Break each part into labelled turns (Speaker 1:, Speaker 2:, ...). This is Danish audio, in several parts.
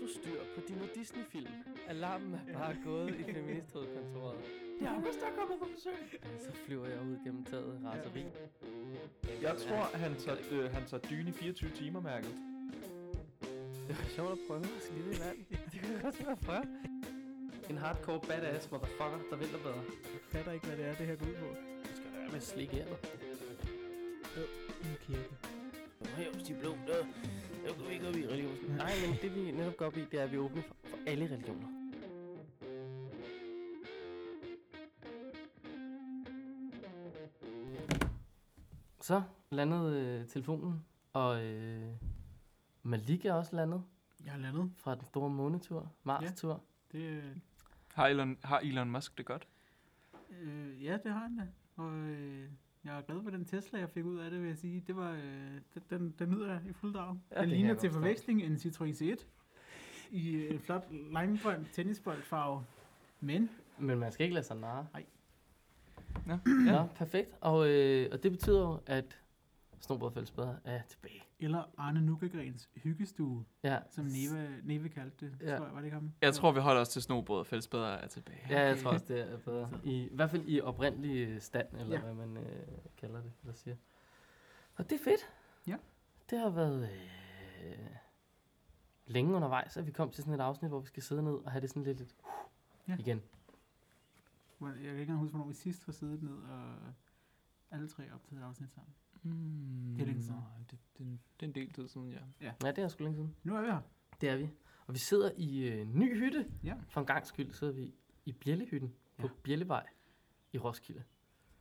Speaker 1: du styr på dine Disney-film?
Speaker 2: Alarmen er bare gået i feministhovedkontoret.
Speaker 1: Jeg er vist, der er kommet på besøg.
Speaker 2: Så flyver jeg ud gennem taget i raseri.
Speaker 3: Jeg tror, han tager, øh, han tager dyne i 24 timer, mærket.
Speaker 2: Det var sjovt at prøve at skide i vand. Det kunne jeg også være at prøve.
Speaker 1: En hardcore badass motherfucker, der vil dig bedre.
Speaker 4: Jeg fatter ikke, hvad det er, det her går ud på.
Speaker 1: Hvad med slik her?
Speaker 4: En kirke.
Speaker 1: Hævs de blå, der. Nu kan vi ikke op i religionen.
Speaker 2: Nej, men det vi netop går op i, det er, at vi er åbne for, for alle religioner. Så landede øh, telefonen, og øh, Malik er også landet
Speaker 4: Jeg har landet.
Speaker 2: fra den store månetur, Mars-tur.
Speaker 4: Det, øh,
Speaker 3: Har Elon, har Elon Musk det godt?
Speaker 4: øh, ja, det har han da. Og øh, jeg er glad for den Tesla, jeg fik ud af det, vil jeg sige. Det var, øh, den, den, den nyder jeg i fuld dag.
Speaker 2: Ja,
Speaker 4: Ja,
Speaker 2: det
Speaker 4: den
Speaker 2: kan
Speaker 4: ligner
Speaker 2: jeg
Speaker 4: til
Speaker 2: godt
Speaker 4: forveksling en Citroën C1 i øh, en flot limegrøn tennisboldfarve. Men
Speaker 2: Men man skal ikke lade sig narre.
Speaker 3: Ja.
Speaker 2: Ja.
Speaker 3: ja.
Speaker 2: Nå, perfekt. Og, øh, og det betyder jo, at Snobrødfællesbæder er tilbage.
Speaker 4: Eller Arne Nukkegrens hyggestue,
Speaker 2: Ja.
Speaker 4: som Neve, Neve kaldte det,
Speaker 2: Ja.
Speaker 4: ja. tror jeg, var det ikke ham?
Speaker 3: Jeg tror, vi holder os til snobrød og fællesbedre er tilbage.
Speaker 2: Ja, jeg tror også, det er bedre. I, I hvert fald i oprindelig øh, stand, eller ja.
Speaker 4: Ja.
Speaker 2: hvad man øh, kalder det, eller siger. Og det er fedt.
Speaker 4: Ja.
Speaker 2: Det har været øh, længe undervejs, at vi kom til sådan et afsnit, hvor vi skal sidde ned og have det sådan lidt, lidt uh,
Speaker 4: Ja.
Speaker 2: igen.
Speaker 4: Hvor- Jeg kan ikke engang huske, hvornår vi sidst har siddet ned og alle tre optaget et afsnit sammen.
Speaker 3: Mm,
Speaker 4: Det er længe siden.
Speaker 3: nej, det, det, er en- det er en del tid siden, ja.
Speaker 2: Ja, det er sgu længe siden.
Speaker 4: Nu er vi her.
Speaker 2: Det er vi. Og vi sidder i øh, en ny hytte.
Speaker 4: Ja.
Speaker 2: For en gang skyld sidder vi i Bjællehytten på
Speaker 4: Ja.
Speaker 2: Bjællevej i Roskilde.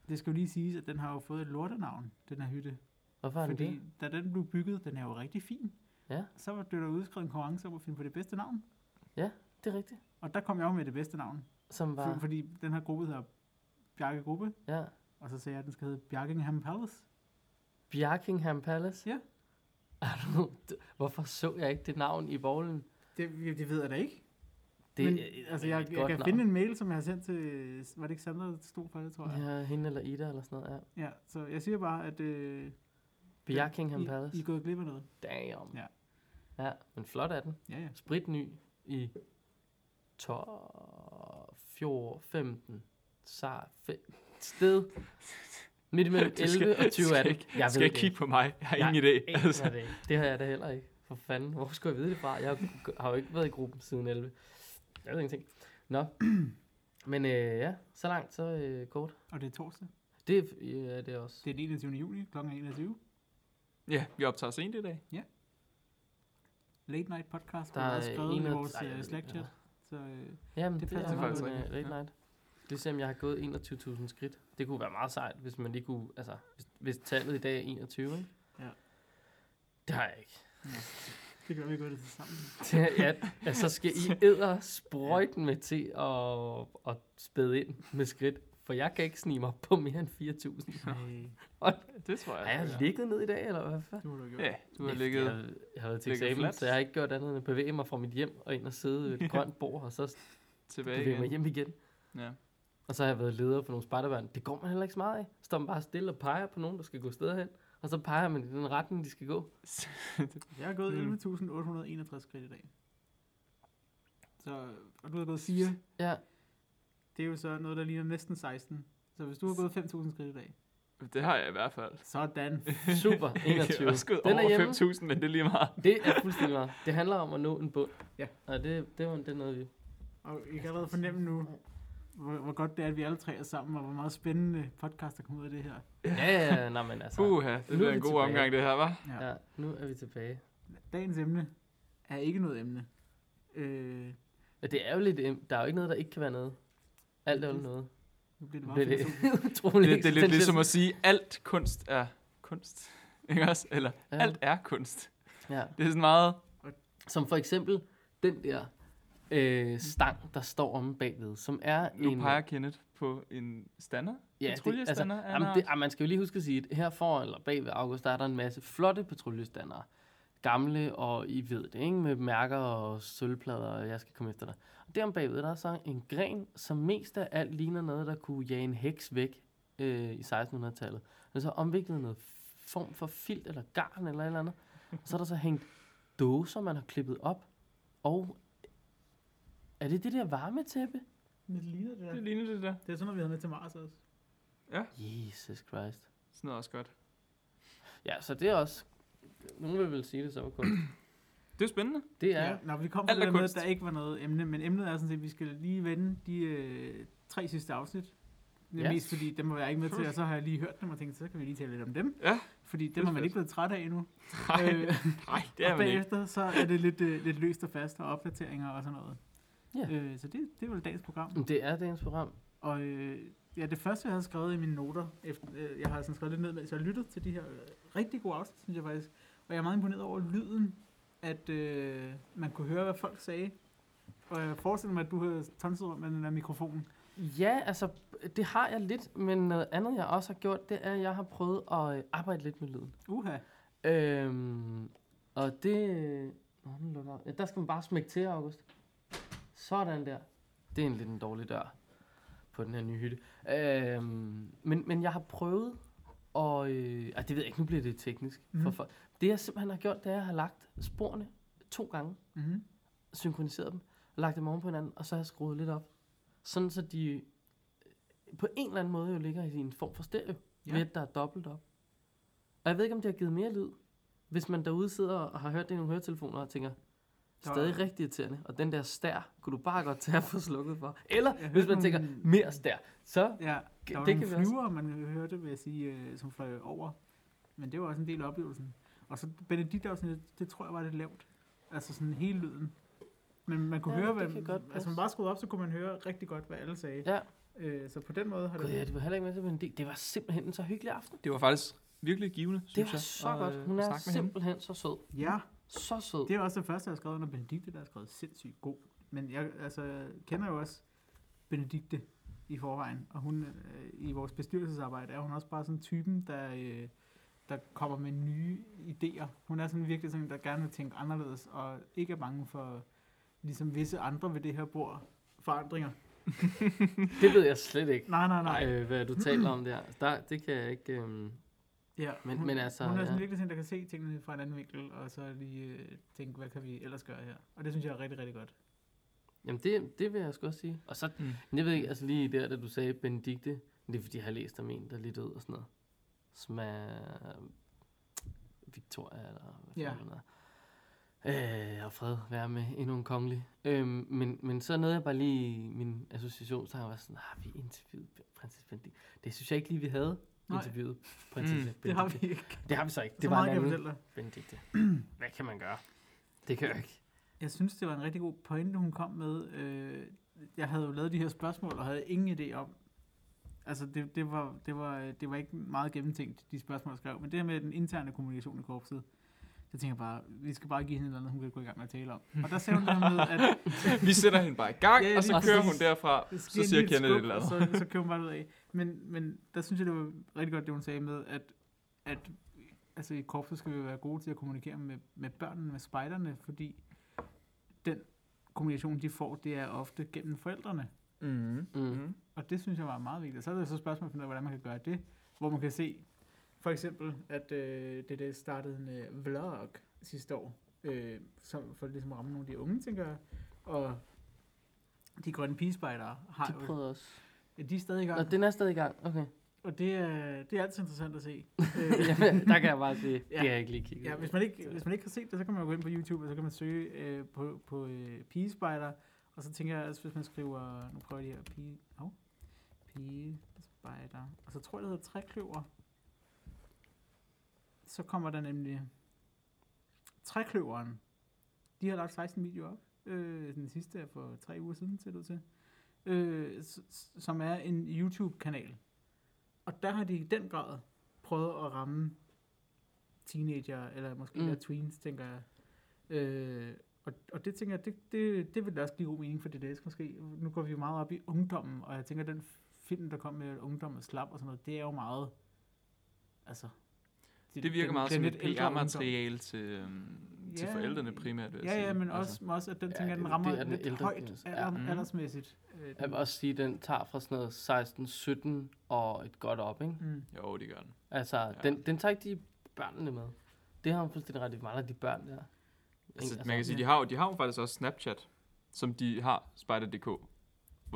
Speaker 4: Det skal jo lige siges, at den har jo fået et lortenavn, den her hytte.
Speaker 2: Hvorfor er det
Speaker 4: Fordi
Speaker 2: det?
Speaker 4: da den blev bygget, den er jo rigtig fin.
Speaker 2: Ja.
Speaker 4: Så var- blev der udskrevet en konkurrence om at finde på det bedste navn.
Speaker 2: Det er rigtigt.
Speaker 4: Og der kom jeg jo med det bedste navn.
Speaker 2: Som
Speaker 4: For,
Speaker 2: var...
Speaker 4: fordi den her gruppe hedder Bjarke Gruppe.
Speaker 2: Ja.
Speaker 4: Og så sagde jeg, at den skal hedde Bjarkingham Palace.
Speaker 2: Bjerkingham Palace?
Speaker 4: Ja.
Speaker 2: Er du- d- Hvorfor så jeg ikke det navn i bowlen?
Speaker 4: Det, det ved jeg da ikke.
Speaker 2: Det
Speaker 4: Men,
Speaker 2: er et
Speaker 4: altså, jeg,
Speaker 2: rigtig
Speaker 4: jeg
Speaker 2: godt
Speaker 4: kan
Speaker 2: navn.
Speaker 4: finde en mail, som jeg har sendt til, var det ikke Sandra, der stod for det, tror jeg. Ja,
Speaker 2: Ja, hende eller Ida eller sådan noget. Ja.
Speaker 4: ja så jeg siger bare, at øh,
Speaker 2: Bjerkingham
Speaker 4: I, I
Speaker 2: Palace.
Speaker 4: er gået glip af noget.
Speaker 2: Damn.
Speaker 4: Ja.
Speaker 2: ja, men flot er den.
Speaker 4: Ja, ja.
Speaker 2: Spritny i 12, 14, 15, sar, fe- sted. Midt imellem
Speaker 3: Du
Speaker 2: 11
Speaker 3: skal-
Speaker 2: og 20 er
Speaker 3: skal
Speaker 2: det.
Speaker 3: ikke-
Speaker 2: Jeg
Speaker 3: Skal
Speaker 2: ved
Speaker 3: jeg
Speaker 2: det
Speaker 3: kigge på mig? Jeg har
Speaker 2: Jeg
Speaker 3: ingen idé. altså.
Speaker 2: aner det, ikke. det har jeg da heller ikke. For fanden, hvor skulle jeg vide det fra? Jeg har jo ikke været i gruppen siden 11. Jeg ved ingenting. Nå. Men øh, ja, så langt, så øh, kort.
Speaker 4: Og det er torsdag.
Speaker 2: Det er øh, er det også.
Speaker 4: Det er den 21. juni, kl. 21.
Speaker 3: Ja, vi optager sent i dag.
Speaker 4: Late Night Podcast,
Speaker 2: Der
Speaker 4: der er
Speaker 2: er
Speaker 4: skrevet i
Speaker 2: 21
Speaker 4: vores
Speaker 2: Ej, jeg ved
Speaker 4: uh,
Speaker 2: det
Speaker 4: Slack
Speaker 2: ikke.
Speaker 4: chat. Så øh,
Speaker 2: Jamen,
Speaker 4: Det
Speaker 2: det,
Speaker 4: passer
Speaker 2: passer
Speaker 3: faktisk
Speaker 2: faktisk med
Speaker 3: rigtigt.
Speaker 2: late
Speaker 3: Ja.
Speaker 2: night. Det er selvom jeg har gået 21.000 skridt. Det kunne være meget sejt, hvis man lige kunne, altså, hvis, hvis tallet i dag er 21, ikke?
Speaker 4: Ja.
Speaker 2: Det har jeg ikke.
Speaker 4: det gør vi godt det sammen.
Speaker 2: Det er, ja, ja, så skal I æder sprøjten med til at, at spæde ind med skridt. For jeg kan ikke snige mig på mere end 4.000.
Speaker 4: Nej,
Speaker 3: Det tror jeg.
Speaker 2: Har jeg ligget ned i dag, eller hvad fanden?
Speaker 4: Øh, det må du have gjort.
Speaker 3: Ja, du har
Speaker 2: Næh,
Speaker 3: ligget...
Speaker 2: Jeg, har- jeg har været til
Speaker 3: ligget
Speaker 2: eksamen,
Speaker 3: fladt.
Speaker 2: så jeg har ikke gjort andet end at bevæge mig fra mit hjem og ind og sidde ved et grønt bord, og så
Speaker 3: tilbage
Speaker 2: bevæge mig
Speaker 3: igen.
Speaker 2: hjem igen.
Speaker 3: Ja.
Speaker 2: Og så har jeg været leder for nogle spejderbørn. Det går man heller ikke så meget af. Står man bare stille og peger på nogen, der skal gå steder hen. Og så peger man i den retning, de skal gå.
Speaker 4: Jeg har gået
Speaker 3: Mm.
Speaker 4: 11.861 skridt i dag. Så, og du har gået 4.
Speaker 2: Ja,
Speaker 4: Det er jo så noget, der ligner næsten 16. Så hvis du har gået 5.000 skridt i dag,
Speaker 3: Det har jeg i hvert fald.
Speaker 4: sådan.
Speaker 2: super. 21.
Speaker 3: Jeg er også gået
Speaker 2: Den er hjemme.
Speaker 3: over 5.000, men det er lige meget.
Speaker 2: Det er fuldstændig meget. Det handler om at nå en bund.
Speaker 4: Ja.
Speaker 2: Og det, det, var, det er noget, vi...
Speaker 4: Og jeg kan allerede fornemme nu, hvor, hvor godt det er, at vi alle tre er sammen, og hvor meget spændende podcast, der kommer ud af det her.
Speaker 2: Ja, ja, ja. Nå, men altså...
Speaker 3: Puha, det
Speaker 2: Nu er
Speaker 3: bliver
Speaker 2: vi
Speaker 3: en god
Speaker 2: tilbage.
Speaker 3: omgang, det her, var.
Speaker 2: Ja, nu er vi tilbage.
Speaker 4: Dagens emne er ikke noget emne. Øh,
Speaker 2: Og det er jo lidt... em- Der er jo ikke noget, der ikke kan være noget. Alt er jo noget.
Speaker 4: nu bliver det
Speaker 2: Det er
Speaker 4: meget
Speaker 2: lidt
Speaker 4: filosofisk.
Speaker 3: Det, det er
Speaker 2: utroligt.
Speaker 3: lidt
Speaker 2: eksistentielt.
Speaker 3: ligesom at sige, alt kunst er kunst. Ikke også? Eller,
Speaker 2: Ja.
Speaker 3: alt er kunst.
Speaker 2: Ja.
Speaker 3: Det er sådan meget...
Speaker 2: Som for eksempel den der øh, stang, der står omme bagved, som er en...
Speaker 3: Nu peger Kenneth på en stander.
Speaker 2: Ja, det, altså,
Speaker 3: patruljestander af en
Speaker 2: jamen,
Speaker 3: art.
Speaker 2: det, ah, man skal jo lige huske at sige, at her for eller bag ved August, der er der en masse flotte patruljestandere. Gamle og I ved det, ikke? Med mærker og sølvplader, og jeg skal komme efter dig. Og derom bagved, der er så en gren, som mest af alt ligner noget, der kunne jage en heks væk øh, i 1600-tallet. Den er så omviklet i noget form for filt eller garn eller et eller andet. Og så er der så hængt dåser, man har klippet op. Og er det det der varmetæppe?
Speaker 4: Det ligner det der.
Speaker 5: Det ligner det der.
Speaker 4: Det er sådan noget, vi havde med til Mars også.
Speaker 2: Jesus Christ.
Speaker 5: Sådan noget er også godt.
Speaker 2: Ja, så det er også... Nogen vil vel sige det som kunst.
Speaker 5: Det er spændende.
Speaker 2: Det er... Ja.
Speaker 4: Nå, vi kom
Speaker 5: Alt
Speaker 4: fra det
Speaker 5: er
Speaker 4: der med, at
Speaker 5: kunst.
Speaker 4: der ikke var noget emne, men emnet er sådan set, at vi skal lige vende de øh, tre sidste afsnit. Det er
Speaker 2: Ja.
Speaker 4: mest fordi, dem var jeg ikke med til, og så har jeg lige hørt dem og tænkt, så kan vi lige tale lidt om dem.
Speaker 5: Ja.
Speaker 4: Fordi
Speaker 5: er
Speaker 4: dem har man
Speaker 5: fedt.
Speaker 4: ikke blevet træt af endnu.
Speaker 5: Nej,
Speaker 4: Øh,
Speaker 5: nej det er
Speaker 4: og
Speaker 5: man ikke.
Speaker 4: bagefter, så er det lidt, øh, lidt løst og fast og opdateringer og sådan noget.
Speaker 2: Ja.
Speaker 4: Øh, så det, det er vel dagens program.
Speaker 2: Det er dagens program.
Speaker 4: Og øh, ja, det første, jeg havde skrevet i mine noter, efter, øh, jeg har sådan skrevet lidt ned, mens jeg lyttede til de her øh, rigtig gode afsnit, synes jeg faktisk. Og jeg er meget imponeret over lyden, at øh, man kunne høre, hvad folk sagde. Og jeg forestiller mig, at du har tonset rundt med den der mikrofon.
Speaker 2: Ja, altså, det har jeg lidt, men noget andet, jeg også har gjort, det er, at jeg har prøvet at øh, arbejde lidt med lyden.
Speaker 4: Uha.
Speaker 2: Øhm, og det... øh, Nå, den lukker. Ja, der skal man bare smække til, August. Sådan der. Det er en lidt en dårlig dør på den her nye hytte. Øhm, men, men jeg har prøvet og øh, ah, det ved jeg ikke, nu bliver det teknisk. Mm. For,
Speaker 4: Mhm.
Speaker 2: for, det jeg simpelthen har gjort, det er, at jeg har lagt sporene to gange,
Speaker 4: Mm-hmm.
Speaker 2: synkroniseret dem, og lagt dem oven på hinanden, og så har jeg skruet lidt op. Sådan så de øh, på en eller anden måde jo ligger i en form for stereo,
Speaker 4: Ja.
Speaker 2: ja. ved at der er dobbelt op. Og jeg ved ikke, om det har givet mere lyd, hvis man derude sidder og har hørt det i nogle høretelefoner og tænker,
Speaker 4: Der-
Speaker 2: stadig rigtig irriterende, og den der stær, kunne du bare godt tage at få slukket for. Eller
Speaker 4: Jeg
Speaker 2: hvis
Speaker 4: hørte
Speaker 2: man tænker,
Speaker 4: nogle-
Speaker 2: mere stær, så
Speaker 4: Ja, der var
Speaker 2: det
Speaker 4: det nogle
Speaker 2: kan vi også-
Speaker 4: flyver, man hørte, vil jeg sige, øh, som fløj over. Men det var også en del af oplevelsen. Og så Benedikt afsnit, det tror jeg var lidt lavt. Altså sådan hele lyden. Men man kunne
Speaker 2: Ja,
Speaker 4: høre,
Speaker 2: det
Speaker 4: hvad,
Speaker 2: kan godt
Speaker 4: altså
Speaker 2: passe.
Speaker 4: man bare skruede op, så kunne man høre rigtig godt, hvad alle sagde.
Speaker 2: ja.
Speaker 4: Øh, så på den måde har
Speaker 2: Gud, ja,
Speaker 4: det
Speaker 2: det var heller ikke med til, men det, det var simpelthen en så hyggelig aften.
Speaker 5: Det var faktisk virkelig givende,
Speaker 2: Det
Speaker 5: synes
Speaker 2: var
Speaker 5: jeg.
Speaker 2: så
Speaker 5: at,
Speaker 2: godt.
Speaker 5: øh,
Speaker 2: Hun
Speaker 5: at
Speaker 2: er
Speaker 5: snakke med hende.
Speaker 2: simpelthen så sød.
Speaker 4: Ja,
Speaker 2: Så sød.
Speaker 4: det er også det første, jeg har skrevet under Benedikte, der har skrevet sindssygt god. Men jeg altså, kender jo også Benedikte i forvejen, og hun øh, i vores bestyrelsesarbejde er hun også bare sådan typen, der, øh, der kommer med nye idéer. Hun er sådan virkelig sådan, en, der gerne vil tænke anderledes, og ikke er bange for, ligesom visse andre ved det her bord, forandringer.
Speaker 2: Det ved jeg slet ikke.
Speaker 4: Nej, nej, nej.
Speaker 2: Nej, øh, hvad du taler om der. der det kan jeg ikke... Øhm,
Speaker 4: Ja,
Speaker 2: Men-
Speaker 4: hun,
Speaker 2: men altså,
Speaker 4: Hun er sådan
Speaker 2: ja.
Speaker 4: virkelig sådan, der kan se tingene fra en anden vinkel, og så lige øh, tænke, hvad kan vi ellers gøre her? Og det synes jeg er rigtig, rigtig godt.
Speaker 2: jamen, det, det vil jeg sgu også sige. Og så,
Speaker 5: Mm.
Speaker 2: men jeg ved ikke, altså lige der, da du sagde Benedikte, men det er fordi, jeg har læst om en, der er lidt død og sådan noget. Som er øh, Victoria, eller hvad
Speaker 4: Ja.
Speaker 2: fanden hun er. Øh, og fred være med endnu en kongelig. Øhm, men, men så nåede jeg bare lige min association, så jeg var sådan, har vi interviewet prinsesse Benedikte? Det synes jeg ikke lige, vi havde
Speaker 4: Nej.
Speaker 2: interviewet prinsesse
Speaker 5: Mm,
Speaker 2: Benedikte.
Speaker 4: Det har vi ikke.
Speaker 2: Det har vi så ikke.
Speaker 4: Det
Speaker 2: Det
Speaker 4: så
Speaker 2: var
Speaker 4: meget
Speaker 2: en
Speaker 4: kan jeg
Speaker 2: anden
Speaker 4: fortælle dig.
Speaker 2: Benedikte. Hvad kan man gøre? Det kan jeg ikke.
Speaker 4: Jeg synes, det var en rigtig god pointe, hun kom med. Øh, jeg havde jo lavet de her spørgsmål, og havde ingen idé om. Altså, det, det, var, det, var, øh, det var ikke meget gennemtænkt, de spørgsmål, jeg skrev. Men det her med den interne kommunikation i korpset, der tænker jeg bare, vi skal bare give hende et eller andet, hun kan gå i gang med at tale om. Og der sagde hun det her med, at
Speaker 5: Vi sætter hende bare i gang,
Speaker 4: Ja,
Speaker 5: ja,
Speaker 4: ja,
Speaker 5: og så
Speaker 2: lige
Speaker 5: kører hun
Speaker 4: præcis.
Speaker 5: derfra.
Speaker 4: Det
Speaker 5: Så
Speaker 4: giver en
Speaker 5: siger
Speaker 4: lille
Speaker 5: Kenneth et
Speaker 4: skub,
Speaker 5: eller andet.
Speaker 4: Og så, så kører man bare ud af. Men, men der synes jeg, det var rigtig godt, det hun sagde med, at, at altså, i korpset skal vi være gode til at kommunikere med, med børnene, med spejderne, fordi den kommunikation, de får, det er ofte gennem forældrene.
Speaker 5: Mm. Mm.
Speaker 4: Og det synes jeg var meget vigtigt. Så er der så spørgsmålet, at finde ud af, hvordan man kan gøre det, hvor man kan se, for eksempel, at øh, det der startede en øh, vlog sidste år, øh, som for ligesom at ramme nogle af de unge, tænker jeg. Og de grønne pigespejdere har
Speaker 2: De
Speaker 4: jo
Speaker 2: prøvede også.
Speaker 4: Ja, de er stadig i gang,
Speaker 2: Nå, den er stadig i gang. Okay.
Speaker 4: og det er, det er altid interessant at se.
Speaker 2: Jamen, der kan jeg bare sige, det
Speaker 4: Øh. Ja.
Speaker 2: har jeg ikke lige kigget.
Speaker 4: ja,
Speaker 2: på.
Speaker 4: hvis, man ikke, hvis man ikke har set det, så kan man jo gå ind på YouTube, og så kan man søge øh, på, på øh, pigespejder, og så tænker jeg også, hvis man skriver, nu prøver jeg lige her, pige, oh, pigespejder, og så tror jeg, det hedder trækløver. Så kommer der nemlig trækløveren. De har lagt 16 videoer op. Øh, den sidste er for tre uger siden, ser det ud til. Øh, s- s- som er en YouTube-kanal. Og der har de i den grad prøvet at ramme teenager, eller måske
Speaker 2: Mm.
Speaker 4: mm. tweens, tænker jeg. Øh, og, og det tænker jeg, det, det, det vil da også give god mening for DDS måske. Nu går vi jo meget op i ungdommen, og jeg tænker, den film, der kom med at ungdom er slap og sådan noget, det er jo meget, altså...
Speaker 5: Det virker
Speaker 4: den-
Speaker 5: meget
Speaker 4: den
Speaker 5: som
Speaker 4: lidt
Speaker 5: et
Speaker 4: ældre ungdom.
Speaker 5: PR-materiale til, øhm, til
Speaker 4: Ja,
Speaker 5: forældrene primært, vil jeg
Speaker 4: Ja,
Speaker 5: sige.
Speaker 4: ja, men
Speaker 5: Altså,
Speaker 4: også, også at den
Speaker 2: Ja,
Speaker 4: tænker, ja,
Speaker 2: det-
Speaker 4: den
Speaker 2: det
Speaker 4: rammer
Speaker 2: er den
Speaker 4: lidt
Speaker 2: ældre
Speaker 4: højt
Speaker 2: fjernelse.
Speaker 4: alder,
Speaker 2: Ja.
Speaker 5: Mm.
Speaker 4: aldersmæssigt. Øh,
Speaker 2: Jeg
Speaker 4: den-
Speaker 2: vil også sige, at den tager fra sådan noget 16, 17 og et godt op, ikke?
Speaker 4: Mm.
Speaker 5: Jo, det gør den.
Speaker 2: Altså,
Speaker 5: Ja.
Speaker 2: den, den tager ikke de børnene med. Det har hun fuldstændig ret i. Vi mangler de børn der.
Speaker 5: Altså,
Speaker 2: altså,
Speaker 5: man kan sige,
Speaker 4: ja.
Speaker 5: de har, jo, de har jo faktisk også Snapchat, som de har, Spider.dk. Hvor okay.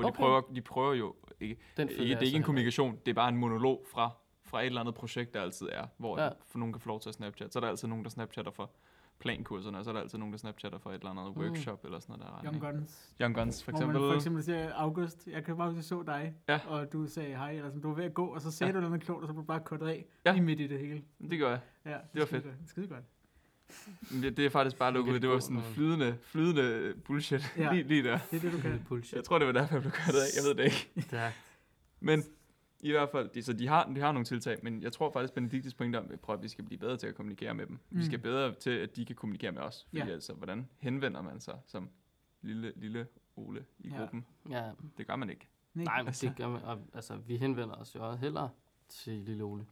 Speaker 5: de,
Speaker 2: Okay.
Speaker 5: prøver, de prøver jo ikke,
Speaker 2: Den
Speaker 5: ikke,
Speaker 2: følger
Speaker 5: det
Speaker 2: jeg
Speaker 5: er ikke
Speaker 2: så
Speaker 5: en
Speaker 2: heller
Speaker 5: kommunikation, det er bare en monolog fra, fra et eller andet projekt, der altid er, hvor
Speaker 2: Ja.
Speaker 5: ja. nogen kan få lov til at Snapchat. Så er der altid nogen, der Snapchatter for plankurserne, og så er der altid nogen, der Snapchatter for et eller andet
Speaker 2: Mm.
Speaker 5: workshop eller sådan noget. Der er
Speaker 4: Young
Speaker 5: retning.
Speaker 4: Guns.
Speaker 5: Young Guns, for eksempel.
Speaker 4: Hvor man for eksempel siger, August, jeg kan bare huske, jeg så dig,
Speaker 5: Ja.
Speaker 4: og du sagde hej, eller sådan, du var ved at gå, og så sagde ja.
Speaker 5: Ja.
Speaker 4: du noget klogt, og så blev du bare kuttet af,
Speaker 5: Ja.
Speaker 4: lige midt i det hele.
Speaker 5: Det gør jeg.
Speaker 4: Ja, det,
Speaker 5: var fedt.
Speaker 4: Skide godt.
Speaker 5: Men Det, det er faktisk bare
Speaker 2: Nu kan
Speaker 5: lukket. ud.
Speaker 2: det
Speaker 5: Det var
Speaker 2: gå,
Speaker 5: sådan
Speaker 2: når man-
Speaker 5: flydende, flydende bullshit
Speaker 4: Ja.
Speaker 5: ja. lige, lige der.
Speaker 4: Det er det, du kan.
Speaker 2: ikke. Bullshit.
Speaker 5: Jeg tror, det var derfor, jeg blev kørt af. Jeg ved det ikke.
Speaker 2: Ja.
Speaker 5: Men i hvert fald, de, så de har, de har nogle tiltag, men jeg tror faktisk, Benediktes pointe om, prøv at vi skal blive bedre til at kommunikere med dem. Mm.
Speaker 4: Mm.
Speaker 5: Vi skal bedre til, at de kan kommunikere med os. Fordi
Speaker 4: Ja.
Speaker 5: ja. altså, hvordan henvender man sig som lille, lille Ole i
Speaker 4: Ja.
Speaker 5: gruppen?
Speaker 2: ja.
Speaker 5: Det gør man ikke.
Speaker 2: Nej, men det gør man, og, altså, vi henvender os jo også hellere til lille Ole.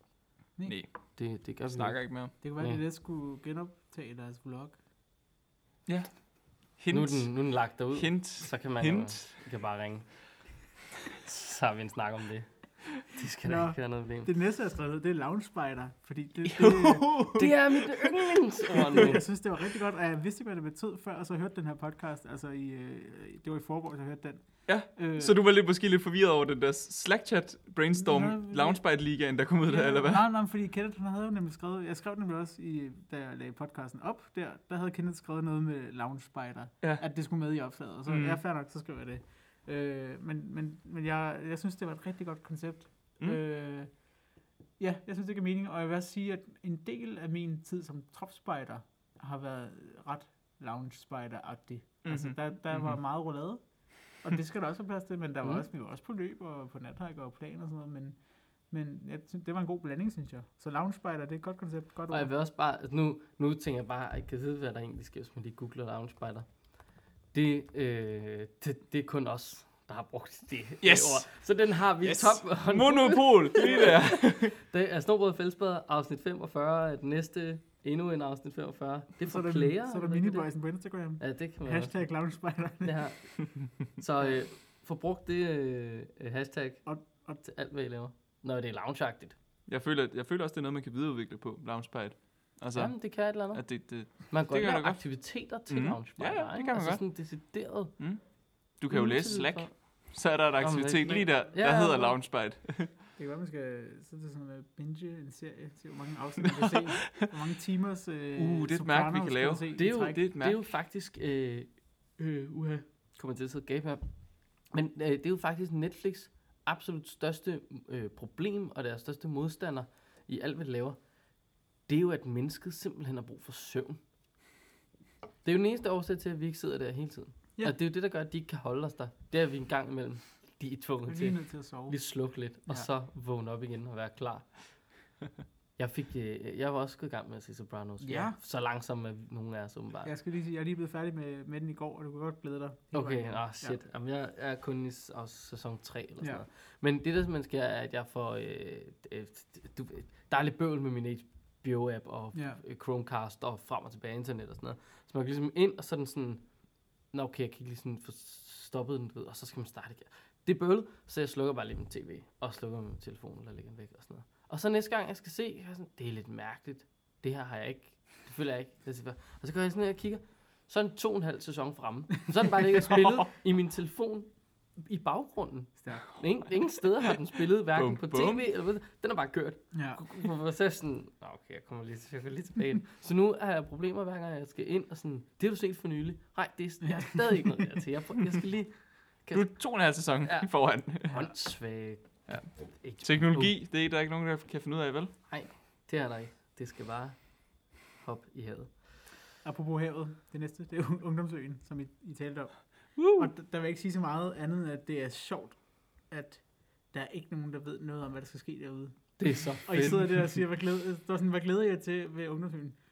Speaker 4: Nej.
Speaker 5: Nej, Nej
Speaker 2: Det, det gør
Speaker 5: jeg
Speaker 2: vi
Speaker 5: snakker
Speaker 2: ikke.
Speaker 5: ikke mere.
Speaker 4: Det kunne være, at
Speaker 2: Ja. Mm.
Speaker 4: de lidt skulle genoptage deres vlog.
Speaker 5: Hint,
Speaker 2: Nu er, den, nu er den lagt derud, hint.
Speaker 5: hint,
Speaker 2: så kan man jo,
Speaker 5: hint.
Speaker 2: I kan bare ringe. Så har vi en snak om det. Det skal
Speaker 4: Nå.
Speaker 2: da ikke være noget problem.
Speaker 4: Det næste, jeg skrev ned, det er lounge spider, fordi det, det,
Speaker 2: Det er mit yndlingsord nu.
Speaker 5: øh.
Speaker 4: det, jeg synes, det var rigtig godt, og jeg vidste ikke, hvad det betød før, og så hørte den her podcast, altså i, øh, det var i forborg, jeg hørte den.
Speaker 5: Ja,
Speaker 4: øh,
Speaker 5: Så du var lidt, måske lidt forvirret over den der Slack-chat brainstorm
Speaker 4: Nå, det-
Speaker 5: Loungespite-ligaen, der kom ud der, eller hvad?
Speaker 4: Nej, nej, fordi Kenneth han havde jo nemlig skrevet, jeg skrev nemlig også, i, da jeg lagde podcasten op der, der havde Kenneth skrevet noget med Lounge Spider,
Speaker 5: Ja.
Speaker 4: at det skulle med i opslaget, og så mm.
Speaker 5: Mm.
Speaker 4: ja, fair nok, så skrev jeg det. Øh, men men, men jeg, jeg synes, det var et rigtig godt koncept.
Speaker 5: Mm.
Speaker 4: Øh, ja, jeg synes, det giver mening, og jeg vil også sige, at en del af min tid som tropspider har været ret Lounge Spider-agtig. Mm-hmm. Altså,
Speaker 5: Mhm.
Speaker 4: der, der mm-hmm. var
Speaker 5: Mhm.
Speaker 4: meget roulade, og det skal der også være plads til, men der var
Speaker 2: Mm.
Speaker 4: også, vi var også på løb og på nathike og plan og sådan noget, men men jeg synes, det var en god blanding, synes jeg. Så Lounge Spider, det er et godt koncept. Godt
Speaker 2: Og jeg
Speaker 4: ord.
Speaker 2: vil også bare, altså nu, nu tænker jeg bare, at jeg kan vide, hvad der egentlig sker, hvis man lige googler Lounge Spider. Det, øh, det, det er kun os, der har brugt det, det
Speaker 5: Yes.
Speaker 2: ord. Så den har vi yes.
Speaker 5: Yes.
Speaker 2: top hånd.
Speaker 5: Monopol, lige der.
Speaker 2: Det er Snobrød og Fællesbad, afsnit 45. Den næste, endnu en afsnit 45. Det er
Speaker 4: så
Speaker 2: for
Speaker 4: er der,
Speaker 2: player.
Speaker 4: så er der
Speaker 2: eller hvad det?
Speaker 4: miniboysen på Instagram.
Speaker 2: Ja, det kan man også.
Speaker 4: Hashtag Lounge Spider.
Speaker 2: Det her. Så øh, få brugt det øh, øh, hashtag
Speaker 4: Og- og-
Speaker 2: til alt, hvad I laver. Nå, det er loungeagtigt.
Speaker 5: Jeg føler, jeg føler også, det er noget, man kan videreudvikle på Loungespite. Altså,
Speaker 2: Jamen, det kan et eller andet.
Speaker 5: at det, det,
Speaker 2: Man kan godt
Speaker 5: kan
Speaker 2: lave
Speaker 5: jeg da godt.
Speaker 2: aktiviteter til mm.
Speaker 5: Mhm.
Speaker 2: lounge
Speaker 5: Ja, ja, det kan man
Speaker 2: altså
Speaker 5: godt.
Speaker 2: sådan decideret.
Speaker 5: du kan jo læse
Speaker 2: udsendelse
Speaker 5: Slack,
Speaker 2: for-
Speaker 5: så er der en
Speaker 2: Nå, men
Speaker 5: aktivitet
Speaker 2: rigtig.
Speaker 5: lige der,
Speaker 2: Ja,
Speaker 5: der
Speaker 2: ja,
Speaker 5: hedder
Speaker 2: ja.
Speaker 5: Loungespite.
Speaker 4: Det kan være, man skal så er det sådan noget binge en serie, se hvor mange afsnit man kan se, hvor mange timers øh,
Speaker 5: Uh, det er et mærke, vi
Speaker 4: Sopranos
Speaker 5: kan lave.
Speaker 4: man se
Speaker 2: Det er
Speaker 4: i
Speaker 2: jo-
Speaker 4: træk.
Speaker 5: Det er et
Speaker 2: Det er
Speaker 5: mærke.
Speaker 2: jo faktisk... Øh, øh, uha, kommer til at sidde og gabe her. Men øh, det er jo faktisk Netflix absolut største øh, problem og deres største modstander i alt, hvad de laver. Det er jo, at mennesket simpelthen har brug for søvn. Det er jo den eneste årsag til, at vi ikke sidder der hele tiden.
Speaker 4: Ja.
Speaker 2: Ja. Og det er jo det, der gør, at de ikke kan holde os der. Det er vi en gang imellem. De er
Speaker 4: Vi
Speaker 2: tvunget
Speaker 4: er
Speaker 2: til.
Speaker 4: lige nødt til at sove.
Speaker 2: lige slukke lidt, og
Speaker 4: Ja.
Speaker 2: så vågne op igen og være klar. Jeg, fik, øh, jeg var også gået i gang med at se Sopranos.
Speaker 4: Ja.
Speaker 2: Så langsomt er nogen af os åbenbart.
Speaker 4: Jeg skal lige sige, jeg er lige blevet færdig med, med den i går, og du kan godt glæde dig. hele
Speaker 2: Okay,
Speaker 4: vejen.
Speaker 2: nå shit. Jamen, jeg er kun i s- også sæson 3 eller sådan
Speaker 4: Ja.
Speaker 2: noget. Men det, der man sker, er, at jeg får... Øh, øh, du, ved, der er lidt bøvl med min HBO-app og
Speaker 4: Ja.
Speaker 2: øh, Chromecast og frem og tilbage internet og sådan noget. Så man kan ligesom ind, og så er den sådan... Nå, okay, jeg kan ikke lige sådan få stoppet den, du ved, og så skal man starte igen. Det er bøvlet, så jeg slukker bare lige min tv, og slukker min telefon, eller lægger den væk og sådan noget. Og så næste gang, jeg skal se, jeg er sådan, det er lidt mærkeligt. Det her har jeg ikke. Det føler jeg ikke. Jeg siger bare- Og så går jeg sådan ned og kigger. Så er den to og en halv sæson fremme. Så er den bare ligget og spillet i min telefon i baggrunden.
Speaker 4: Stærkt.
Speaker 2: Ingen, ingen steder har den spillet, hverken
Speaker 5: Bum,
Speaker 2: på
Speaker 5: bum.
Speaker 2: tv eller hvad. Den er bare kørt.
Speaker 4: Ja.
Speaker 2: Og så er jeg sådan, "Nå, okay, jeg kommer lige, jeg går lige tilbage. ind." Så nu har jeg problemer, hver gang jeg skal ind, og sådan, det har du set for nylig. Nej, det er, jeg er stadig ikke noget der til. Jeg, prøver- jeg skal lige
Speaker 5: Du er to og en halv sæson
Speaker 2: Ja.
Speaker 5: foran.
Speaker 2: håndsvage.
Speaker 5: Ja.
Speaker 2: Ikke- Uh,
Speaker 5: Teknologi, det er der ikke nogen, der kan finde ud af, vel?
Speaker 2: Det er der ikke. Det skal bare hoppe i havet.
Speaker 4: Apropos havet, det næste, det er jo Ungdomsøen, som I, I talte om.
Speaker 5: Woo!
Speaker 4: Og d- der vil jeg ikke sige så meget andet, end at det er sjovt, at der er ikke nogen, der ved noget om, hvad der skal ske derude.
Speaker 2: Det er så
Speaker 4: Og I
Speaker 2: fedt.
Speaker 4: sidder der og siger, hvad glæder, der er sådan, hvad glæder jeg til ved Øh. ungdomsøen?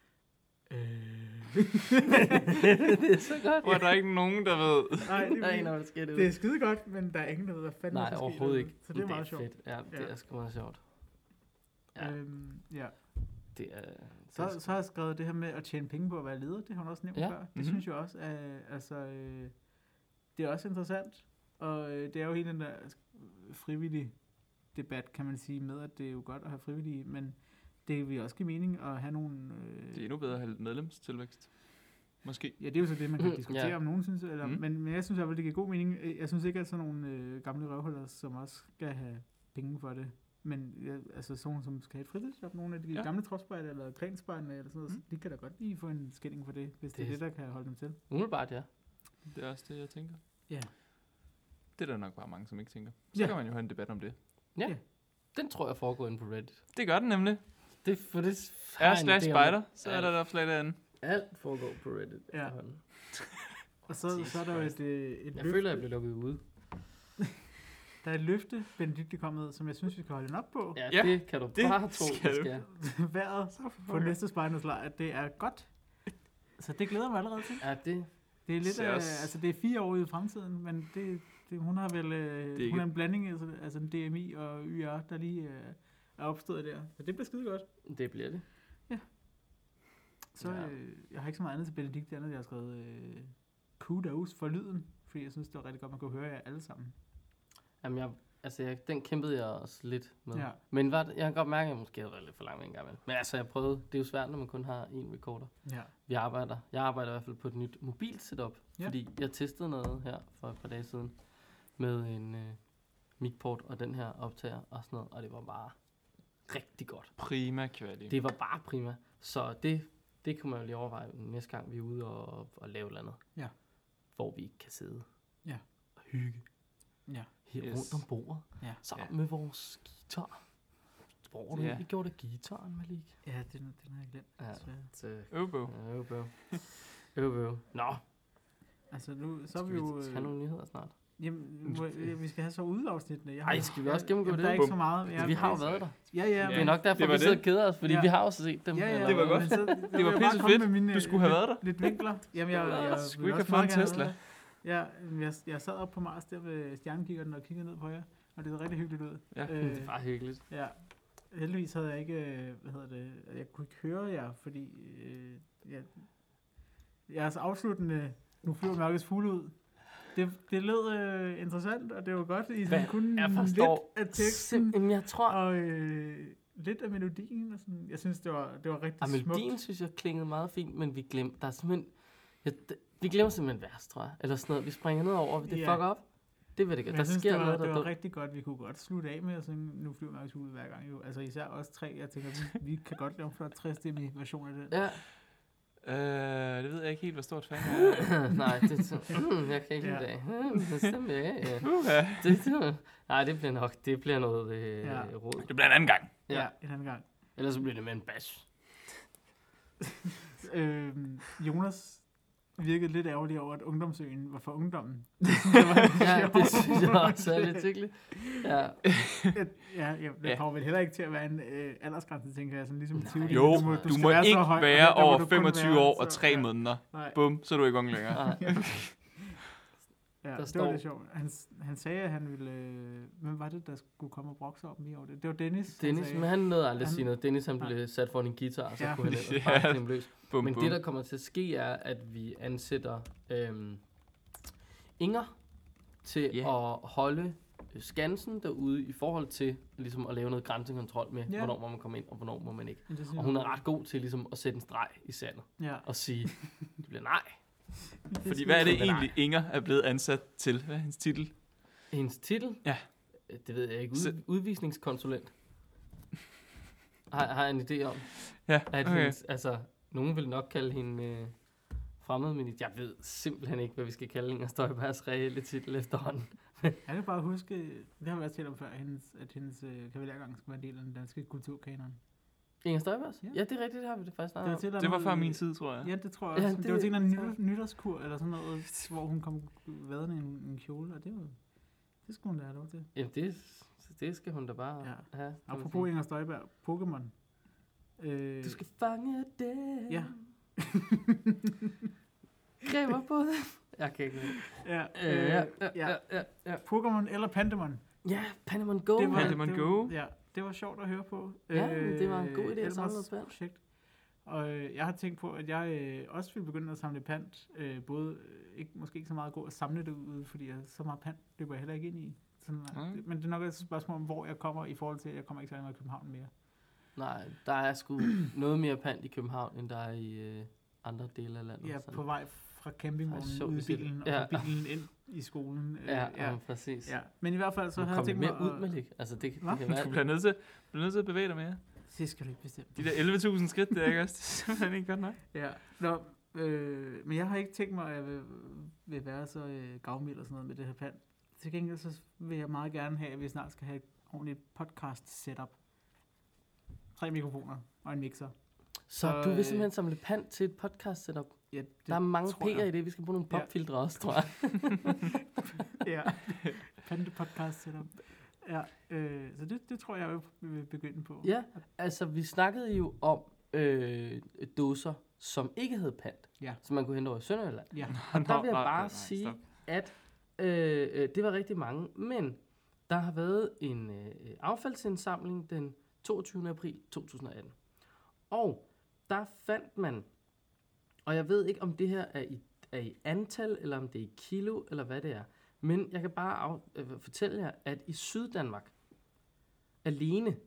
Speaker 2: det er så godt.
Speaker 5: Hvor er der ikke nogen, der ved.
Speaker 4: Nej, det,
Speaker 2: Der er en,
Speaker 4: er,
Speaker 2: der sker det.
Speaker 4: det er skide godt, men der er ingen, der ved, hvad fanden der
Speaker 2: Nej,
Speaker 4: skal ske
Speaker 2: overhovedet
Speaker 4: derude.
Speaker 2: ikke.
Speaker 4: Så det er meget sjovt.
Speaker 2: Fedt. Ja, det
Speaker 4: Ja.
Speaker 2: er sgu meget sjovt. Ja.
Speaker 4: Øhm, ja.
Speaker 2: Det er, det er
Speaker 4: Så, så har jeg skrevet det her med at tjene penge på at være leder, det har hun også nævnt ja.
Speaker 2: Ja.
Speaker 4: før. Det mm-hmm.
Speaker 5: Mhm.
Speaker 4: synes jeg også, er, altså, øh, det er også interessant, og øh, det er jo hele den der øh, frivillige debat, kan man sige, med at det er jo godt at have frivillige, men det vil også give mening at have nogle... Øh,
Speaker 5: Det er endnu bedre at have lidt medlemstilvækst. Måske.
Speaker 4: Ja, det er jo så det, man kan
Speaker 2: Mm,
Speaker 4: diskutere,
Speaker 2: ja.
Speaker 4: om nogen synes, eller,
Speaker 5: Mm.
Speaker 4: mm. men, men jeg synes i hvert fald, det giver god mening. Øh, Jeg synes ikke, at sådan nogle øh, gamle røvhuller, som også skal have penge for det, men øh, altså sådan nogle, som skal have et fritidsjob, nogle af de
Speaker 5: Ja.
Speaker 4: ja. gamle tropspejder eller grenspejderne eller sådan noget, mm. de kan da godt lige få en skilling for det, hvis det, det er
Speaker 2: Det-
Speaker 4: det, der kan holde dem til.
Speaker 2: Umiddelbart, ja.
Speaker 5: Det er også det, jeg tænker.
Speaker 4: Ja.
Speaker 5: Det er der nok bare mange, som ikke tænker. Så
Speaker 4: Ja.
Speaker 5: kan man jo have en debat om det.
Speaker 2: Den tror jeg foregår inde på Reddit.
Speaker 5: Det gør den nemlig.
Speaker 2: Det, for det har
Speaker 5: Er
Speaker 2: jeg en
Speaker 5: slash
Speaker 2: idé om, at
Speaker 5: spider, så er
Speaker 2: Ja.
Speaker 5: der et opslag derinde.
Speaker 2: Alt foregår på Reddit.
Speaker 4: Ja.
Speaker 2: efterhånden.
Speaker 4: Og så, så er der jo et, øh, et
Speaker 2: Jeg
Speaker 4: løfte,
Speaker 2: føler, jeg bliver lukket ude.
Speaker 4: der er et løfte, Benedikte kom med, som jeg synes, vi skal holde den op på.
Speaker 2: Ja,
Speaker 5: Ja,
Speaker 2: det kan du
Speaker 5: det
Speaker 2: bare tro,
Speaker 5: skal
Speaker 2: det
Speaker 5: du.
Speaker 2: skal.
Speaker 4: Vejret på næste spejderslejr, at det er godt. Så det glæder jeg mig allerede til.
Speaker 2: Ja, det,
Speaker 4: Det er lidt
Speaker 5: Ser
Speaker 4: af,
Speaker 5: også-
Speaker 4: altså det er fire år ude i fremtiden, men det, det hun har vel øh,
Speaker 5: ikke-
Speaker 4: hun er en blanding altså, altså en DMI og YR der lige øh, er opstået der. Så det bliver skide godt.
Speaker 2: det bliver det.
Speaker 4: Så
Speaker 2: Ja.
Speaker 4: øh, jeg har ikke så meget andet til Benedikt det andet jeg har skrevet øh, kudos for lyden, fordi jeg synes det var rigtig godt man kunne høre jer alle sammen.
Speaker 2: Jamen, jeg, altså, jeg, den kæmpede jeg også lidt med.
Speaker 4: Ja.
Speaker 2: Men var, det- jeg kan godt mærke, at jeg måske har været lidt for lang en gang imellem. Men altså, jeg prøvede. Det er jo svært, når man kun har én recorder.
Speaker 4: Ja.
Speaker 2: Vi arbejder. Jeg arbejder i hvert fald på et nyt mobilt setup,
Speaker 4: Ja.
Speaker 2: fordi jeg testede noget her for et par dage siden med en øh, micport og den her optager og sådan noget, og det var bare rigtig godt.
Speaker 5: Prima kvalitet.
Speaker 2: Det var bare prima. Så det, det kunne man jo lige overveje næste gang, vi er ude og, og lave et eller andet.
Speaker 4: Ja.
Speaker 2: Hvor vi kan sidde
Speaker 4: Ja.
Speaker 2: og hygge
Speaker 4: Ja.
Speaker 2: her
Speaker 5: Yes.
Speaker 2: yes. rundt om bordet
Speaker 4: Ja.
Speaker 2: sammen
Speaker 5: Ja.
Speaker 2: med vores guitar. Hvor har du
Speaker 5: Ja.
Speaker 2: egentlig gjort af guitaren, Malik?
Speaker 4: Ja, den, den har jeg glemt.
Speaker 2: Ja.
Speaker 4: Ja.
Speaker 2: Så,
Speaker 5: Øvbog.
Speaker 2: øv, øv. Øv, øv. Nå,
Speaker 4: Altså nu så
Speaker 2: så
Speaker 4: er
Speaker 2: skal
Speaker 4: vi
Speaker 2: vi
Speaker 4: jo
Speaker 2: tage
Speaker 4: øh,
Speaker 2: nogle nyheder snart.
Speaker 4: jamen, må, øh, vi skal have så udafsnittene. Jeg har-
Speaker 2: Ej, skal vi også gennemgå
Speaker 4: jamen,
Speaker 2: det?
Speaker 4: Der er ikke
Speaker 5: Bum.
Speaker 4: så meget.
Speaker 2: Ja, Altså, vi har jo været der.
Speaker 4: Ja, ja.
Speaker 2: Det
Speaker 5: Ja.
Speaker 2: er nok derfor,
Speaker 5: Det var
Speaker 2: vi sidder
Speaker 5: det.
Speaker 2: og keder os, fordi
Speaker 4: Ja.
Speaker 2: vi har også set dem. Øh,
Speaker 4: Ja, ja,
Speaker 2: eller
Speaker 5: Det var
Speaker 2: hvad?
Speaker 5: godt.
Speaker 4: Så,
Speaker 5: Det var pisse fedt. Du skulle have været der.
Speaker 4: Lidt vinkler. Jamen, jeg, jeg, jeg
Speaker 5: Du skulle
Speaker 4: ville
Speaker 5: ikke
Speaker 4: også
Speaker 5: have fået en
Speaker 4: meget gerne
Speaker 5: Tesla.
Speaker 4: været der. Ja, men jeg, jeg sad op på Mars der ved stjernekikkerten og kiggede ned på jer, og det så rigtig hyggeligt ud.
Speaker 5: Ja,
Speaker 4: øh,
Speaker 2: Det var hyggeligt.
Speaker 4: ja. Heldigvis havde jeg ikke, øh, hvad hedder det, jeg kunne ikke høre jer, fordi øh, jeg, jeres afsluttende, nu flyver mørkets fugle ud, det, det lød øh, interessant, og det var godt, I sådan
Speaker 2: Hvad?
Speaker 4: kunne
Speaker 2: Jeg forstår
Speaker 4: lidt af teksten,
Speaker 2: Jamen, jeg tror...
Speaker 4: og øh, lidt af melodien, og sådan. Jeg synes, det var, det var rigtig
Speaker 2: Og melodien,
Speaker 4: smukt.
Speaker 2: synes jeg, klingede meget fint, men vi glemte... Der er simpelthen... Ja, d- vi glemmer simpelthen vers, tror jeg. Eller sådan noget. Vi springer ned over, det
Speaker 4: Ja.
Speaker 2: fucker op. Det vil det
Speaker 4: Men
Speaker 2: gøre.
Speaker 4: jeg
Speaker 2: Der
Speaker 4: synes,
Speaker 2: sker
Speaker 4: det var,
Speaker 2: noget, der
Speaker 4: det
Speaker 2: er
Speaker 4: var
Speaker 2: dumt.
Speaker 4: rigtig godt. Vi kunne godt slutte af med at synge, nu flyver Markus ud hver gang jo. Altså især os tre, jeg tænker, vi, vi kan godt lave en flot 60 version af det.
Speaker 2: Ja,
Speaker 5: Øh, det ved jeg ikke helt, hvor stort fan jeg er.
Speaker 2: nej, det er sådan, mm, jeg kan ikke
Speaker 4: Ja.
Speaker 2: lide det. Mm, det stemmer, ja, ja.
Speaker 5: Uha.
Speaker 2: Det, det, nej, det bliver nok, det bliver noget øh,
Speaker 4: Ja.
Speaker 2: ja. råd.
Speaker 5: Det bliver en anden gang.
Speaker 2: Ja.
Speaker 4: Ja, en anden gang.
Speaker 2: Ellers så bliver det med en bash.
Speaker 4: Øhm, Jonas virkede lidt ærgerlig over, at ungdomsøen var for ungdommen. Det synes jeg var
Speaker 2: Ja,
Speaker 4: sjovt.
Speaker 2: det synes jeg også er lidt hyggeligt. Ja,
Speaker 4: ja, ja,
Speaker 5: Ja.
Speaker 4: det kommer vel heller ikke til at være en øh, aldersgrænse, tænker jeg, sådan ligesom i
Speaker 2: Nej.
Speaker 4: Tivoli.
Speaker 5: Jo,
Speaker 4: du må,
Speaker 5: du
Speaker 4: skal
Speaker 5: må
Speaker 4: være så
Speaker 5: ikke
Speaker 4: høj, og
Speaker 5: være
Speaker 4: der må
Speaker 5: over
Speaker 4: du kun
Speaker 5: 25
Speaker 4: være
Speaker 5: år og
Speaker 4: så-
Speaker 5: 3
Speaker 4: ja.
Speaker 5: måneder.
Speaker 4: Nej.
Speaker 5: Bum, så er du ikke ung længere.
Speaker 2: nej.
Speaker 4: Ja,
Speaker 2: Der
Speaker 4: det
Speaker 2: står-
Speaker 4: var lidt sjovt. Han, han sagde, at han ville... Øh, hvem var det, der skulle komme og brokse op mig over det? Det var Dennis. han
Speaker 2: Dennis,
Speaker 4: sagde.
Speaker 2: men han nåede aldrig at
Speaker 4: Han-
Speaker 2: sige noget. Dennis, han
Speaker 4: Nej.
Speaker 2: blev sat foran en guitar, og så
Speaker 4: Ja.
Speaker 2: kunne han ellers
Speaker 5: Ja.
Speaker 2: bare klemme løs.
Speaker 5: Bum,
Speaker 2: Men
Speaker 5: bum.
Speaker 2: det, der kommer til at ske, er, at vi ansætter øhm, Inger til
Speaker 5: Ja.
Speaker 2: at holde øh, skansen derude i forhold til ligesom at lave noget grænsekontrol med,
Speaker 4: Ja.
Speaker 2: hvornår må man komme ind, og hvornår må man ikke.
Speaker 4: Men det synes
Speaker 2: Og
Speaker 4: jeg-
Speaker 2: hun er ret god til ligesom at sætte en streg i sandet
Speaker 4: Ja.
Speaker 2: og sige, det bliver nej.
Speaker 5: Fordi hvad er det
Speaker 2: Nej.
Speaker 5: egentlig, Inger er blevet ansat til? Hvad er hendes titel?
Speaker 2: Hendes titel?
Speaker 5: Ja.
Speaker 2: Øh, Det ved jeg ikke.
Speaker 5: Så-
Speaker 2: Ud, udvisningskonsulent. Har, har jeg en idé om.
Speaker 5: Ja,
Speaker 2: At okay.
Speaker 5: okay.
Speaker 2: hendes, altså, nogen vil nok kalde hende øh, fremmed, men jeg ved simpelthen ikke, hvad vi skal kalde Inger Støjbergs reelle titel efterhånden.
Speaker 4: Jeg kan bare huske, det har vi også talt om før, at hendes, at hendes øh, kavalergang skulle være en del af den danske kulturkanon.
Speaker 2: Inger Støjbergs?
Speaker 4: Ja.
Speaker 2: Ja. ja, det er rigtigt, det har vi det faktisk snakket om.
Speaker 4: til, der
Speaker 5: Det var
Speaker 4: noget-
Speaker 5: før min tid, tror jeg.
Speaker 4: Ja, det tror jeg også.
Speaker 2: Ah. Ja,
Speaker 4: Ja, det,
Speaker 2: det-
Speaker 4: det, var til en eller anden ny- nytårskur eller sådan noget, hvor hun kom vadende i en, en kjole, og det var... Det skulle hun da have lov til.
Speaker 2: Jamen, det, det skal hun da bare
Speaker 4: Ja.
Speaker 2: ja. have. kan man
Speaker 4: Apropos
Speaker 2: sige.
Speaker 4: Inger Støjberg, Pokémon. Øh,
Speaker 2: Du skal fange det.
Speaker 4: Ja.
Speaker 2: Græber på det. Jeg kan ikke lide det.
Speaker 4: ja,
Speaker 2: øh, ja, ja,
Speaker 4: ja.
Speaker 2: ja, ja, ja.
Speaker 4: Pokémon eller Pandemon.
Speaker 2: Ja, Panemon Go.
Speaker 4: det var,
Speaker 2: mand.
Speaker 5: Pokemon
Speaker 4: det
Speaker 5: Go.
Speaker 4: Var, ja, det var sjovt at høre på.
Speaker 2: Ja, men det var en god idé at
Speaker 4: Elmers
Speaker 2: samle noget pant.
Speaker 4: projekt. Og øh, jeg har tænkt på, at jeg øh, også vil begynde at samle pant. Øh, både øh, ikke, måske ikke så meget god at samle det ud, fordi jeg, så meget pant løber jeg heller ikke ind i. Sådan,
Speaker 5: Mm.
Speaker 4: mm. Men det er nok et spørgsmål om, hvor jeg kommer i forhold til, at jeg kommer ikke særlig meget i København mere.
Speaker 2: Nej, der er sgu noget mere pant i København, end der er i, øh, andre dele af landet.
Speaker 4: Ja,
Speaker 2: sådan.
Speaker 4: på vej fra
Speaker 2: Ej,
Speaker 4: campingvognen
Speaker 2: så
Speaker 4: ud i
Speaker 2: vi det.
Speaker 4: bilen, og
Speaker 2: Ja.
Speaker 4: fra bilen ind i skolen. øh,
Speaker 2: Ja, ja. ja præcis.
Speaker 4: ja. Men i hvert fald, så
Speaker 2: Så
Speaker 4: havde
Speaker 2: kom
Speaker 4: jeg
Speaker 2: det
Speaker 4: tænkt
Speaker 2: mere
Speaker 4: mig...
Speaker 2: ud,
Speaker 4: at-
Speaker 2: Malik. Altså, det, det
Speaker 4: Hva?
Speaker 2: kan
Speaker 5: Du
Speaker 2: være...
Speaker 5: bliver nødt til, bliver nødt til at bevæge dig mere.
Speaker 4: Det skal du ikke bestemme.
Speaker 5: De der 11.000 skridt, der, ikke også? Det er simpelthen ikke godt nok.
Speaker 4: Ja, Nå, øh, men jeg har ikke tænkt mig, at jeg vil, vil være så øh, gavmild og sådan noget med det her plan. Til gengæld så vil jeg meget gerne have, at vi snart skal have et ordentligt podcast setup. Tre mikrofoner og en mixer.
Speaker 2: Så
Speaker 4: Så,
Speaker 2: du vil
Speaker 4: øh,
Speaker 2: simpelthen samle pant til et podcast setup.
Speaker 4: Ja, det
Speaker 2: Der er mange
Speaker 4: tror jeg.
Speaker 2: P'er i det. Vi skal bruge nogle
Speaker 4: Ja.
Speaker 2: popfiltre også, tror jeg.
Speaker 4: ja, pante podcast setup. Ja, øh, så det, det tror jeg, jeg vil- vil begynde på.
Speaker 2: Ja, altså vi snakkede jo om øh, dåser, som ikke havde pant.
Speaker 4: Ja.
Speaker 2: Som man kunne hente over i Sønderjylland.
Speaker 4: ja.
Speaker 5: Og
Speaker 2: der vil jeg bare sige, at øh, øh, det var rigtig mange, men der har været en øh, øh, affaldsindsamling den 22. april 2018. Og der fandt man, og jeg ved ikke om det her er i, er i antal, eller om det er i kilo, eller hvad det er, men jeg kan bare af, øh, fortælle jer, at i Syddanmark alene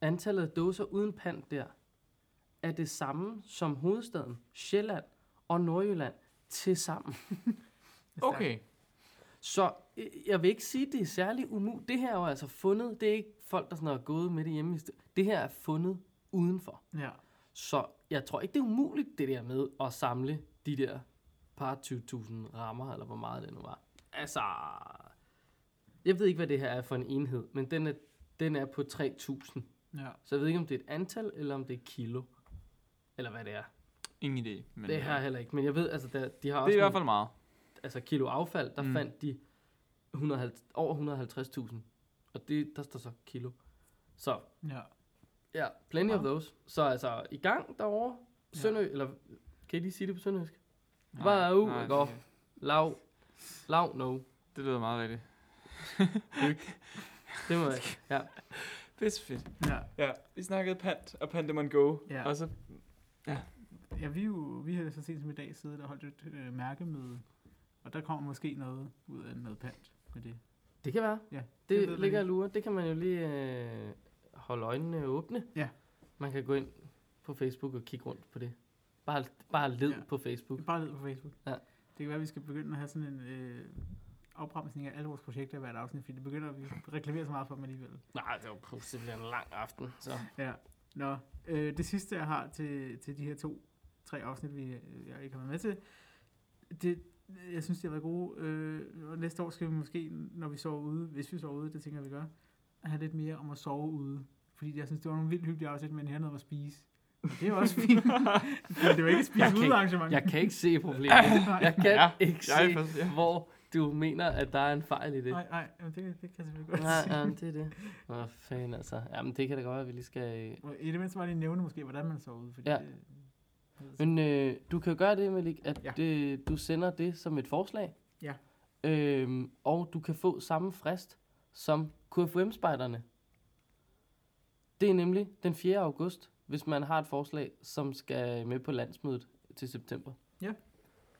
Speaker 2: antallet af dåser uden pant der, er det samme som hovedstaden, Sjælland og Nordjylland til sammen.
Speaker 5: Okay.
Speaker 2: Så øh, jeg vil ikke sige, at det er særlig umuligt. Det her er jo altså fundet. Det er ikke folk, der sådan er gået med det hjemme. i st- Det her er fundet udenfor.
Speaker 4: Ja,
Speaker 2: Så jeg tror ikke, det er umuligt, det der med at samle de der par 20.000 rammer, eller hvor meget det nu var. Altså, jeg ved ikke, hvad det her er for en enhed, men den er, den er på 3.000.
Speaker 4: ja.
Speaker 2: Så jeg ved ikke, om det er et antal, eller om det er kilo. Eller hvad det er.
Speaker 5: Ingen idé. Men
Speaker 2: Men, det har jeg heller ikke. Men jeg ved, altså, der, de har også...
Speaker 5: det er i
Speaker 2: nogle-
Speaker 5: hvert fald meget.
Speaker 2: altså kilo affald, der
Speaker 5: Mm.
Speaker 2: mm. fandt de 150, over 150.000. Og det, der står så kilo. Så
Speaker 4: ja.
Speaker 2: ja, plenty wow. of
Speaker 5: Wow.
Speaker 2: those. Så altså i gang derovre,
Speaker 4: Ja.
Speaker 2: Sønderø, eller kan I lige sige det på sønderjysk?
Speaker 5: Nej,
Speaker 2: Bare ud
Speaker 5: nej,
Speaker 2: og gå.
Speaker 5: det-
Speaker 2: Lav, lav no.
Speaker 5: Det lyder meget rigtigt.
Speaker 2: Det må jeg ikke.
Speaker 5: Det er fedt.
Speaker 4: ja.
Speaker 5: Ja, vi snakkede pant og Pandemon Go.
Speaker 4: Ja.
Speaker 5: Og så,
Speaker 4: Ja, vi, er jo, vi har så sent som i dag siddet og holdt et øh, mærkemøde, og der kommer måske noget ud af noget pant med det.
Speaker 2: Det kan være.
Speaker 4: Ja, det ved
Speaker 2: det
Speaker 4: man
Speaker 2: ligger og
Speaker 4: ikke.
Speaker 2: lurer. Det kan man jo lige øh, holde øjnene åbne.
Speaker 4: Ja.
Speaker 2: Man kan gå ind på Facebook og kigge rundt på det. Bare, bare led
Speaker 4: Ja.
Speaker 2: ja. på Facebook.
Speaker 4: Bare ned på Facebook.
Speaker 2: Ja.
Speaker 4: Det kan være, at vi skal begynde at have sådan en øh, opremsning af alle vores projekter i hvert afsnit, fordi det begynder at vi reklamerer så meget for dem alligevel.
Speaker 2: Nej, det var pludselig en lang aften. Så.
Speaker 4: Ja. Nå, øh, det sidste jeg har til, til de her to, tre afsnit, vi, øh, jeg ikke har været med til, det, jeg synes, det har været gode. Øh, og næste år skal vi måske, når vi sover ude, hvis vi sover ude, det tænker jeg, vi gør, have lidt mere om at sove ude. Fordi jeg synes, det var nogle vildt hyggelige afsnit, men det handlede om at spise. Og det er jo også fint. men det var ikke
Speaker 2: Jeg
Speaker 4: et
Speaker 2: kan
Speaker 4: spise ude
Speaker 2: ikke-
Speaker 4: arrangement.
Speaker 2: Jeg kan ikke se problemet. Ah, Jeg kan
Speaker 5: Ja,
Speaker 2: ja, ikke
Speaker 5: jeg er
Speaker 2: se,
Speaker 5: fast- ja.
Speaker 2: hvor du mener, at der er en fejl i det.
Speaker 4: Nej, nej, men det, det kan jeg selvfølgelig godt
Speaker 2: Nej,
Speaker 4: sige.
Speaker 2: ja, men det er det. Åh, fanden altså. Jamen, det kan da godt være, at vi lige skal... øh,
Speaker 4: Og I det mindste bare lige nævne måske, hvordan man sover ude. Fordi
Speaker 2: Ja.
Speaker 4: det, det,
Speaker 2: Men øh, du kan jo gøre det, Malik, at
Speaker 4: Ja.
Speaker 2: ja. øh, du sender det som et forslag.
Speaker 4: Ja.
Speaker 2: Øhm, og du kan få samme frist som KFUM-spejderne. Det er nemlig den 4. august, hvis man har et forslag, som skal med på landsmødet til september.
Speaker 4: Ja.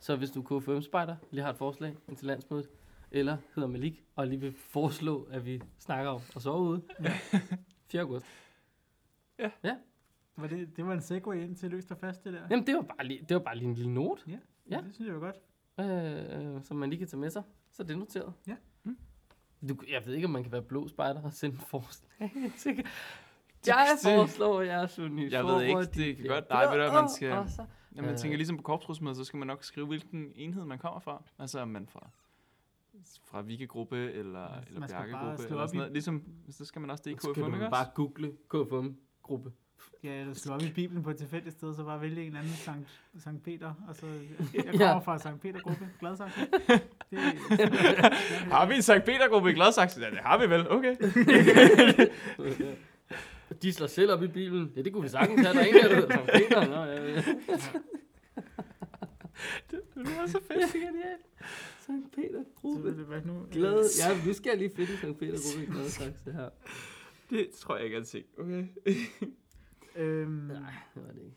Speaker 2: Så hvis du er KFUM-spejder, lige har et forslag til landsmødet, eller hedder Malik, og lige vil foreslå, at vi snakker om at sove ude.
Speaker 4: Ja.
Speaker 2: 4. august.
Speaker 4: var det, det var en segway ind til løst og fast, det der.
Speaker 2: Jamen, det var bare lige, det var bare lige en lille note. Ja.
Speaker 4: Det synes jeg var godt.
Speaker 2: øh, øh, som man lige kan tage med sig. Så er det noteret.
Speaker 4: Ja.
Speaker 5: Mm.
Speaker 2: Du, jeg ved ikke, om man kan være blå spejder og sende forslag. til- jeg foreslår jeres uniformer.
Speaker 5: Jeg ved ikke, det kan godt- nej, ved du hvad, man skal- Jamen, jeg
Speaker 2: Øh.
Speaker 5: tænker ligesom på korpsrådsmødet, så skal man nok skrive, hvilken enhed man kommer fra. Altså, om man fra fra Vigegruppe eller,
Speaker 4: Man
Speaker 5: eller
Speaker 4: skal bare
Speaker 5: Bjerkegruppe
Speaker 4: slå
Speaker 5: eller
Speaker 4: op
Speaker 5: sådan
Speaker 4: i-
Speaker 5: noget. Ligesom, så skal man også det i
Speaker 2: Det kan
Speaker 5: KFM, ikke
Speaker 2: du
Speaker 5: også?
Speaker 2: bare google KFM-gruppe.
Speaker 4: Ja, eller slå op i Bibelen på et tilfældigt sted, så bare vælge en anden Sankt, Sankt Peter, og så jeg kommer
Speaker 2: Ja.
Speaker 4: fra Sankt Peter-gruppe, glad sagt. Det,
Speaker 5: Har vi en Sankt Petergruppe i Gladsaxe? Ja, det har vi vel. Okay.
Speaker 2: De slår selv op i bilen. Ja, det kunne vi sagtens have. Der er ingen, der hedder Sankt Peter. Nå, ja, ja.
Speaker 5: det var så
Speaker 2: Det
Speaker 5: fedt.
Speaker 2: er genialt. Sankt
Speaker 4: så ved
Speaker 2: Peter-gruppe.
Speaker 4: det, hvad nu?
Speaker 2: Uh. Glad. Ja, nu skal jeg lige finde Sankt Peter-gruppe. Glad sagt, det her.
Speaker 5: Det tror jeg ikke, jeg se. Okay.
Speaker 4: Øhm,
Speaker 2: Nej, det var det ikke.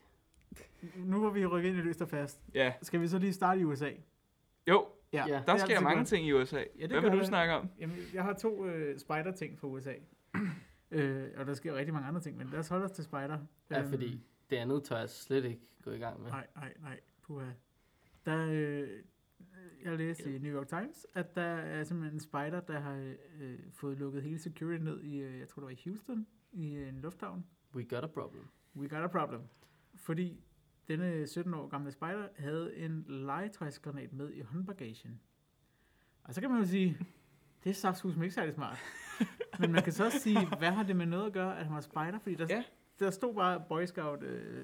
Speaker 4: nu hvor vi rykker ind i løst og fast,
Speaker 5: Ja.
Speaker 4: skal vi så lige starte i USA?
Speaker 5: Jo,
Speaker 2: Ja.
Speaker 4: det er
Speaker 5: der sker
Speaker 4: altid
Speaker 5: mange
Speaker 4: godt.
Speaker 5: ting i USA.
Speaker 4: det
Speaker 5: Hvad
Speaker 4: gør
Speaker 5: vil du
Speaker 4: der.
Speaker 5: snakke om?
Speaker 4: Jamen, jeg har to øh, spider-ting fra USA. øh, og der sker rigtig mange andre ting, men lad os holde os til spider.
Speaker 2: Ja,
Speaker 4: Øhm,
Speaker 2: fordi Det andet tør jeg slet ikke gå i gang med.
Speaker 4: Nej, nej, nej. Puha. Der, øh, jeg læste i New York Times, at der er simpelthen en spider, der har øh, fået lukket hele security ned i, øh, jeg tror det var i Houston, i øh, en lufthavn.
Speaker 2: We got a problem.
Speaker 4: We got a problem. Fordi denne 17 år gamle spider havde en legetøjsgranat med i håndbagagen. Og så kan man jo sige, det er saftsus ikke særlig smart. Men man kan så også sige, hvad har det med noget at gøre, at han var spider? Fordi der,
Speaker 5: Ja.
Speaker 4: ja. der stod bare Boy Scout. Øh,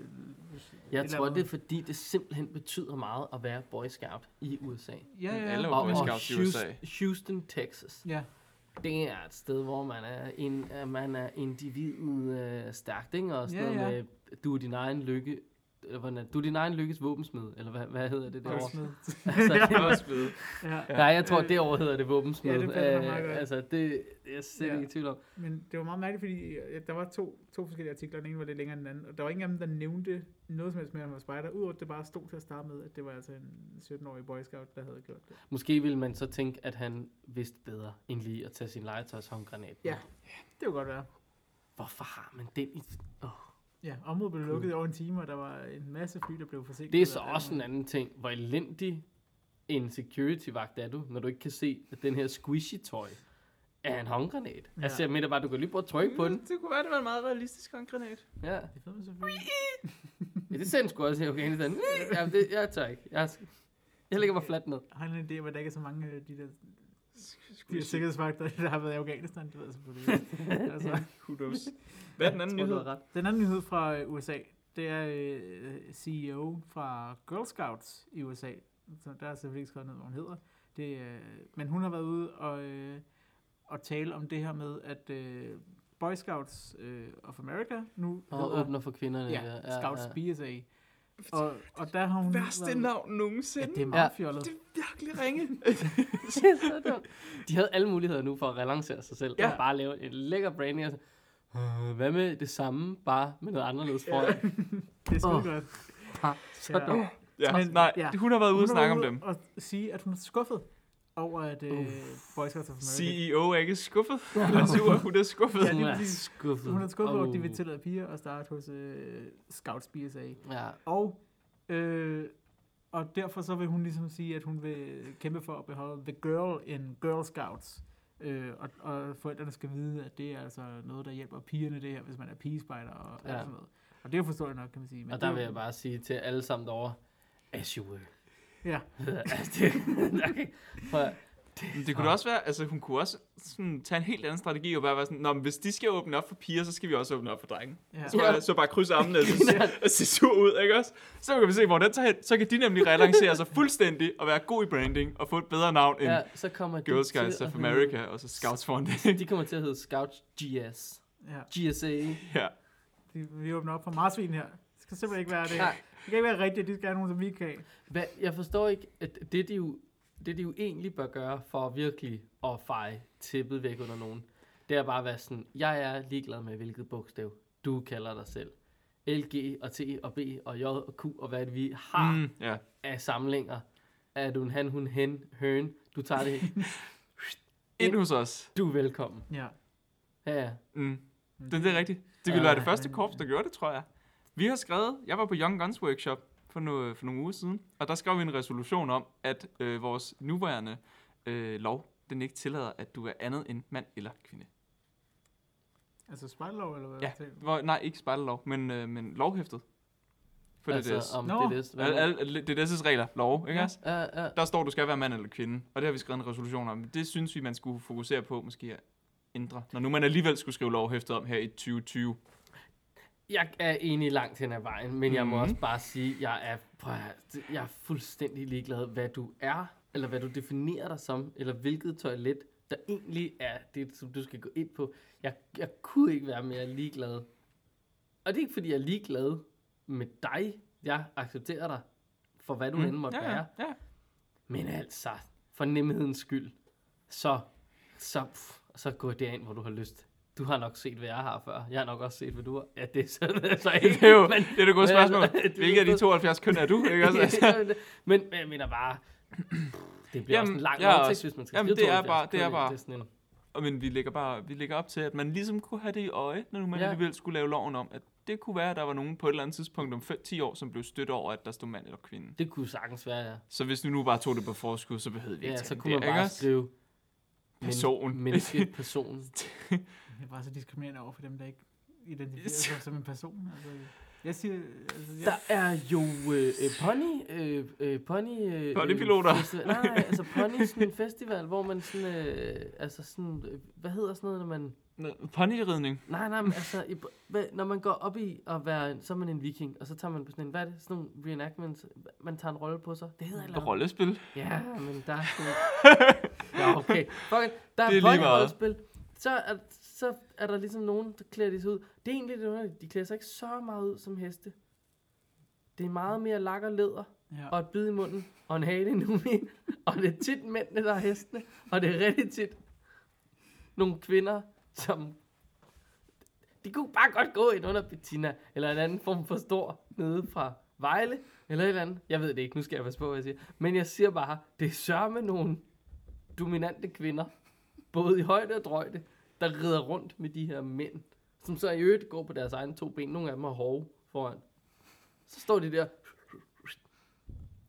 Speaker 2: Jeg tror,
Speaker 4: et eller
Speaker 2: det er
Speaker 4: andet.
Speaker 2: fordi, det simpelthen betyder meget at være Boy Scout i USA.
Speaker 4: Ja, ja,
Speaker 5: Alle
Speaker 4: ja.
Speaker 5: var
Speaker 2: Og,
Speaker 5: Boy
Speaker 2: og
Speaker 5: Scouts i USA.
Speaker 2: Houston, Houston, Texas.
Speaker 4: ja.
Speaker 2: Det er et sted, hvor man er, en, øh, man er individet øh, stærkt, ikke? Og sådan
Speaker 4: Ja,
Speaker 2: ja, noget
Speaker 4: ja.
Speaker 2: med, du er din egen lykke... Eller, hvordan er det? du er din egen lykkes våbensmed, eller hvad, hvad hedder det derovre?
Speaker 4: Guldsmed.
Speaker 2: Altså,
Speaker 5: Det var også fedt.
Speaker 4: ja.
Speaker 2: Nej, jeg tror,
Speaker 4: Øh,
Speaker 2: derovre hedder det våbensmed.
Speaker 4: ja, det passer
Speaker 2: Øh,
Speaker 4: meget godt.
Speaker 2: Altså, det det er jeg slet
Speaker 4: Ja.
Speaker 2: ikke i tvivl om.
Speaker 4: Men det var meget mærkeligt, fordi øh, der var to, to forskellige artikler, den ene var lidt længere end den anden, og der var ingen af dem, der nævnte noget som helst med, at han var spider, udover at det bare stod til at starte med, at det var altså en 17-årig boy scout, der havde gjort det.
Speaker 2: Måske ville man så tænke, at han vidste bedre, end lige at tage sin legetøjshåndgranat. med.
Speaker 4: Ja. Det kunne godt være.
Speaker 2: Hvorfor har man den i... Oh.
Speaker 4: Ja, området blev lukket i over en time, og der var en masse fly, der blev forsinket.
Speaker 2: Det er så
Speaker 4: og alt
Speaker 2: også en
Speaker 4: muligt.
Speaker 2: anden ting. Hvor elendig en security-vagt er du, når du ikke kan se, at den her squishy-tøj er en håndgranat. Ja.
Speaker 4: Ja.
Speaker 2: Altså, jeg mener bare, du kan lige prøve at trykke på den.
Speaker 5: Det kunne være, det var en meget realistisk håndgranat.
Speaker 2: Ja,
Speaker 4: Det ved man selvfølgelig.
Speaker 2: ja det sendte sgu også i Afghanistan. Ja, det, jeg tør ikke. Jeg, jeg lægger mig fladt ned.
Speaker 4: Jeg har en idé om, at der ikke er så mange af de der, de der sikkerhedsvagter, der har været i Afghanistan. Det ved jeg selvfølgelig ikke. altså.
Speaker 5: Kudos. Hvad er den anden
Speaker 2: Jeg tror,
Speaker 5: nyhed?
Speaker 2: du har ret.
Speaker 4: Den anden nyhed fra øh, USA, det er øh, CEO fra Girl Scouts i USA. Så der er selvfølgelig ikke skrevet ned, hvad hun hedder. Det, øh, men hun har været ude og, øh, og tale om det her med, at øh, Boy Scouts øh, of America nu
Speaker 2: Og åbner for kvinderne.
Speaker 4: ja, Scouts BSA. Og, og der har hun...
Speaker 5: Værste
Speaker 4: været-
Speaker 5: navn
Speaker 4: Ja,
Speaker 5: nogensinde.
Speaker 4: det er meget
Speaker 2: Ja.
Speaker 4: fjollet.
Speaker 5: Det er virkelig ringe.
Speaker 2: Det er så dumt. De havde alle muligheder nu for at relancere sig selv. Ja.
Speaker 5: Ja.
Speaker 2: Og bare lave en lækker branding. Og så, "Øh, hvad med det samme, bare med noget anderledes foran?
Speaker 4: Det er sgu
Speaker 2: Åh.
Speaker 4: godt.
Speaker 2: Ja. Så
Speaker 4: Ja.
Speaker 2: dumt.
Speaker 5: ja,
Speaker 4: Men-
Speaker 5: nej,
Speaker 4: ja.
Speaker 5: hun har været ude
Speaker 4: Hun
Speaker 5: og
Speaker 4: har
Speaker 5: snakke om
Speaker 4: været
Speaker 5: dem.
Speaker 4: ude Og sige, at hun er skuffet over, at øh, Boy Scouts of America...
Speaker 5: CEO E er ikke skuffet. Eller sur, hun er skuffet.
Speaker 4: Ja,
Speaker 2: Hun
Speaker 4: lige
Speaker 2: er
Speaker 4: præcis.
Speaker 2: skuffet.
Speaker 4: Hun er skuffet over, at de
Speaker 2: Åh.
Speaker 4: vil tillade piger at starte hos øh, Scouts BSA.
Speaker 2: Ja.
Speaker 4: Og, øh, og derfor så vil hun ligesom sige, at hun vil kæmpe for at beholde The Girl in Girl Scouts. Øh, og, og forældrene skal vide, at det er altså noget, der hjælper pigerne det her, hvis man er pigespejder og
Speaker 2: Ja.
Speaker 4: ja. sådan noget. Og det er jo forståeligt nok, kan man sige.
Speaker 2: Og
Speaker 4: det er
Speaker 2: der
Speaker 4: jo-
Speaker 2: vil jeg bare sige til alle sammen derovre, as you were.
Speaker 4: Ja.
Speaker 2: altså, det, okay. Prøv, at-
Speaker 5: Men Det kunne da også være, altså hun kunne også sådan, tage en helt anden strategi og bare være sådan, Nå, men hvis de skal åbne op for piger, så skal vi også åbne op for drenge.
Speaker 4: Ja.
Speaker 5: Så bare, så bare krydse armene og se, og se sur ud, ikke også? Så kan vi se, hvor den tager hen. Så kan de nemlig relancere sig fuldstændig og være god i branding og få et bedre navn end
Speaker 2: ja, så kommer de
Speaker 5: Girl
Speaker 2: til
Speaker 5: Scouts
Speaker 2: at
Speaker 5: of
Speaker 2: hedde-
Speaker 5: America og så Scouts for
Speaker 2: De kommer til at hedde Scouts GS.
Speaker 4: ja.
Speaker 2: GSA.
Speaker 5: ja.
Speaker 4: De, vi åbner op for marsvin her. Det skal simpelthen ikke være det.
Speaker 2: Nej.
Speaker 4: Det kan ikke være rigtigt, de skal have nogen, som vi ikke kan.
Speaker 2: Hvad, jeg forstår ikke, at det de, jo, det de jo egentlig bør gøre for virkelig at feje tippet væk under nogen, det er bare at være sådan, jeg er ligeglad med, hvilket bogstav du kalder dig selv. L, G og T og B og J og Q og hvad vi har
Speaker 5: Mm, ja.
Speaker 2: af samlinger. Er du en han, hun, hen, høn? Du tager det
Speaker 5: Ind hos os.
Speaker 2: Du er velkommen.
Speaker 4: Ja.
Speaker 2: Ja, ja.
Speaker 5: Mm. Det, det er rigtigt. Det ville
Speaker 2: Ja,
Speaker 5: være det første
Speaker 4: men-
Speaker 5: korps, der gjorde det, tror jeg. Vi har skrevet, jeg var på Young Guns Workshop for, no, for nogle uger siden, og der skrev vi en resolution om, at øh, vores nuværende øh, lov, den ikke tillader, at du er andet end mand eller kvinde.
Speaker 4: Altså spejllov, eller hvad?
Speaker 5: Ja.
Speaker 4: tænker du?
Speaker 5: Hvor, nej, ikke spejderlov, men, øh, men lovhæftet. For altså, DDS.
Speaker 2: altså, om
Speaker 4: Nå.
Speaker 2: det er
Speaker 5: Al, al, al, DDS' regler, lov, ikke
Speaker 4: Ja.
Speaker 5: også?
Speaker 2: Ja, ja.
Speaker 5: Der står, du skal være mand eller kvinde, og det har vi skrevet en resolution om. Det synes vi, man skulle fokusere på, måske at ændre, når nu man alligevel skulle skrive lovhæftet om her i 2020.
Speaker 2: Jeg er enig langt hen ad vejen, men jeg må
Speaker 5: Mhm.
Speaker 2: også bare sige, jeg er, prøv, at høre, det- jeg er fuldstændig ligeglad, hvad du er, eller hvad du definerer dig som, eller hvilket toilet, der egentlig er det, som du skal gå ind på. Jeg, jeg kunne ikke være mere ligeglad. Og det er ikke, fordi jeg er ligeglad med dig. Jeg accepterer dig for, hvad du mm. end måtte
Speaker 5: ja,
Speaker 2: være.
Speaker 5: ja, ja.
Speaker 2: Men altså, for nemhedens skyld, så, så, pff, så gå derind, hvor du har lyst. Du har nok set, hvad jeg har før. Jeg har nok også set, hvad du har. Ja, det er så, det er så ikke.
Speaker 5: Det er jo
Speaker 2: men,
Speaker 5: det er et godt
Speaker 2: men
Speaker 5: spørgsmål.
Speaker 2: altså, det er
Speaker 5: Hvilket af de
Speaker 2: jo-
Speaker 5: 72 køn er du? Ikke også? Altså,
Speaker 2: men, men, men jeg mener bare, det bliver
Speaker 5: Jamen,
Speaker 2: også en lang
Speaker 5: jeg er
Speaker 2: ja,
Speaker 5: også-
Speaker 2: hvis man skal
Speaker 5: jamen,
Speaker 2: skrive
Speaker 5: det er
Speaker 2: 72
Speaker 5: bare- det er
Speaker 2: køn,
Speaker 5: bare-
Speaker 2: er sådan en,
Speaker 5: og men vi lægger, bare, vi lægger op til, at man ligesom kunne have det i øje, når man
Speaker 2: Ja.
Speaker 5: alligevel skulle lave loven om, at det det kunne være, at der var nogen på et eller andet tidspunkt om 5-10 år, som blev stødt over, at der stod mand eller kvinde.
Speaker 2: Det kunne sagtens være, ja.
Speaker 5: Så hvis vi nu bare tog det på forskud, så behøvede vi ikke
Speaker 2: Ja,
Speaker 5: tage
Speaker 2: så
Speaker 5: den
Speaker 2: kunne
Speaker 5: der,
Speaker 2: man
Speaker 5: ikke
Speaker 2: bare
Speaker 5: også?
Speaker 2: skrive men-
Speaker 5: Person.
Speaker 2: menneske, person.
Speaker 4: Det er bare så diskriminerende over for dem, der ikke identificerer sig som en person. Altså, jeg siger... Altså, jeg,
Speaker 2: Der er jo øh, øh, pony, øh, øh, pony, øh,
Speaker 5: Ponypiloter.
Speaker 2: øh, festival. Nej, nej, altså pony er sådan en festival, hvor man sådan, øh, altså sådan, øh, hvad hedder sådan noget, når man,
Speaker 5: Nå, Ponyridning.
Speaker 2: nej, nej, men altså, i, hvad, når man går op i at være, en- så er man en viking, og så tager man på sådan en, hvad er det, sådan nogle reenactments, man tager en rolle på sig, det hedder et eller andet.
Speaker 5: Rollespil.
Speaker 2: Ja,
Speaker 5: Ah.
Speaker 2: men der er sgu... ja, okay. Fuck it. Der
Speaker 5: Det er
Speaker 2: er,
Speaker 5: lige
Speaker 2: er
Speaker 5: meget.
Speaker 2: volleyballspil. Så er, så er der ligesom nogen, der klæder de sig ud. Det er egentlig lidt underligt. De klæder sig ikke så meget ud som heste. Det er meget mere lak og læder,
Speaker 4: ja.
Speaker 2: og et bid i munden, og en hale nu min. Og det er tit mændene, der er hestene, og det er rigtig tit nogle kvinder, som... De kunne bare godt gå ind under Bettina, eller en anden form for stor nede fra Vejle, eller et eller andet. Jeg ved det ikke, nu skal jeg passe på, hvad jeg siger. Men jeg siger bare, det er sørme nogle dominante kvinder, både i højde og drøjde, der rider rundt med de her mænd, som så i øvrigt går på deres egne to ben. Nogle af dem er hårde foran. Så står de der,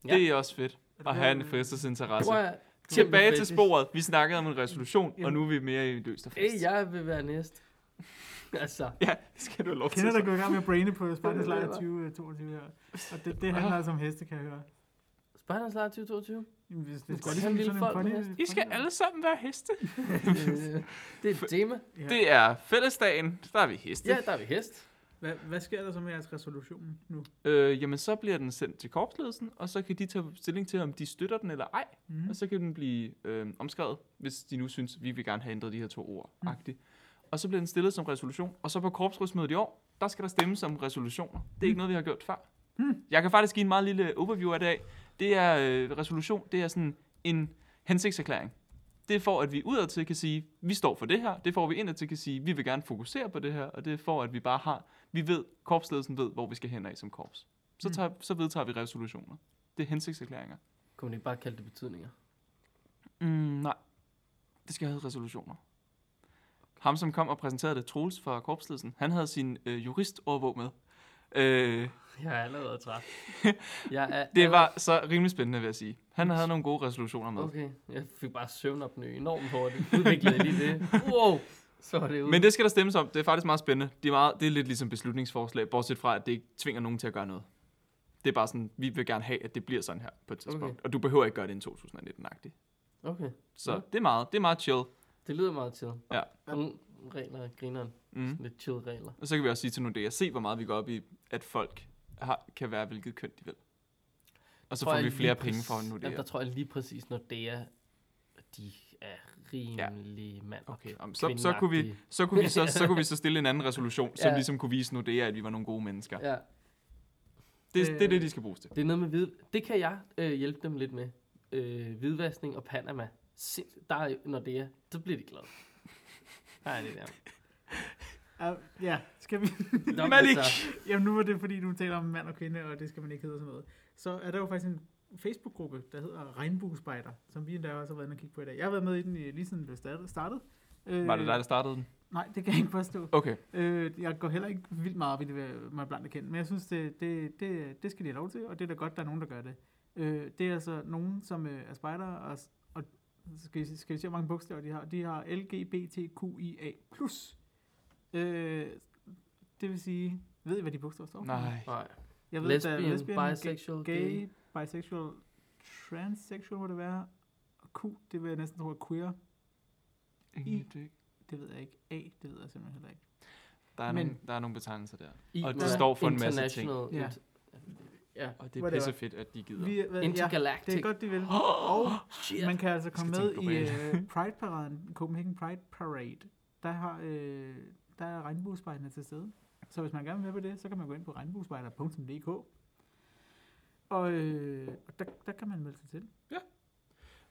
Speaker 2: Ja.
Speaker 5: Det er også fedt at have en
Speaker 4: Øh,
Speaker 5: fritidsinteresse.
Speaker 2: tror jeg,
Speaker 5: Tilbage til sporet. Vi snakkede om en resolution, og nu er vi mere i løst og
Speaker 2: Det
Speaker 5: fast.
Speaker 2: jeg vil være næst. altså,
Speaker 5: Ja, det skal du have lov til.
Speaker 4: Kender der
Speaker 5: så.
Speaker 4: går i gang med at braine på
Speaker 2: Det
Speaker 4: Spartans
Speaker 2: ved jeg
Speaker 4: Lejr
Speaker 2: godt.
Speaker 4: 2022 her. øh, Og det, det handler altså om heste, kan jeg høre.
Speaker 2: Spartans Lejr 2022.
Speaker 4: Jamen, hvis det
Speaker 2: Men
Speaker 4: skal
Speaker 2: så
Speaker 4: ligesom
Speaker 2: lille
Speaker 4: sådan en
Speaker 2: folk
Speaker 4: pony.
Speaker 2: med heste.
Speaker 5: I skal alle sammen være heste.
Speaker 2: Øh, det er et tema.
Speaker 4: Ja.
Speaker 5: Det er fællesdagen. Der er vi heste.
Speaker 2: Ja, der er vi hest.
Speaker 4: Hvad, hvad sker der så med jeres resolution nu?
Speaker 5: Øh, jamen, så bliver den sendt til korpsledelsen, og så kan de tage stilling til, om de støtter den eller ej.
Speaker 4: Mm.
Speaker 5: Og så kan den blive øh, omskrevet, hvis de nu synes, vi vil gerne have ændret de her to ord. Mm. Og så bliver den stillet som resolution. Og så på korpsrådsmødet i år, der skal der stemmes om resolutioner. Det er ikke noget, vi har gjort før. Mm. Jeg kan faktisk give en meget lille overview af det af. Det er øh, resolution, det er sådan en hensigtserklæring. Det er for, at vi udadtil kan sige, vi står for det her. Det får vi indadtil kan sige, vi vil gerne fokusere på det her. Og det er for, at vi bare har, vi ved, korpsledelsen ved, hvor vi skal hen af som korps. Så, tager, så vedtager vi resolutioner. Det er hensigtserklæringer.
Speaker 2: Kunne man ikke bare kalde det betydninger?
Speaker 5: Mm, nej. Det skal hedde resolutioner. Ham, som kom og præsenterede det, Troels fra korpsledelsen, han havde sin øh, jurist overvåg med. Øh,
Speaker 2: Jeg er allerede træt. Jeg er
Speaker 5: det
Speaker 2: allerede-
Speaker 5: var så rimelig spændende, vil jeg sige. Han havde nogle gode resolutioner med.
Speaker 2: Okay, jeg fik bare søvnopnø enormt hurtigt. Udviklede lige det. Wow, så var det ud.
Speaker 5: Men det skal der stemmes om. Det er faktisk meget spændende. Det er, meget, det er lidt ligesom beslutningsforslag, bortset fra, at det ikke tvinger nogen til at gøre noget. Det er bare sådan, vi vil gerne have, at det bliver sådan her på et tidspunkt. Okay.
Speaker 2: Okay.
Speaker 5: Og du behøver ikke gøre det i 2019-agtigt.
Speaker 2: Okay,
Speaker 5: Så
Speaker 2: Ja.
Speaker 5: det er meget, det er meget chill.
Speaker 2: det lyder meget chill.
Speaker 5: Ja.
Speaker 2: Nogle regler, grineren.
Speaker 5: Mm.
Speaker 2: Sådan lidt chill regler.
Speaker 5: Og så kan vi også sige til Nordea, se hvor meget vi går op i, at folk har, kan være hvilket køn de vil. Og så
Speaker 2: Tror
Speaker 5: får
Speaker 2: jeg
Speaker 5: vi
Speaker 2: lige
Speaker 5: flere
Speaker 2: præc-
Speaker 5: penge for Nordea.
Speaker 2: Jamen, der tror jeg lige præcis, når det er, de er rimelig mand og
Speaker 5: Okay, om, så, så, kunne vi,
Speaker 2: kvindeagtige.
Speaker 5: så, kunne vi så, så kunne vi så stille en anden resolution, som
Speaker 2: Ja.
Speaker 5: ligesom kunne vise Nordea, at vi var nogle gode mennesker.
Speaker 2: Ja,
Speaker 5: Det, det er det, de skal bruges til.
Speaker 2: Det er noget med hvid... Det kan jeg øh, hjælpe dem lidt med. Øh, hvidvaskning og Panama. Sind, der er, når det er, så bliver de glade. Nej, det er
Speaker 4: Ah, ja, skal vi...
Speaker 2: der.
Speaker 5: Malik!
Speaker 2: altså,
Speaker 4: Jamen nu var det, fordi du taler om mand og kvinde, og det skal man ikke hedde og sådan noget. Så er der jo faktisk en Facebook-gruppe, der hedder Regnbuespejder, som vi endda også har været inde og kigge på i dag. Jeg har været med i den, øh, lige siden den blev startet- startet. Øh,
Speaker 5: Var det dig, der startede den?
Speaker 4: Nej, det kan jeg ikke forstå.
Speaker 5: Okay.
Speaker 4: Øh, jeg går heller ikke vildt meget op i det, vil man blandt erkende, men jeg synes, det, det, det, det skal de have lov til, og det er da godt, der er nogen, der gør det. Øh, det er altså nogen, som øh, er spejdere, og, s- og skal, vi- skal vi se, hvor mange bogstaver de har? De har LGBTQIA+. Øh, det vil sige, ved I, hvad de bogstaver står for?
Speaker 5: Nej.
Speaker 2: Nej.
Speaker 4: Jeg ved, lesbian, der
Speaker 2: Lesbian,
Speaker 4: er lesbian,
Speaker 2: bisexual,
Speaker 4: bisexual, gay, bisexual, transsexual må det være, og Q, det vil jeg næsten tro er queer,
Speaker 5: Ingen idé.
Speaker 4: det ved jeg ikke, A, det ved jeg simpelthen heller ikke.
Speaker 5: Der er,
Speaker 4: Men-
Speaker 5: nogle, der er nogle betegnelser der.
Speaker 2: I
Speaker 5: Og det
Speaker 2: må-
Speaker 5: står for en masse ting.
Speaker 2: international-
Speaker 4: Ja.
Speaker 2: Ja.
Speaker 5: Og det er
Speaker 4: Whatever.
Speaker 5: pisse fedt, at de gider.
Speaker 4: Vi, er- hvad, ja,
Speaker 2: Intergalactic.
Speaker 4: det er godt, de vil. Og
Speaker 2: Shit.
Speaker 4: Man kan altså komme
Speaker 5: skal
Speaker 4: med i
Speaker 5: tænke
Speaker 4: uh, Pride-paraden, Copenhagen Pride Parade. Der, har, øh, der er regnbuespejlene til stede. Så hvis man gerne vil med på det, så kan man gå ind på regnbuespejler.dk. Og øh, og der, der kan man melde sig til.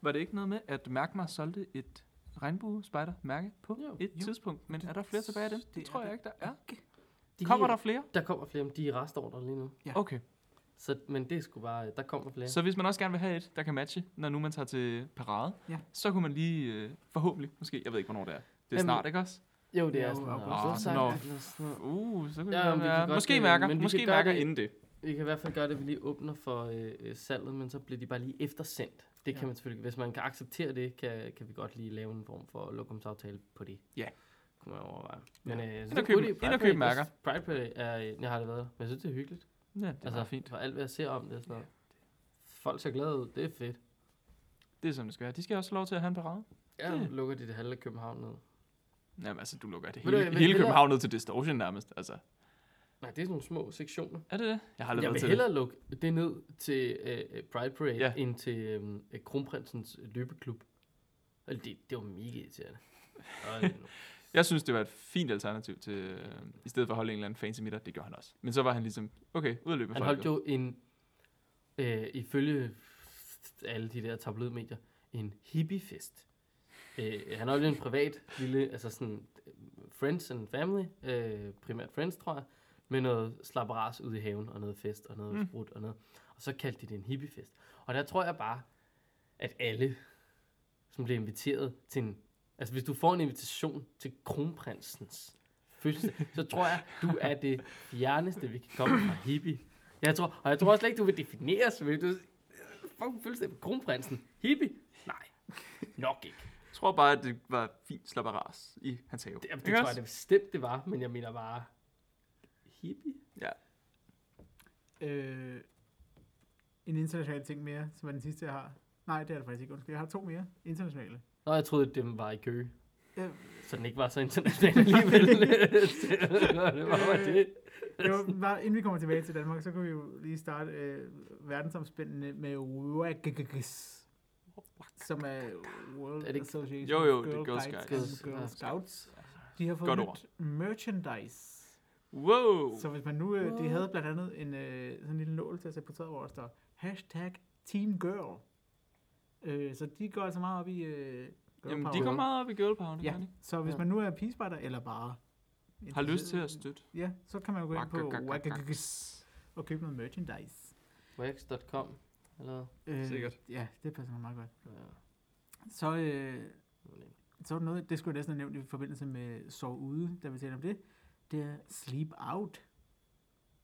Speaker 5: Var det ikke noget med, at Mærkmar solgte et regnbuespejder-mærke på
Speaker 2: Jo.
Speaker 5: et
Speaker 4: Jo.
Speaker 5: tidspunkt? Men er der flere tilbage af dem? Det,
Speaker 4: Det
Speaker 5: tror
Speaker 4: er
Speaker 5: jeg ikke, der er.
Speaker 2: De-
Speaker 5: Kommer der flere?
Speaker 2: Der kommer flere, men de er i restorder lige nu.
Speaker 4: Ja.
Speaker 5: Okay.
Speaker 2: Så, men det er sgu bare... Der kommer flere.
Speaker 5: Så hvis man også gerne vil have et, der kan matche, når nu man tager til parade,
Speaker 4: Ja.
Speaker 5: så kunne man lige, øh, forhåbentlig måske, jeg ved ikke, hvornår det er. Det er
Speaker 2: Jamen-
Speaker 5: snart, ikke også?
Speaker 2: Jo, det
Speaker 4: Jo,
Speaker 2: er sådan noget. august,
Speaker 4: august.
Speaker 5: Nå.
Speaker 2: sagt, eller sådan noget.
Speaker 5: Uh, så kan
Speaker 2: Ja,
Speaker 5: ja,
Speaker 2: men
Speaker 5: det
Speaker 2: vi kan
Speaker 5: være.
Speaker 2: godt,
Speaker 5: Måske
Speaker 2: øh,
Speaker 5: mærker,
Speaker 2: men vi
Speaker 5: måske
Speaker 2: kan gøre
Speaker 5: mærker
Speaker 2: det.
Speaker 5: inden det.
Speaker 2: Vi kan i hvert fald gøre det, at vi lige åbner for øh, øh, salget, men så bliver de bare lige eftersendt. Det kan
Speaker 4: Ja.
Speaker 2: man selvfølgelig, hvis man kan acceptere det, kan, kan vi godt lige lave en form for lokumsaftale på det.
Speaker 5: Ja.
Speaker 2: Kunne man overveje. Men øh, jeg synes,
Speaker 5: Ind
Speaker 2: det er
Speaker 5: og køb-
Speaker 2: en god idé.
Speaker 5: ind
Speaker 2: Pride
Speaker 5: og køb
Speaker 2: Parade-
Speaker 5: mærker.
Speaker 2: Pride Parade er, øh, jeg har det været der, men jeg synes, det er hyggeligt.
Speaker 5: Ja, det er
Speaker 2: altså,
Speaker 5: altså, fint.
Speaker 2: For alt, hvad jeg ser om det og sådan noget. Folk ser glade ud, det er fedt.
Speaker 5: Det er, som det skal være. De skal også have lov til at have en parade.
Speaker 2: Ja, nu
Speaker 5: Det-
Speaker 2: lukker de det halve af København ned.
Speaker 5: Jamen, altså, du lukker det
Speaker 2: Ved du,
Speaker 5: hele,
Speaker 2: jeg vil
Speaker 5: hele
Speaker 2: hellere-
Speaker 5: København ned til Distortion nærmest. Altså,
Speaker 2: Nej, det er sådan nogle små sektioner.
Speaker 5: er det det? Jeg har aldrig
Speaker 2: Jeg
Speaker 5: været
Speaker 2: vil
Speaker 5: til det.
Speaker 2: hellere lukke det ned til øh, øh, Pride Parade,
Speaker 5: Ja.
Speaker 2: ja. end til øh, øh, Kronprinsens løbeklub. Altså, det, det var mega irriterende. Og, øh,
Speaker 5: Jeg synes, det var et fint alternativ til, øh, i stedet for at holde en eller anden fancy middag. Det gjorde han også. Men så var han ligesom, okay, ud at løbe med
Speaker 2: han holdt jo en, øh, ifølge alle de der tabloidmedier, en hippiefest. Øh, han holdt en privat lille, altså sådan øh, friends and family, øh, primært friends, tror jeg, med noget slapperas ude i haven, og noget fest, og noget
Speaker 5: Mm.
Speaker 2: mm. sprut, og noget. Og så kaldte de det en hippiefest. Og der tror jeg bare, at alle, som bliver inviteret til en... Altså, hvis du får en invitation til kronprinsens fødselsdag, så tror jeg, du er det fjerneste, vi kan komme fra hippie. Jeg tror, og jeg tror slet ikke, du vil defineres, fordi du... Fucking fødselsdag på kronprinsen. Hippie? Nej. Nok ikke.
Speaker 5: Jeg tror bare, at det var fint slapperas i hans have.
Speaker 2: Det, det
Speaker 5: Ikke
Speaker 2: tror jeg,
Speaker 5: også?
Speaker 2: det bestemt, det var, men jeg mener bare... Hippie?
Speaker 4: Øh, en international ting mere, som er den sidste, jeg har. Nej, det er det faktisk ikke. Undskyld, jeg har to mere internationale.
Speaker 2: Nå, jeg troede, at dem var i kø.
Speaker 4: Øh,
Speaker 2: Så den ikke var så international alligevel. det var bare det.
Speaker 4: det var bare, inden vi kommer tilbage til Danmark, så kan vi jo lige starte øh, verdensomspændende med WAGGIS, som er World
Speaker 2: Er det ikke-
Speaker 4: Association
Speaker 5: Jo, jo,
Speaker 4: of
Speaker 5: det
Speaker 4: Girl
Speaker 5: er Girl
Speaker 4: Guides
Speaker 2: Scouts.
Speaker 4: and
Speaker 2: Ja.
Speaker 4: Girl Scouts. De har fået
Speaker 5: Godt
Speaker 4: nyt
Speaker 5: ord.
Speaker 4: merchandise.
Speaker 5: Wow!
Speaker 4: Så hvis man nu, øh, de havde blandt andet en øh, sådan en lille nål til at sætte på tøjet, hvor der står hashtag Team Girl. Øh, så de går altså meget op i øh, girl
Speaker 5: Jamen, de
Speaker 4: power.
Speaker 5: går meget op i girl power, det
Speaker 4: Ja,
Speaker 5: gør de.
Speaker 4: så hvis
Speaker 2: Ja.
Speaker 4: man nu er pigespejder eller bare...
Speaker 5: Har lyst til at støtte.
Speaker 4: Ja, så kan man jo gå ind på
Speaker 5: Wakkakakakaks.
Speaker 4: Wackagags og købe noget merchandise.
Speaker 2: Wax.com. Eller...
Speaker 4: Øh,
Speaker 5: Sikkert.
Speaker 4: Ja, det passer nok meget godt.
Speaker 2: Ja.
Speaker 4: Så, øh, så er der noget, det skulle jeg næsten have nævnt i forbindelse med sov ude, da vi talte om det. Det er sleep out.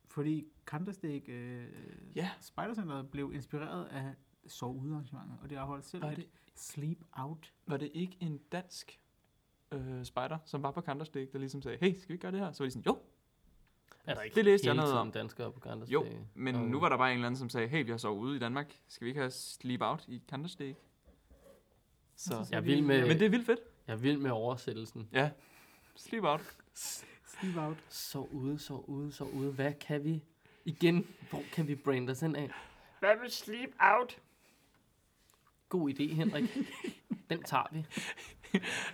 Speaker 4: Fordi Counter-Strike øh,
Speaker 5: Ja.
Speaker 4: Spidercenteret blev inspireret af sov ude arrangementer, og det afholdt selv
Speaker 5: Var
Speaker 4: et
Speaker 5: det,
Speaker 4: sleep out.
Speaker 5: var det ikke en dansk øh, spider, som var på Counter-Strike, der ligesom sagde, hey, skal vi ikke gøre det her? Så var de sådan, jo,
Speaker 2: Er der ikke
Speaker 5: Det læste jeg
Speaker 2: hele
Speaker 5: noget
Speaker 2: tiden
Speaker 5: om.
Speaker 2: danskere på Granders
Speaker 5: Jo,
Speaker 2: Dag?
Speaker 5: men
Speaker 2: Og-
Speaker 5: nu var der bare en eller anden, som sagde, hey, vi har sovet ude i Danmark. Skal vi ikke have sleep out i Counter-Strike? Så.
Speaker 2: Jeg er vild med-
Speaker 5: Men det er vildt fedt.
Speaker 2: Jeg er vild med oversættelsen.
Speaker 5: Øh, Ja. Sleep out.
Speaker 4: Sleep out.
Speaker 2: Så ude, så ude, så ude. Hvad kan vi igen? Hvor kan vi brande os ind af?
Speaker 1: Hvad med sleep out?
Speaker 2: God idé, Henrik. Den tager vi.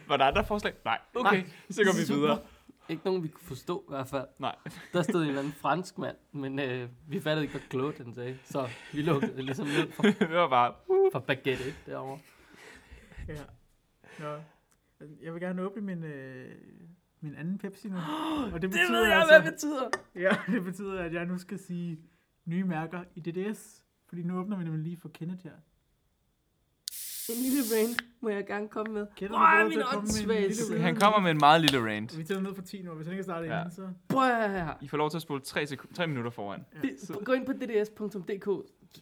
Speaker 5: Var der andre forslag? Nej. Okay,
Speaker 2: Nej.
Speaker 5: så går vi
Speaker 2: Super.
Speaker 5: videre.
Speaker 2: Ikke nogen, vi kunne forstå i hvert fald.
Speaker 5: Nej.
Speaker 2: Der stod en eller anden fransk mand, men øh, vi fattede ikke, hvad kloge den sagde. Så vi lukkede det ligesom ned for,
Speaker 5: det var bare,
Speaker 2: for baguette 1 derovre.
Speaker 4: Ja. Nå. Jeg vil gerne åbne min, øh, min anden Pepsi nu. Og det altså-
Speaker 2: betyder. altså-
Speaker 4: Ja, det betyder, at jeg nu skal sige nye mærker i DDS. Fordi nu åbner vi nemlig lige for Kenneth her.
Speaker 2: En lille rain må jeg gerne komme med.
Speaker 4: Kenneth
Speaker 2: Åh,
Speaker 4: er
Speaker 2: min
Speaker 4: god til at komme med en
Speaker 2: åndssvage
Speaker 4: lille
Speaker 2: side.
Speaker 4: rant.
Speaker 5: han kommer med en meget lille rant.
Speaker 4: Og vi tæller ned for 10 nu, og hvis han ikke starter
Speaker 5: Ja.
Speaker 4: ja. inden, så...
Speaker 2: Prøv at høre her.
Speaker 5: I får lov til at spole 3, sek- 3 minutter foran.
Speaker 2: Gå ind på dds.dk,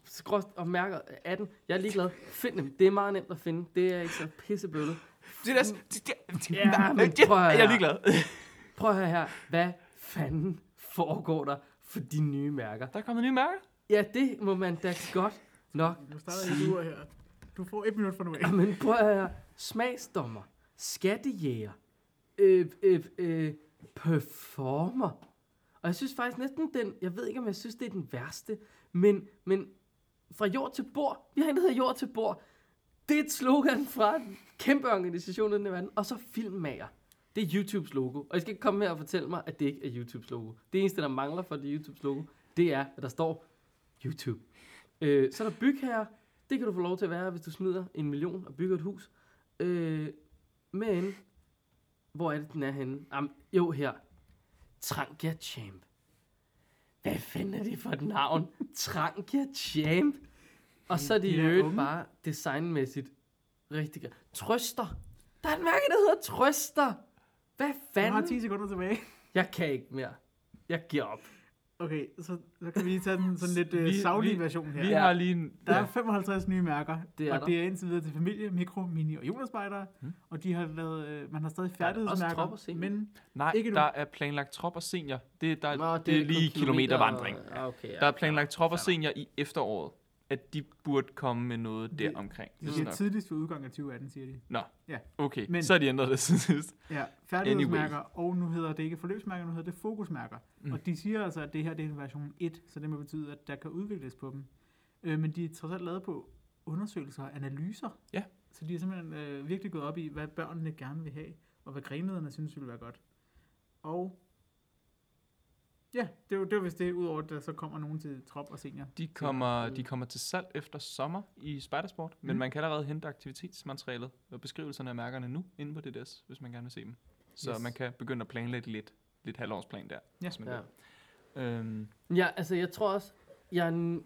Speaker 2: skrås og mærker 18. Jeg er ligeglad. Find dem. Det er meget nemt at finde. Det er ikke så pissebølle.
Speaker 5: Det er deres...
Speaker 2: Ja, men prøv at høre.
Speaker 5: Jeg er ligeglad.
Speaker 2: Prøv at høre her. Hvad fanden foregår der for de nye mærker?
Speaker 5: Der er kommet nye mærker.
Speaker 2: Ja, det må man da godt nok
Speaker 4: Nu starter jeg lige her. Du får et minut fra nu af.
Speaker 2: Jamen prøv at høre. Smagsdommer, skattejæger, øh, øh, øh, performer. Og jeg synes faktisk næsten den, jeg ved ikke om jeg synes det er den værste, men, men fra jord til bord, vi har en der hedder jord til bord. Det er et slogan fra en kæmpe organisation i den her verden. Og så filmmager. Det er YouTubes logo. Og I skal ikke komme her og fortælle mig, at det ikke er YouTubes logo. Det eneste, der mangler for det YouTubes logo, det er, at der står YouTube. Øh, så er der bygherre. Det kan du få lov til at være, hvis du smider en million og bygger et hus. Øh, men, hvor er det, den er henne? Jamen, jo, her. Trangia Champ. Hvad fanden er det for et navn? Trangia Champ. Og så er det i
Speaker 4: De er
Speaker 2: øvrigt
Speaker 4: unge.
Speaker 2: bare designmæssigt rigtig godt. Trøster. Der er en mærke, der hedder Trøster. Hvad
Speaker 4: Du har
Speaker 2: fanden?
Speaker 4: 10 sekunder tilbage.
Speaker 2: Jeg kan ikke mere. Jeg giver op.
Speaker 4: Okay, så, så kan vi lige tage den sådan lidt øh,
Speaker 5: Vi-
Speaker 4: savlige
Speaker 5: vi-
Speaker 4: version her.
Speaker 5: Vi
Speaker 2: Ja.
Speaker 5: har lige en...
Speaker 4: Der er 55 nye mærker,
Speaker 2: Det er
Speaker 4: og
Speaker 2: der.
Speaker 4: det er indtil videre til familie, mikro, mini og jonerspejdere.
Speaker 5: Hmm.
Speaker 4: Mm. Og de har lavet, øh, man har stadig færdighedsmærker,
Speaker 2: trop og senior?
Speaker 4: men
Speaker 5: Nej,
Speaker 4: Ikke
Speaker 5: ikke
Speaker 4: nu.
Speaker 5: der er planlagt trop og senior. Det, er- der,
Speaker 2: Nå,
Speaker 5: det, det er
Speaker 2: kun
Speaker 5: lige kilometervandring.
Speaker 2: kilometer- Ah, Okay, ja.
Speaker 5: Der er planlagt trop og
Speaker 2: fair
Speaker 5: senior i efteråret. At de burde komme med noget
Speaker 4: Det-
Speaker 5: der omkring.
Speaker 4: det bliver tidligst ved udgangen af 2018, siger de.
Speaker 5: Okay,
Speaker 4: Men-
Speaker 5: Men. så har de ændret det siden sidst.
Speaker 4: Ja, færdighedsmærker, og nu hedder det ikke forløbsmærker, nu hedder det fokusmærker. Mm.
Speaker 5: Mm.
Speaker 4: Og de siger altså, at det her det er en version 1, så det må betyde, at der kan udvikles på dem. Øh, men de er trods alt lavet på undersøgelser og analyser.
Speaker 5: Ja.
Speaker 4: Så de er simpelthen øh, virkelig gået op i, hvad børnene gerne vil have, og hvad grenlederne synes ville være godt. Og ja, det var, det var vist det, udover at der så kommer nogen til trop og senior.
Speaker 5: De kommer,
Speaker 2: Mm.
Speaker 5: de kommer til salg efter sommer i Spidersport, men
Speaker 4: Mm.
Speaker 5: man kan allerede hente aktivitetsmaterialet og beskrivelserne af mærkerne nu inde på DDS, hvis man gerne vil se dem. Så
Speaker 4: Yes.
Speaker 5: yes. man kan begynde at planlægge lidt, lidt halvårsplan der,
Speaker 4: Ja.
Speaker 5: hvis man
Speaker 2: Ja.
Speaker 5: ja. vil. Øhm,
Speaker 2: Ja, altså jeg tror også, jeg er n-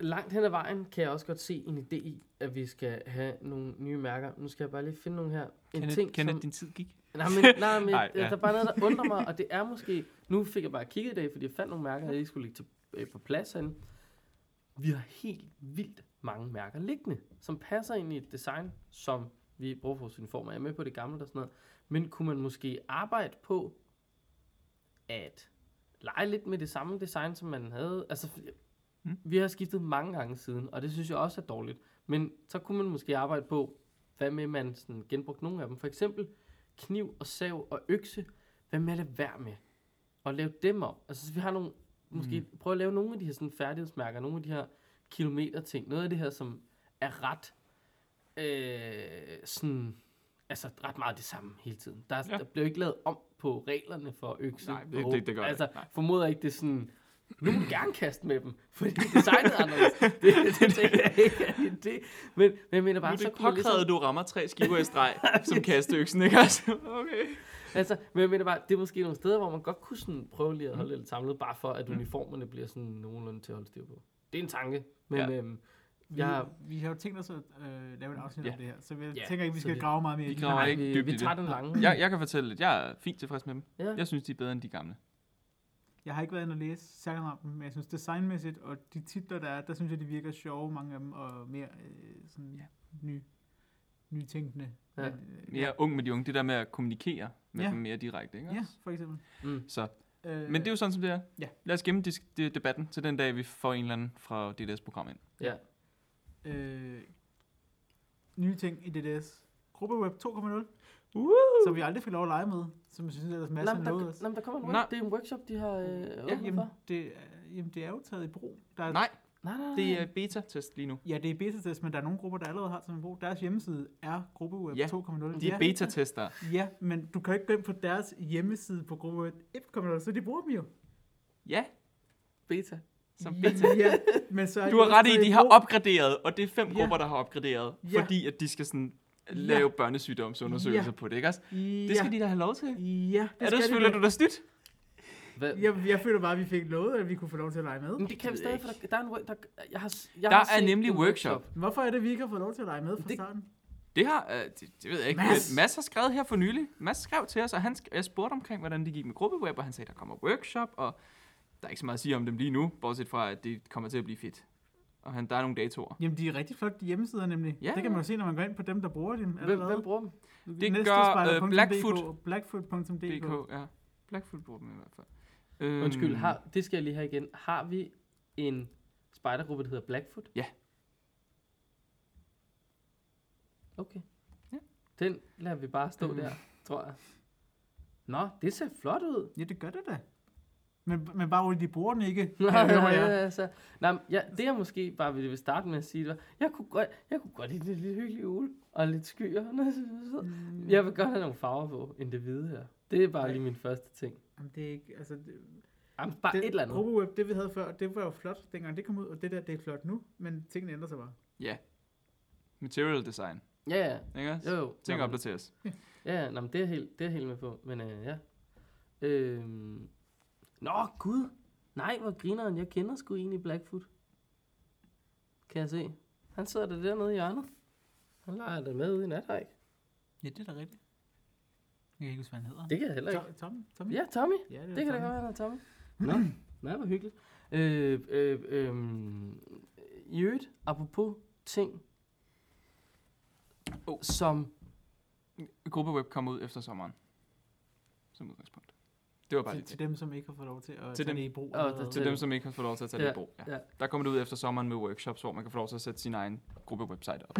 Speaker 2: langt hen ad vejen kan jeg også godt se en idé i, at vi skal have nogle nye mærker. Nu skal jeg bare lige finde nogle her. En
Speaker 5: Kenneth,
Speaker 2: ting,
Speaker 5: Kenneth
Speaker 2: som...
Speaker 5: din tid gik.
Speaker 2: Nej, men, nej, men
Speaker 5: Ej,
Speaker 2: ja.
Speaker 5: ja.
Speaker 2: der er bare noget, der undrer mig, og det er måske... Nu fik jeg bare kigget i dag, fordi jeg fandt nogle mærker, jeg ikke skulle ligge til, øh, på plads herinde. Vi har helt vildt mange mærker liggende, som passer ind i et design, som vi bruger for vores uniformer. Jeg er med på det gamle og sådan noget. Men kunne man måske arbejde på at lege lidt med det samme design, som man havde? Altså, mm.
Speaker 5: Mm.
Speaker 2: vi har skiftet mange gange siden, og det synes jeg også er dårligt. Men så kunne man måske arbejde på, hvad med man sådan genbrugte nogle af dem. For eksempel kniv og sav og økse. Hvad med at lade være med? Og lave dem om. Altså, så vi har nogle, måske mm. prøve at lave nogle af de her sådan, færdighedsmærker, nogle af de her kilometer ting. Noget af det her, som er ret øh, sådan, altså ret meget det samme hele tiden. Der, ja.
Speaker 5: Ja.
Speaker 2: der bliver ikke lavet om på reglerne for økse.
Speaker 5: Nej, det-
Speaker 2: og-
Speaker 5: det- det gør der
Speaker 2: Altså,
Speaker 5: ikke. Nej.
Speaker 2: formoder ikke, det er sådan, nu må du gerne kaste med dem, fordi designet er anderledes. Det, det, det, tænker jeg ikke, at det, er det. Men, men jeg mener
Speaker 5: Nu
Speaker 2: bare,
Speaker 5: er
Speaker 2: så
Speaker 5: det
Speaker 2: kunne man
Speaker 5: påkrævet,
Speaker 2: ligesom,
Speaker 5: at du rammer tre skiver i streg, som kasteøksen, ikke også? Okay.
Speaker 2: altså, men jeg mener bare, det er måske nogle steder, hvor man godt kunne sådan prøve lige at
Speaker 5: Mm.
Speaker 2: holde lidt samlet, bare for at uniformerne bliver sådan nogenlunde til at holde styr på. Det er en tanke, men
Speaker 5: Ja.
Speaker 2: ja. øhm,
Speaker 4: Vi,
Speaker 2: jeg,
Speaker 4: vi har jo tænkt os at øh, lave et afsnit
Speaker 5: Ja.
Speaker 4: om det her, så jeg
Speaker 2: Ja,
Speaker 4: tænker ikke, vi
Speaker 2: så
Speaker 4: skal
Speaker 2: vi-
Speaker 4: grave meget mere
Speaker 5: vi
Speaker 4: i det.
Speaker 5: graver
Speaker 4: Nej,
Speaker 5: ikke
Speaker 2: vi,
Speaker 5: dybt
Speaker 2: vi
Speaker 5: i
Speaker 2: tager
Speaker 5: det.
Speaker 2: den
Speaker 4: Mm.
Speaker 2: lange.
Speaker 5: Jeg, jeg kan fortælle lidt. Jeg er fint tilfreds med dem.
Speaker 2: Ja.
Speaker 5: Jeg synes, de er bedre end de gamle.
Speaker 4: Jeg har ikke været inde og læse særlig meget om dem, men jeg synes designmæssigt, og de titler, der er, der synes jeg, de virker sjove, mange af dem, og mere øh, sådan ja.
Speaker 5: Ja.
Speaker 4: ny, nytænkende.
Speaker 2: Ja.
Speaker 4: Men, øh,
Speaker 5: Mere ung med de unge. Det der med at kommunikere med
Speaker 4: Ja.
Speaker 5: dem mere direkte, ikke
Speaker 4: ja,
Speaker 5: også?
Speaker 4: for eksempel.
Speaker 2: Mm.
Speaker 5: Så
Speaker 4: Øh,
Speaker 5: Men det er jo sådan, som det er.
Speaker 4: Ja.
Speaker 5: Lad os gemme dis- de- debatten til den dag, vi får en eller anden fra DDS program ind.
Speaker 2: Ja.
Speaker 4: Øh, nye ting i DDS. Gruppeweb 2.0,
Speaker 5: Uh!
Speaker 4: som vi aldrig fik lov at lege med, som jeg synes, ellers
Speaker 2: Nå,
Speaker 4: masser
Speaker 2: men
Speaker 4: af
Speaker 2: der,
Speaker 4: noget os.
Speaker 2: nå, men der kommer en
Speaker 5: Nej.
Speaker 2: work, det er en workshop, de har øh, åbnet
Speaker 4: Jamen
Speaker 2: for.
Speaker 4: det, er- jamen, det er jo taget i brug. Der er,
Speaker 5: Nej,
Speaker 2: Nej, nej, nej.
Speaker 5: det er beta-test lige nu.
Speaker 4: Ja, det er beta-test, men der er nogle grupper, der allerede har taget i brug. Deres hjemmeside er Gruppeweb
Speaker 5: Ja,
Speaker 4: 2.0.
Speaker 5: De er beta-tester.
Speaker 4: Ja, men du kan jo ikke gå ind på deres hjemmeside på gruppe 1.0, så de bruger dem jo.
Speaker 5: Ja,
Speaker 2: beta.
Speaker 5: som beta.
Speaker 4: ja, men så er
Speaker 5: Du
Speaker 4: de
Speaker 5: har ret
Speaker 4: også
Speaker 5: i, de har opgraderet, og det er fem
Speaker 4: Ja.
Speaker 5: grupper, der har opgraderet,
Speaker 4: Ja.
Speaker 5: fordi at de skal sådan
Speaker 4: Ja.
Speaker 5: lave børnesygdomsundersøgelser på det, ikke også?
Speaker 4: Ja,
Speaker 5: Det skal de da have lov til.
Speaker 4: Ja,
Speaker 5: Er det,
Speaker 4: skal
Speaker 5: føler
Speaker 4: de
Speaker 5: du dig snydt?
Speaker 2: Hvad?
Speaker 4: da. jeg, jeg føler bare, at vi fik lovet, at vi kunne få lov til at lege med.
Speaker 5: Mm.
Speaker 2: Men det kan vi stadig, for der, der er en work, der, jeg har, s- jeg
Speaker 5: Der
Speaker 2: har
Speaker 5: er
Speaker 2: set
Speaker 5: nemlig
Speaker 2: en
Speaker 5: workshop.
Speaker 4: Hvorfor er det, vi ikke har fået lov til at lege med fra
Speaker 5: Det-
Speaker 4: starten?
Speaker 5: Det har, øh, det, det ved jeg ikke,
Speaker 4: Mads!
Speaker 5: Mads. men Mads har skrevet her for nylig. Mads skrev til os, og han sk- jeg spurgte omkring, hvordan det gik med gruppeweb, og han sagde, der kommer workshop, og der er ikke så meget at sige om dem lige nu, bortset fra, at det kommer til at blive fedt. Og han, der er nogle datoer.
Speaker 4: Jamen, de er rigtig flotte de hjemmesider nemlig.
Speaker 5: Ja,
Speaker 4: det kan man
Speaker 5: ja.
Speaker 4: jo se, når man går ind på dem, der bruger dem.
Speaker 2: Hvem, hvem bruger dem?
Speaker 5: Det gør, øh,
Speaker 4: Blackfoot.
Speaker 5: Blackfoot.
Speaker 4: Blackfoot.dk.
Speaker 5: DK, ja. Blackfoot bruger dem i hvert fald. Øhm,
Speaker 4: Hmm.
Speaker 2: Undskyld, har, det skal jeg lige have igen. Har vi en spejdergruppe, der hedder Blackfoot?
Speaker 5: Ja.
Speaker 2: Okay.
Speaker 5: Ja.
Speaker 2: Den lader vi bare stå
Speaker 4: Hmm.
Speaker 5: Mm.
Speaker 2: der, tror jeg. Nå, det ser flot ud.
Speaker 4: Ja, det gør det da. Men, men bare roligt, de bruger den ikke.
Speaker 2: Nå,
Speaker 4: Ja, det var
Speaker 2: ja,
Speaker 4: jeg.
Speaker 2: altså, nej, men jeg, det jeg måske bare ville vil starte med at sige, det var, jeg kunne godt, jeg kunne godt lide det lidt hyggelige ule og lidt skyer. Jeg vil godt have nogle farver på, end det hvide her. Det er bare lige min første ting.
Speaker 4: Jamen, det er ikke, altså, det,
Speaker 2: Jamen, bare
Speaker 4: den
Speaker 2: et eller andet.
Speaker 4: Gruppeweb, det vi havde før, det var jo flot, dengang det kom ud, og det der, det er flot nu, men tingene ændrer sig bare.
Speaker 5: Material design,
Speaker 2: Ja, ja.
Speaker 5: ikke
Speaker 2: Jo,
Speaker 5: også?
Speaker 2: jo.
Speaker 5: Ting
Speaker 2: Nå, men-
Speaker 5: opdateres.
Speaker 2: Ja, ja, nå, men det er helt, det er helt med på. Men øh, ja. Øhm. Nå, gud. Nej, hvor grineren. Jeg kender sgu egentlig Blackfoot. Kan jeg se. Han sidder der dernede i hjørnet. Han leger det med ude i nathajk.
Speaker 5: Ja, det er da rigtigt.
Speaker 4: Jeg kan ikke huske, hvad han hedder.
Speaker 2: Det kan jeg heller ikke.
Speaker 4: To- Tommy? Tommy?
Speaker 2: Ja, Tommy.
Speaker 4: ja
Speaker 2: Det kan da godt være, han er Tommy. Nå, nej, hvor hyggeligt. Øh, øh, øh, I øvrigt, apropos ting,
Speaker 5: Oh.
Speaker 2: som
Speaker 5: Gruppeweb kom ud efter sommeren. Som udgangspunkt. Det var bare
Speaker 4: Til,
Speaker 5: lidt
Speaker 4: til dem, som ikke har fået lov til at
Speaker 5: Til
Speaker 4: tage
Speaker 5: dem.
Speaker 4: det i brug.
Speaker 2: Åh,
Speaker 4: allerede.
Speaker 5: Til dem, som ikke har fået lov til at tage
Speaker 2: Ja,
Speaker 5: det i brug. Ja.
Speaker 2: ja.
Speaker 5: Der kommer det ud efter sommeren med workshops, hvor man kan få lov til at sætte sin egen gruppe-website op.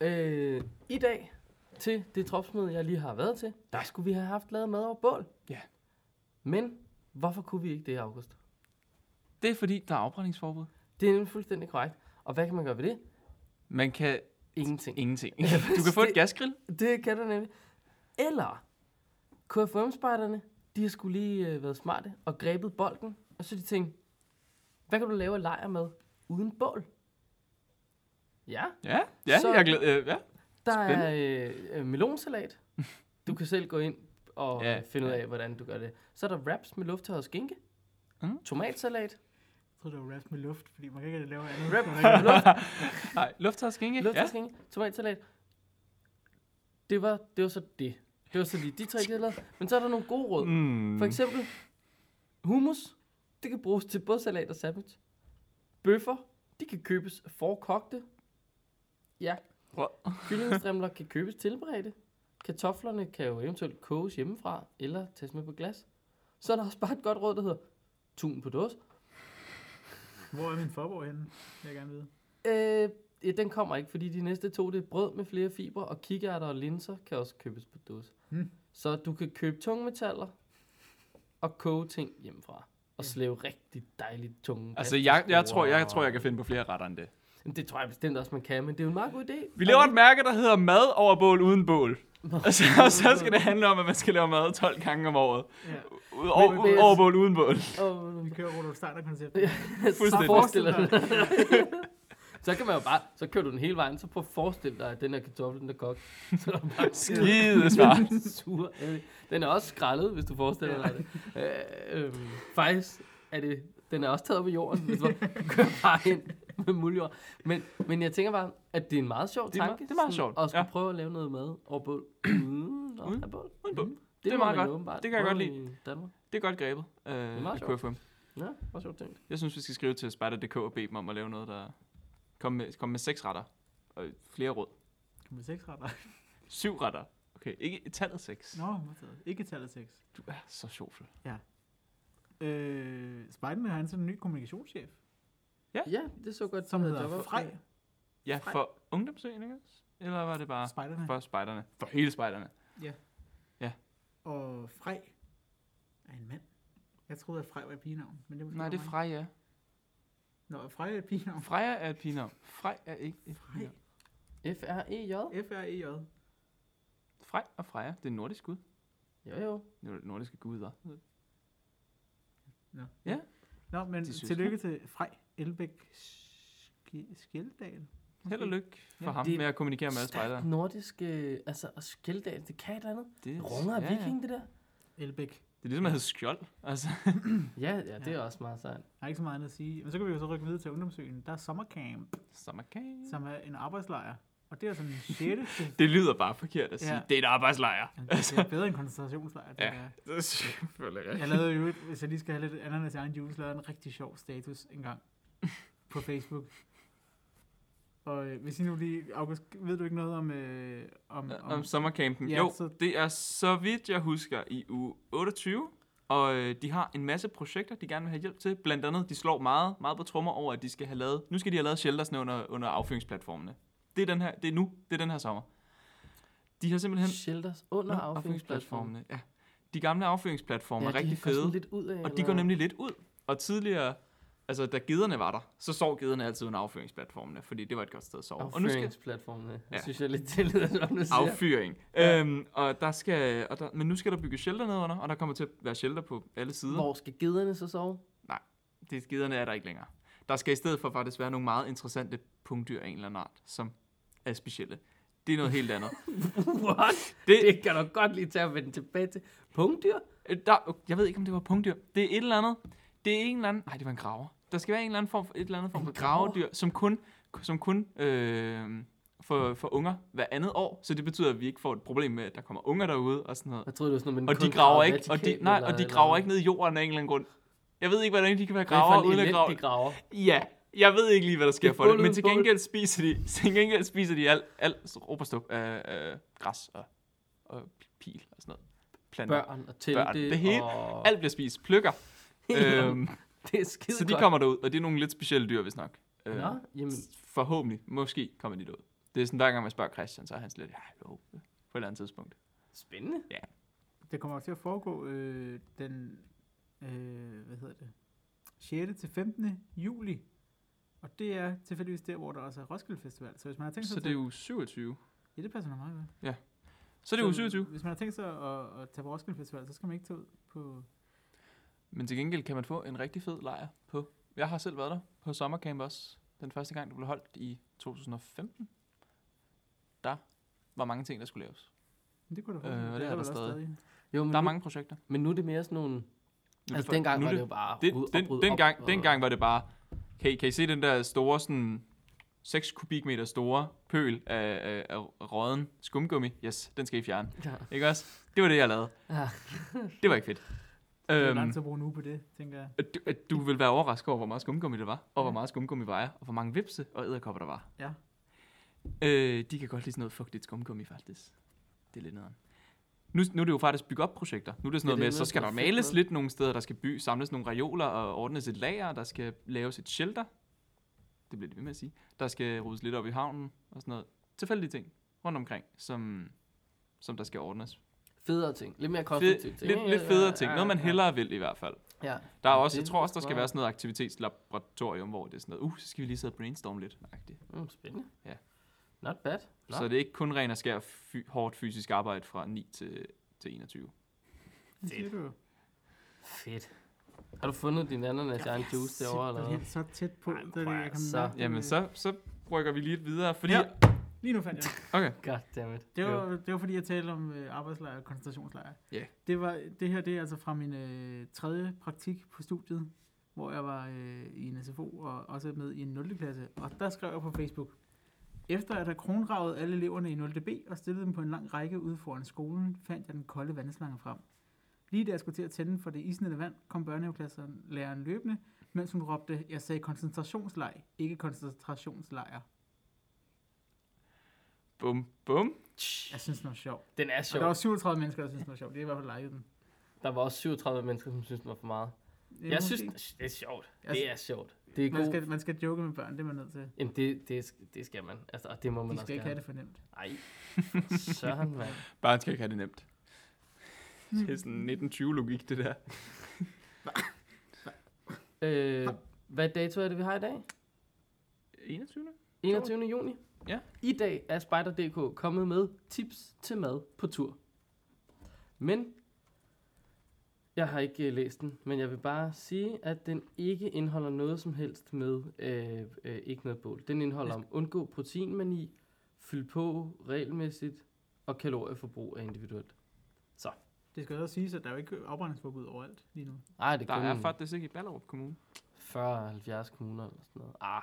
Speaker 2: Øh, I dag til det tropsmøde, jeg lige har været til, der skulle vi have haft lavet mad over bål.
Speaker 5: Ja.
Speaker 2: Men hvorfor kunne vi ikke det, August?
Speaker 5: Det er fordi, der er afbrændingsforbud.
Speaker 2: Det er nemlig fuldstændig korrekt. Og hvad kan man gøre ved det?
Speaker 5: Man kan
Speaker 2: Ingenting.
Speaker 5: ingenting. Du kan få et gasgrill.
Speaker 2: Det kan du nemlig. Eller KFM-spejderne, de har skulle lige øh, været smarte og grebet bolden, og så de tænkte, hvad kan du lave af lejr med uden bål? Ja,
Speaker 5: Ja, ja
Speaker 2: Så-
Speaker 5: jeg glæder øh, ja.
Speaker 2: der er øh, øh, melonsalat. Du kan selv gå ind og
Speaker 5: Ja,
Speaker 2: ja, finde ud
Speaker 5: ja.
Speaker 2: af, hvordan du gør det. Så er der wraps med lufttørret skinke.
Speaker 5: Mm.
Speaker 2: Mm. Tomatsalat.
Speaker 4: Jeg troede, det var raps med luft, fordi man kan ikke lave andet.
Speaker 2: Rap
Speaker 4: når
Speaker 2: med
Speaker 4: der ikke er luft.
Speaker 2: luft,
Speaker 5: Nej, lufttørsk ikke?
Speaker 2: lufttørret
Speaker 5: Ja.
Speaker 2: skinke. Tomatsalat. Det var, det var så det. Det var så lige de tre, de havde lavet. Men så er der nogle gode råd.
Speaker 5: Mm.
Speaker 2: For eksempel hummus, det kan bruges til både salat og sandwich. Bøffer, de kan købes forkogte. Ja.
Speaker 5: Hvor-
Speaker 2: Kyllingestrimler kan købes tilberedte. Kartoflerne kan jo eventuelt koges hjemmefra eller tages med på glas. Så er der også bare et godt råd, der hedder tun på dåse.
Speaker 4: Hvor er min forborg henne? Det vil jeg gerne vide.
Speaker 2: Øh, ja, den kommer ikke, fordi de næste to, det er brød med flere fibre, og kikærter og linser kan også købes på dåse.
Speaker 4: Hmm.
Speaker 2: Så du kan købe tungmetaller og koge ting hjemmefra. Og slæve rigtig dejligt tunge.
Speaker 5: Altså,
Speaker 2: pasta
Speaker 5: jeg, jeg,
Speaker 2: store
Speaker 5: tror, jeg
Speaker 2: og-
Speaker 5: tror, jeg kan finde på flere retter end det.
Speaker 2: Jamen, Det tror jeg bestemt også, man kan, men det er jo en meget god idé.
Speaker 5: Vi laver et mærke, der hedder mad over bål uden bål. Og så, og så skal det handle om, at man skal lave mad 12 gange om året.
Speaker 4: Ja.
Speaker 5: Ud, over,
Speaker 2: det er-
Speaker 5: over bål uden bål.
Speaker 2: Og,
Speaker 4: Vi kører Rudolf Steiner-koncept.
Speaker 2: Ja, så
Speaker 5: Fuldstændig.
Speaker 2: forestil dig Så kan man jo bare, så kører du den hele vejen, så prøv at forestille dig, at den her kartoffel, den der kok, så er der bare
Speaker 5: Skide smart.
Speaker 2: sur. æde. Den er også skrællet, hvis du forestiller dig det. Øh, øhm, faktisk er det, den er også taget op i jorden, hvis du bare- du kører bare ind med muljord. Men, men jeg tænker bare, at det er en meget sjov
Speaker 5: Det er meget-
Speaker 2: tanke.
Speaker 5: det er meget
Speaker 2: sådan
Speaker 5: sjovt,
Speaker 2: At skulle
Speaker 5: ja.
Speaker 2: prøve at lave noget mad over bål. Uden at
Speaker 5: Uden-
Speaker 2: have bål.
Speaker 5: Uden bål.
Speaker 2: Det,
Speaker 5: er
Speaker 2: må
Speaker 5: meget
Speaker 2: man
Speaker 5: godt.
Speaker 2: åbenbart
Speaker 5: Det kan jeg godt
Speaker 2: prøve
Speaker 5: lide.
Speaker 2: I Danmark.
Speaker 5: Det er godt grebet. Øh,
Speaker 2: er meget
Speaker 5: af
Speaker 2: sjovt.
Speaker 5: KFUM.
Speaker 2: Ja, meget sjovt tænkt.
Speaker 5: Jeg synes, vi skal skrive til Spider.dk og bede dem om at lave noget, der... Kom med, kom med seks retter. Og flere råd.
Speaker 4: Med seks retter.
Speaker 5: Syv retter. Okay, ikke tallet seks.
Speaker 4: Nå, modtaget. ikke tallet seks.
Speaker 5: Du er så sjov, Flo.
Speaker 4: Øh, Spiderman har ansat en ny kommunikationschef,
Speaker 2: Ja, det så godt. øh,
Speaker 4: som
Speaker 2: ud, at jeg
Speaker 4: hedder
Speaker 2: var-
Speaker 4: Frej.
Speaker 5: Ja, for ungdomsøen, ikke også? Eller var det bare
Speaker 4: Spiderman.
Speaker 5: for spejderne? For hele spejderne.
Speaker 4: Og Frej er en mand. Jeg troede, at Frej var et pigenavn. Men det måske
Speaker 5: Nej,
Speaker 4: bare
Speaker 5: det er
Speaker 4: mig.
Speaker 5: Freja.
Speaker 4: Nå, Frej er et pigenavn.
Speaker 5: Freja er et pigenavn. Frej er ikke et
Speaker 4: Frej.
Speaker 5: pigenavn.
Speaker 2: F-R-E-J.
Speaker 4: F-R-E-J.
Speaker 5: Frej og Freja, det er nordisk gud.
Speaker 2: Jo, jo.
Speaker 5: Det er nordiske guder.
Speaker 4: Nå.
Speaker 5: Ja.
Speaker 4: Nå, men
Speaker 5: De søstre.
Speaker 4: tillykke til Frej Elbæk Sk- Skjeldahl.
Speaker 5: Held og lykke for
Speaker 4: Ja,
Speaker 5: ham
Speaker 2: det er
Speaker 5: med at kommunikere med alle spejdere.
Speaker 2: nordisk, øh, altså, og skælddag, det kan et eller andet.
Speaker 5: Det,
Speaker 2: Det runger af viking, det der.
Speaker 4: Elbæk.
Speaker 5: Det er ligesom at hedde skjold. Altså,
Speaker 2: Ja, ja, det
Speaker 4: Ja.
Speaker 2: er også meget sejt.
Speaker 4: Der er ikke så meget andet at sige. Men så kan vi jo så rykke videre til Ungdomsøen. Der er Sommercamp,
Speaker 5: sommerkage.
Speaker 4: som er en arbejdslejr. Og det er sådan en sjette. til-
Speaker 5: Det lyder bare forkert at sige.
Speaker 4: Ja.
Speaker 5: Det er et arbejdslejr.
Speaker 4: Jamen, Det er bedre end koncentrationslejr. Det
Speaker 5: Ja.
Speaker 4: er.
Speaker 5: Det er selvfølgelig
Speaker 4: Jeg lavede jo, et- hvis jeg lige skal have lidt ananas i egen juice, lavede en rigtig sjov status engang på Facebook. Og øh, hvis I nu lige, August, ved du ikke noget om... Øh, om,
Speaker 5: Om, om sommercampen.
Speaker 4: Ja,
Speaker 5: Ja, jo,
Speaker 4: så-
Speaker 5: så... det er så vidt jeg husker i uge 28. Og øh, de har en masse projekter, de gerne vil have hjælp til. Blandt andet, de slår meget, meget på trommer over, at de skal have lavet... Nu skal de have lavet sheltersne under, under affyringsplatformene. Det er, den her, det er nu. Det er den her sommer. De har simpelthen...
Speaker 2: Shelters under
Speaker 5: Nå,
Speaker 2: affyringsplatformen.
Speaker 5: affyringsplatformene, Ja. De gamle affyringsplatforme er rigtig
Speaker 2: de går sådan
Speaker 5: fede.
Speaker 2: lidt ud af,
Speaker 5: Og de går nemlig lidt ud. Og tidligere, altså da gederne var der, så sov gederne altid under affyringsplatformene, fordi det var et godt sted at sove. Og nu skal
Speaker 2: Affyringsplatformene. Ja.
Speaker 5: Ja.
Speaker 2: Jeg synes, jeg er lidt tillid, som du siger.
Speaker 5: affyring. Ja. Øhm, og der skal, og der, men nu skal der bygges shelter nedenunder, og der kommer til at være shelter på alle sider.
Speaker 2: Hvor skal gederne så sove?
Speaker 5: Det gederne er der ikke længere. Der skal i stedet for faktisk være nogle meget interessante punktdyr af en eller anden art, som er specielle. Det er noget helt andet.
Speaker 2: What?
Speaker 5: Det-
Speaker 2: Det kan du godt lige tage og vende tilbage til. Punktdyr?
Speaker 5: Øh, Der, jeg ved ikke, om det var punktdyr. Det er et eller andet. Det er en eller anden... Nej, det var en graver. Der skal være en eller anden form for, et eller andet form for gravedyr, som kun, som kun øh, for, for unger hver andet år, så det betyder, at vi ikke får et problem med, at der kommer unger derude og sådan noget.
Speaker 2: Jeg troede, det var sådan noget, man
Speaker 5: Og de
Speaker 2: kun
Speaker 5: graver
Speaker 2: gravede
Speaker 5: ikke, og de,
Speaker 2: vertikalt,
Speaker 5: nej,
Speaker 2: eller-
Speaker 5: og de
Speaker 2: eller-
Speaker 5: graver ikke ned i jorden af en eller anden grund. Jeg ved ikke, hvordan de kan være
Speaker 2: Hvad er det for
Speaker 5: graver
Speaker 2: en
Speaker 5: uden at
Speaker 2: element,
Speaker 5: grave.
Speaker 2: de graver?
Speaker 5: Ja, jeg ved ikke lige, hvad der sker
Speaker 2: Det er
Speaker 5: for det,
Speaker 2: bundet
Speaker 5: men til
Speaker 2: på det.
Speaker 5: gengæld spiser de, til gengæld spiser de alt al råberstup af øh, græs og, og pil og sådan noget. Planter.
Speaker 2: Børn og telte
Speaker 5: Børn. Det hele-
Speaker 2: og...
Speaker 5: Alt bliver spist. Pløkker. øhm,
Speaker 2: det er skide
Speaker 5: så de kommer derud, og det er nogle lidt specielle dyr, hvis nok. Øh,
Speaker 2: Nå, jamen,
Speaker 5: Forhåbentlig. Måske kommer de derud. Det er sådan, hver gang man spørger Christian, så er han sådan lidt, ja, jo, på et eller andet tidspunkt.
Speaker 2: spændende.
Speaker 4: Det kommer til at foregå øh, den, øh, hvad hedder det, 6. til 15. juli. Og det er tilfældigvis der, hvor der også er Roskilde Festival. Så hvis man har tænkt sig
Speaker 5: Så det er jo 27.
Speaker 4: Ja, det passer nok meget godt.
Speaker 5: Så det er jo 27.
Speaker 4: Hvis man har tænkt sig at, at tage på Roskilde Festival, så skal man ikke tage ud på...
Speaker 5: Men til gengæld kan man få en rigtig fed lejr på. Jeg har selv været der på sommercamp også. Den første gang, det blev holdt i 2015. Der var mange ting, der skulle laves.
Speaker 4: Men det kunne da
Speaker 5: Øh,
Speaker 4: være.
Speaker 5: og det er
Speaker 4: vel
Speaker 5: der
Speaker 4: også
Speaker 5: stadig.
Speaker 2: Jo, men,
Speaker 5: Der er
Speaker 2: nu,
Speaker 5: mange projekter.
Speaker 2: men nu er det mere sådan nogle...
Speaker 5: Nu er
Speaker 2: Altså,
Speaker 5: for-
Speaker 2: dengang
Speaker 5: nu
Speaker 2: var
Speaker 5: er
Speaker 2: det jo bare... ryd
Speaker 5: det,
Speaker 2: op,
Speaker 5: den,
Speaker 2: ryd op,
Speaker 5: dengang,
Speaker 2: og-
Speaker 5: dengang var det bare, kan I, kan I se den der store, sådan 6 kubikmeter store pøl af, af, af råden skumgummi? Yes, den skal I fjerne.
Speaker 2: Ja.
Speaker 5: Ikke også? Det var det, jeg lavede.
Speaker 2: Ja.
Speaker 5: det var ikke fedt.
Speaker 4: Det er
Speaker 5: Øhm,
Speaker 4: langt at bruge nu på det, tænker jeg.
Speaker 5: at du, at du vil være overrasket over, hvor meget skumgummi der var, og hvor
Speaker 4: Ja.
Speaker 5: meget skumgummi vejer, og hvor mange vipse og æderkopper der var.
Speaker 4: Ja.
Speaker 5: Øh, de kan godt lide sådan noget fugtigt skumgummi, faktisk. Det er lidt nederen. Nu, nu er det jo faktisk bygge op projekter. Nu er det
Speaker 2: Ja,
Speaker 5: sådan noget
Speaker 2: det er
Speaker 5: med,
Speaker 2: noget
Speaker 5: så skal der
Speaker 2: sådan noget fedt
Speaker 5: males
Speaker 2: noget.
Speaker 5: lidt nogle steder, der skal by, samles nogle reoler og ordnes et lager, der skal laves et shelter. Det bliver det ved med at sige. Der skal ryddes lidt op i havnen og sådan noget. Tilfældige ting rundt omkring, som, som der skal ordnes.
Speaker 2: Federe ting. Lidt mere
Speaker 5: Fed,
Speaker 2: konstruktive ting.
Speaker 5: lidt,
Speaker 2: Ja,
Speaker 5: lidt
Speaker 2: ja,
Speaker 5: federe
Speaker 2: ja,
Speaker 5: ting.
Speaker 2: ja,
Speaker 5: Noget, man
Speaker 2: ja.
Speaker 5: hellere vil i hvert fald.
Speaker 2: Ja.
Speaker 5: Der er
Speaker 2: Ja,
Speaker 5: også,
Speaker 2: det
Speaker 5: jeg tror også,
Speaker 2: tror
Speaker 5: der skal
Speaker 2: jeg.
Speaker 5: være sådan noget aktivitetslaboratorium, hvor det er sådan noget, uh, så skal vi lige sidde og brainstorme lidt. -agtigt.
Speaker 2: Mm, spændende.
Speaker 5: Ja.
Speaker 2: Not bad. Nå.
Speaker 5: Så det er ikke kun ren og skær fy- hårdt fysisk arbejde fra 9 til, til 21.
Speaker 4: Det siger du jo.
Speaker 2: Fedt. Har du fundet din ananas i egen juice derovre, eller
Speaker 4: Simpelthen
Speaker 2: hvad?
Speaker 4: så tæt på,
Speaker 2: Ej, men
Speaker 4: da det
Speaker 2: prøv at-
Speaker 4: jeg kan
Speaker 2: så-
Speaker 4: mærke det.
Speaker 5: Jamen, så, så rykker vi lige lidt videre, fordi...
Speaker 4: Ja. Lige nu fandt jeg det.
Speaker 5: Okay,
Speaker 2: Goddammit.
Speaker 4: det.
Speaker 2: Jo.
Speaker 4: Var, det var fordi, jeg talte om øh, arbejdslejr og koncentrationslejr.
Speaker 5: Ja.
Speaker 4: Det, var, det her det er altså fra min øh, tredje praktik på studiet, hvor jeg var øh, i en SFO og også med i en 0. klasse. Og der skrev jeg på Facebook, efter at have kronravet alle eleverne i 0.b og stillet dem på en lang række ude foran skolen, fandt jeg den kolde vandslange frem. Lige da jeg skulle til at tænde for det isnende vand, kom børnehaveklasselæreren løbende, mens hun råbte, jeg sagde koncentrationslejr, ikke koncentrationslejr.
Speaker 5: bum, bum.
Speaker 4: Jeg synes, den var sjov.
Speaker 2: Den er
Speaker 4: Der
Speaker 2: sjov.
Speaker 4: var 37 mennesker, der synes, den var sjov. Det er i hvert fald lejet den.
Speaker 2: Der var også 37 mennesker, som synes, den var for meget.
Speaker 4: Øh,
Speaker 2: Jeg synes,
Speaker 4: måske.
Speaker 2: det er sjovt.
Speaker 4: Jeg
Speaker 2: Det er sjovt. Det er
Speaker 4: man
Speaker 2: god.
Speaker 4: skal, man skal joke med børn, det er man nødt til.
Speaker 2: Jamen, det, det, det skal man. Altså, og det må man
Speaker 4: De
Speaker 2: også
Speaker 4: skal ikke have
Speaker 2: gerne.
Speaker 4: det for nemt.
Speaker 2: Ej, for søren, mand.
Speaker 5: Barnet skal ikke have det nemt. Det er sådan 1920-logik, det der.
Speaker 2: Øh, hvad dato er det, vi har i dag?
Speaker 5: 21.
Speaker 2: 21. juni?
Speaker 5: Ja.
Speaker 2: I dag er Spider.dk kommet med tips til mad på tur. Men jeg har ikke øh, læst den, men jeg vil bare sige, at den ikke indeholder noget som helst med øh, øh, ikke noget bål. Den indeholder om undgå proteinmani, fyld på regelmæssigt og kalorieforbrug er individuelt.
Speaker 4: Det skal også siges, at der er jo ikke afbrændingsforbud overalt lige nu.
Speaker 2: Ej, det
Speaker 5: Der
Speaker 2: kun
Speaker 5: er faktisk ikke i Ballerup Kommune.
Speaker 2: 40-70 kommuner eller sådan noget. Ah,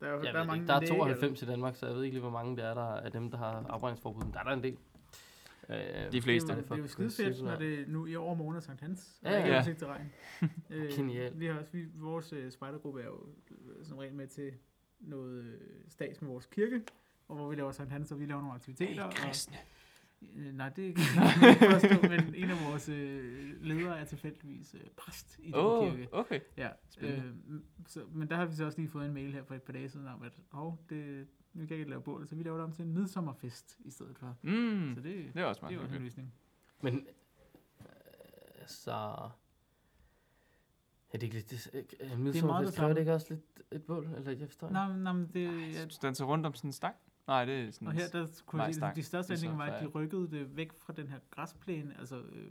Speaker 4: Der er, jo-
Speaker 2: Jeg der,
Speaker 4: er, mange
Speaker 2: ikke. der er
Speaker 4: læger, der-
Speaker 2: 92 i Danmark, så jeg ved ikke lige, hvor mange der er der af dem, der har afbrændingsforbud. Men der er der en del. Øh,
Speaker 5: De fleste.
Speaker 4: Det er jo, det er jo skide fedt, når det nu i år morgen er Sankt Hans.
Speaker 2: Ja,
Speaker 4: Ja, ja.
Speaker 5: ja.
Speaker 4: Udsigt til regn. Øh,
Speaker 2: Genialt.
Speaker 4: Vi har også, vi, vores øh, spejdergruppe er jo øh, som regel med til noget øh, stats med vores kirke, og hvor vi laver Sankt Hans, og vi laver nogle aktiviteter. og- Øh, nej, det kan jeg ikke forstå, men en af vores øh, ledere er tilfældigvis øh, præst i den
Speaker 5: Åh,
Speaker 4: kirke.
Speaker 5: okay.
Speaker 4: Ja,
Speaker 5: Spændende.
Speaker 4: øh, så, men der har vi så også lige fået en mail her for et par dage siden om, at oh, det, nu kan jeg ikke lave bål, så vi laver det om til en midsommerfest i stedet for.
Speaker 5: Mm,
Speaker 4: Så det, det
Speaker 5: det er også
Speaker 4: er
Speaker 5: meget
Speaker 4: jo også en
Speaker 5: hyggeligt.
Speaker 4: løsning.
Speaker 2: Men, øh, så... Er det ikke lidt... Det, øh, midsommerfest kræver
Speaker 4: samme.
Speaker 2: det ikke også lidt et bål? Eller jeg forstår ikke.
Speaker 4: Nej, men- nej, men det, ja,
Speaker 5: Jeg synes, den tager rundt om sådan en stang. Nej, det er sådan...
Speaker 4: og her der kunne jeg se,
Speaker 5: Majstang.
Speaker 4: at de største
Speaker 5: Det er så
Speaker 4: ændringer var, at de
Speaker 5: fejl.
Speaker 4: rykkede det væk fra den her græsplæne, altså, øh,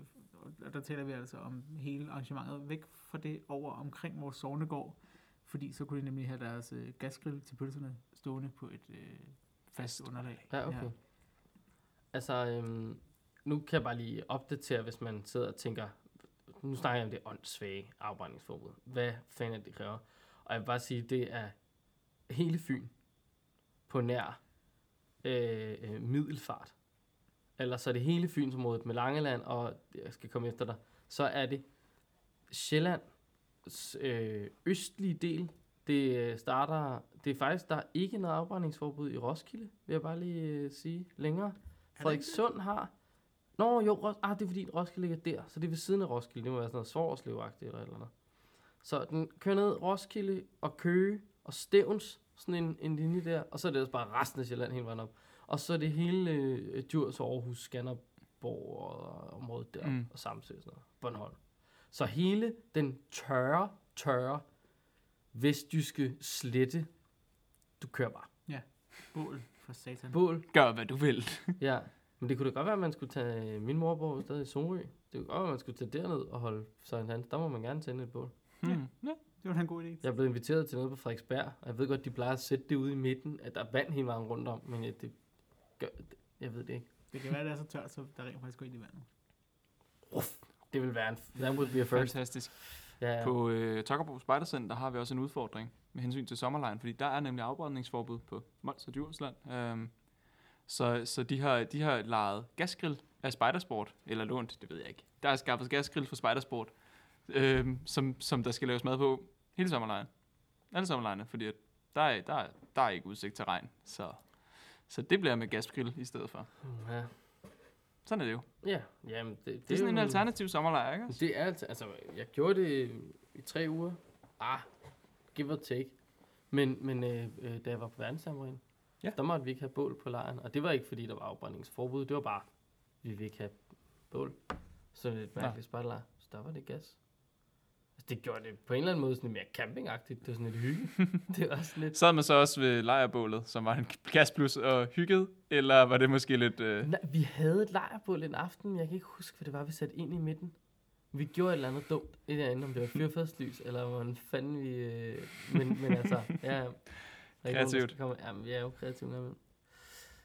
Speaker 4: og der taler vi altså om hele arrangementet, væk fra det over omkring vores sovnegård, fordi så kunne de nemlig have deres øh, gasgrill til pølserne stående på et øh, fast underlag.
Speaker 2: Ja, okay. Altså, øhm, nu kan jeg bare lige opdatere, hvis man sidder og tænker, nu snakker jeg om det åndssvage afbrændingsforbud. Hvad fanden er det, det kræver? Og jeg vil bare sige, det er hele Fyn. på nær øh, øh, middelfart, eller så er det hele Fynsområdet med Langeland, og jeg skal komme efter dig, så er det Sjællands øh, østlige del. Det øh, starter, det er faktisk, der er ikke noget afbrændingsforbud i Roskilde, vil jeg bare lige øh, sige længere. Frederikssund har, Nå jo, Ros- ah, det er fordi Roskilde ligger der, så det er ved siden af Roskilde. Det må være sådan noget Svorslev-agtigt eller et eller andet. Så den kører ned Roskilde og Køge og Stævns, sådan en, en linje der, og så er det ellers bare resten af Sjælland hele vejen op. Og så er det hele øh, Djurs, Aarhus, Skanderborg og området der,
Speaker 5: Mm.
Speaker 2: mm. og Samsø og sådan noget, Bornholm. Så hele den tørre, tørre vestjyske slette, du kører bare.
Speaker 4: Bål for satan.
Speaker 2: Bål,
Speaker 5: Gør, hvad du vil.
Speaker 2: Ja, men det kunne da godt være, at man skulle tage... øh, Min mor bor jo stadig i Sorø. Det kunne godt være, at man skulle tage derned og holde Sankt Hans. Der må man gerne tænde et bål.
Speaker 5: Hmm. Ja.
Speaker 4: Det var da en god idé.
Speaker 2: Jeg er blevet inviteret til noget på Frederiksberg, og jeg ved godt, de plejer at sætte det ude i midten, at der er vand hele vejen rundt om, men jeg, det gør, det- jeg ved det ikke.
Speaker 4: Det kan være, det er så tørt, så der rent faktisk går ind i vandet.
Speaker 2: Det vil være en... That would be a first.
Speaker 5: Fantastisk.
Speaker 2: Ja, ja.
Speaker 5: På øh, Tokkerbo Spejdercenter der har vi også en udfordring med hensyn til sommerlejen, fordi der er nemlig afbrændningsforbud på Mols og Djursland. Øhm, så, så de har, de har lejet gasgrill af Spejdersport, eller lånt, det ved jeg ikke. Der er skaffet gasgrill fra Spejdersport, øhm, som, som der skal laves mad på hele sommerlejen. Alle sommerlejene, fordi at der, er, der, er, der er ikke udsigt til regn, så, så det bliver med gasgrill i stedet for.
Speaker 2: Ja,
Speaker 5: Sådan er det jo. Det,
Speaker 2: ja. Jamen, det, det,
Speaker 5: det er sådan en
Speaker 2: jo-
Speaker 5: alternativ sommerlejr, ikke?
Speaker 2: Det er altså, altså, jeg gjorde det i tre uger. Ah, give or take. Men, men øh, øh, da jeg var på verdenssamringen,
Speaker 5: Ja.
Speaker 2: ja. der måtte vi ikke have bål på lejren. Og det var ikke, fordi der var afbrændingsforbud. Det var bare, vi vil ikke have bål. Så det er et
Speaker 5: Nå.
Speaker 2: mærkeligt spejlelejr. Så der var det gas. Altså, det gjorde det på en eller anden måde sådan lidt mere campingagtigt. Det var sådan lidt hygge. det var sådan lidt...
Speaker 5: Sad man så også ved lejrebålet, som var en gasplus og hyggede, eller var det måske lidt... Øh...
Speaker 2: Nej, vi havde et lejrbål en aften, men jeg kan ikke huske, hvad det var, vi satte ind i midten. Vi gjorde et eller andet dumt et eller andet, om det var fyrfærdslys, eller hvordan fanden vi... Øh, men, men altså, ja... ja. Der er ikke nogen, der skal
Speaker 5: Kreativt.
Speaker 2: komme- Jamen, vi er jo kreative med.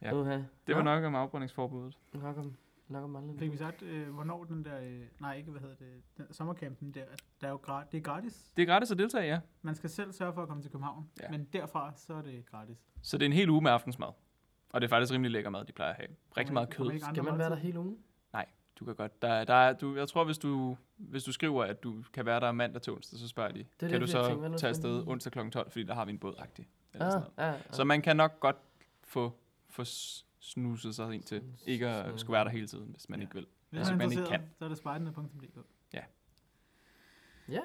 Speaker 5: Ja.
Speaker 2: Ja. Uha.
Speaker 5: Det var
Speaker 2: Nå,
Speaker 5: nok om afbrændingsforbuddet.
Speaker 2: Nok om, nok om aldrig.
Speaker 4: Fik vi sagt, øh, hvornår den der, øh, nej ikke, hvad hedder det, den, sommercampen der, at der er jo gra- det er gratis.
Speaker 5: Det er gratis at deltage, ja.
Speaker 4: Man skal selv sørge for at komme til København,
Speaker 5: Ja.
Speaker 4: ja. men derfra, så er det gratis.
Speaker 5: Så det er en hel uge med aftensmad. Og det er faktisk rimelig lækker mad, de plejer at have. Rigtig
Speaker 4: Kommer
Speaker 5: meget
Speaker 4: ikke- kommer
Speaker 5: kød.
Speaker 4: ikke andre
Speaker 2: Skal man være der
Speaker 4: måltider?
Speaker 2: hele ugen?
Speaker 5: Du kan godt. Der, er- der er, du, jeg tror, hvis du, hvis du skriver, at du kan være der mandag til onsdag, så spørger de,
Speaker 2: det,
Speaker 5: kan du
Speaker 2: jeg
Speaker 5: så
Speaker 2: tænker, hvad nu Ah.
Speaker 5: tage
Speaker 2: skal
Speaker 5: afsted
Speaker 2: man-
Speaker 5: onsdag kl. 12, fordi der har vi en bådagtig. Eller
Speaker 2: Ja,
Speaker 5: sådan noget.
Speaker 2: ja, ja.
Speaker 5: Så man kan nok godt få, få s- snuset sig ind til
Speaker 2: Snus-
Speaker 5: ikke
Speaker 2: sådan.
Speaker 5: at skulle være der hele tiden, hvis man
Speaker 4: Ja.
Speaker 5: ikke vil.
Speaker 4: Hvis
Speaker 5: Altså,
Speaker 4: man er
Speaker 5: man ikke
Speaker 4: interesseret, så er det spejdende.dk.
Speaker 2: Ja,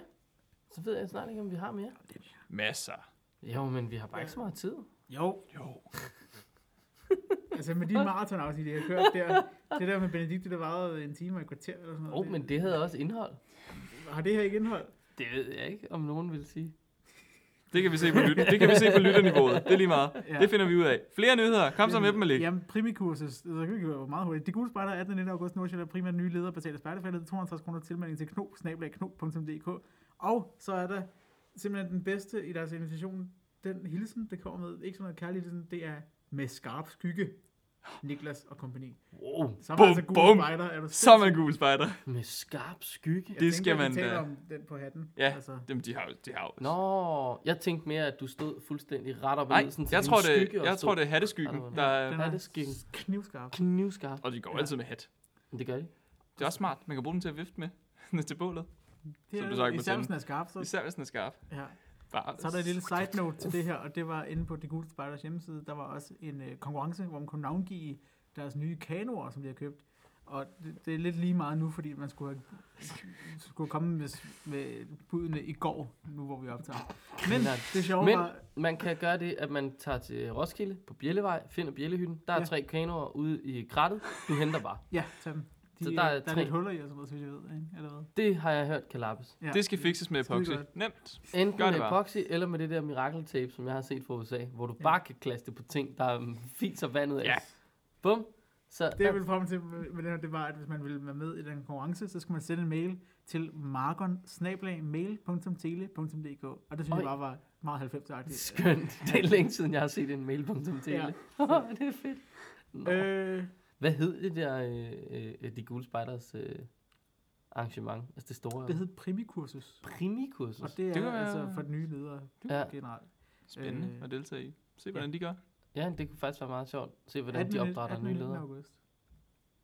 Speaker 2: så ved jeg snart ikke, om vi har mere.
Speaker 5: Masser.
Speaker 2: Jo, men vi har bare ikke så meget tid.
Speaker 4: Jo,
Speaker 5: Jo.
Speaker 4: altså med de maratonafsnit, jeg har kørt der, det der med Benedikte, der varede en time og et kvarter eller sådan noget.
Speaker 2: Åh, oh, men det havde også indhold.
Speaker 4: Har det her ikke indhold?
Speaker 2: Det ved jeg ikke, om nogen vil sige.
Speaker 5: Det kan vi se på, lyt- det kan vi se på lytterniveauet. Det er lige meget.
Speaker 4: Ja.
Speaker 5: Det finder vi ud af. Flere nyheder. Kom så med dem, Malik.
Speaker 4: Jamen, primikursus, så kan vi gå meget hurtigt. De gule spejder 18. 19. august, Nordsjælland, primært nye leder, betaler spejderfældet, 52 kroner tilmelding til knop, snablag knop.dk. Og så er der simpelthen den bedste i deres invitation, den hilsen, det kommer med, ikke sådan noget kærlig hilsen, det er med skarp skygge. Niklas og kompagni.
Speaker 2: Wow.
Speaker 4: Så er
Speaker 5: Bum,
Speaker 4: man altså gule spejder.
Speaker 5: bum.
Speaker 4: Er du
Speaker 5: Så er man gul spejder.
Speaker 2: Med skarp skygge.
Speaker 4: Jeg tænker,
Speaker 5: Det skal
Speaker 4: at vi
Speaker 5: man
Speaker 4: taler
Speaker 5: da.
Speaker 4: om den på hatten.
Speaker 5: Ja.
Speaker 4: Altså,
Speaker 5: Jamen, de har jo... De har jo.
Speaker 2: Nå, jeg tænkte mere, at du stod fuldstændig ret op ad
Speaker 5: Nej,
Speaker 2: ledelsen til
Speaker 5: jeg
Speaker 2: din
Speaker 5: tror, det,
Speaker 2: skygge og
Speaker 5: jeg
Speaker 2: stod
Speaker 5: tror, det er hatteskyggen,
Speaker 2: Ej,
Speaker 5: der
Speaker 4: den
Speaker 5: er...
Speaker 2: er
Speaker 4: er
Speaker 2: det skæg.
Speaker 4: knivskarp.
Speaker 2: knivskarp.
Speaker 5: Og de går altid med hat.
Speaker 2: Men Det gør de.
Speaker 5: Det er også smart. Man kan bruge den til at vifte med til bålet.
Speaker 4: Det
Speaker 5: Som
Speaker 4: er,
Speaker 5: du sagde, ikke
Speaker 4: især
Speaker 5: må
Speaker 4: hvis
Speaker 5: tænde.
Speaker 4: den er skarp, så,
Speaker 5: Især hvis den er skarp.
Speaker 4: ja.
Speaker 5: Bare,
Speaker 4: Så er der et lille side note til det her, og det var inde på De Gule Spejders hjemmeside, der var også en øh, konkurrence, hvor man kunne navngive deres nye kanoer, som de har købt. Og det, det er lidt lige meget nu, fordi man skulle, have, skulle komme med, s- med budene i går, nu hvor vi optager. Men det sjove
Speaker 2: Men-
Speaker 4: Men, var,
Speaker 2: Man kan gøre det, at man tager til Roskilde på Bjellevej, finder Bjellehytten. Der er
Speaker 4: Ja.
Speaker 2: tre kanoer ude i krattet. Du henter bare.
Speaker 4: ja, tag dem. De,
Speaker 2: Så
Speaker 4: der
Speaker 2: der er
Speaker 4: er, der er
Speaker 2: tre.
Speaker 4: lidt huller i og sådan noget, så vidt jeg ved. Ikke? Eller hvad?
Speaker 2: Det har jeg hørt kan lappes.
Speaker 4: Ja.
Speaker 5: Det skal fikses med epoxy.
Speaker 4: Skidegodt.
Speaker 5: Nemt.
Speaker 2: Enten
Speaker 5: Gør det
Speaker 2: med
Speaker 5: bare.
Speaker 2: epoxy eller med det der mirakeltape, som jeg har set fra USA, hvor du
Speaker 4: Ja.
Speaker 2: bare kan klaste på ting, der mm, fiser vandet af.
Speaker 5: Ja.
Speaker 2: Bum. Så
Speaker 4: Det
Speaker 2: der-
Speaker 4: jeg ville frem til med med det her, det var, at hvis man ville være med i den konkurrence, så skulle man sende en mail til margon og det synes
Speaker 2: Oj.
Speaker 4: jeg bare var meget 90'er-agtigt.
Speaker 2: Skønt. Det er længe siden, jeg har set en mail.tv. Ja.
Speaker 4: Ja.
Speaker 2: det er fedt. Nå.
Speaker 4: Øh,
Speaker 2: Hvad hed det der, øh, øh, de gule spejders øh, arrangement? Altså det store
Speaker 4: det hed primikursus, og
Speaker 2: primikursus.
Speaker 4: det er
Speaker 5: Det
Speaker 4: det
Speaker 5: var-
Speaker 4: altså for nye ledere
Speaker 2: Ja.
Speaker 4: generelt.
Speaker 5: Spændende
Speaker 4: Øh.
Speaker 5: at deltage i. Se, hvordan de gør.
Speaker 2: Ja, det kunne faktisk være meget sjovt. at Se, hvordan de opdrætter nye ledere.
Speaker 4: august.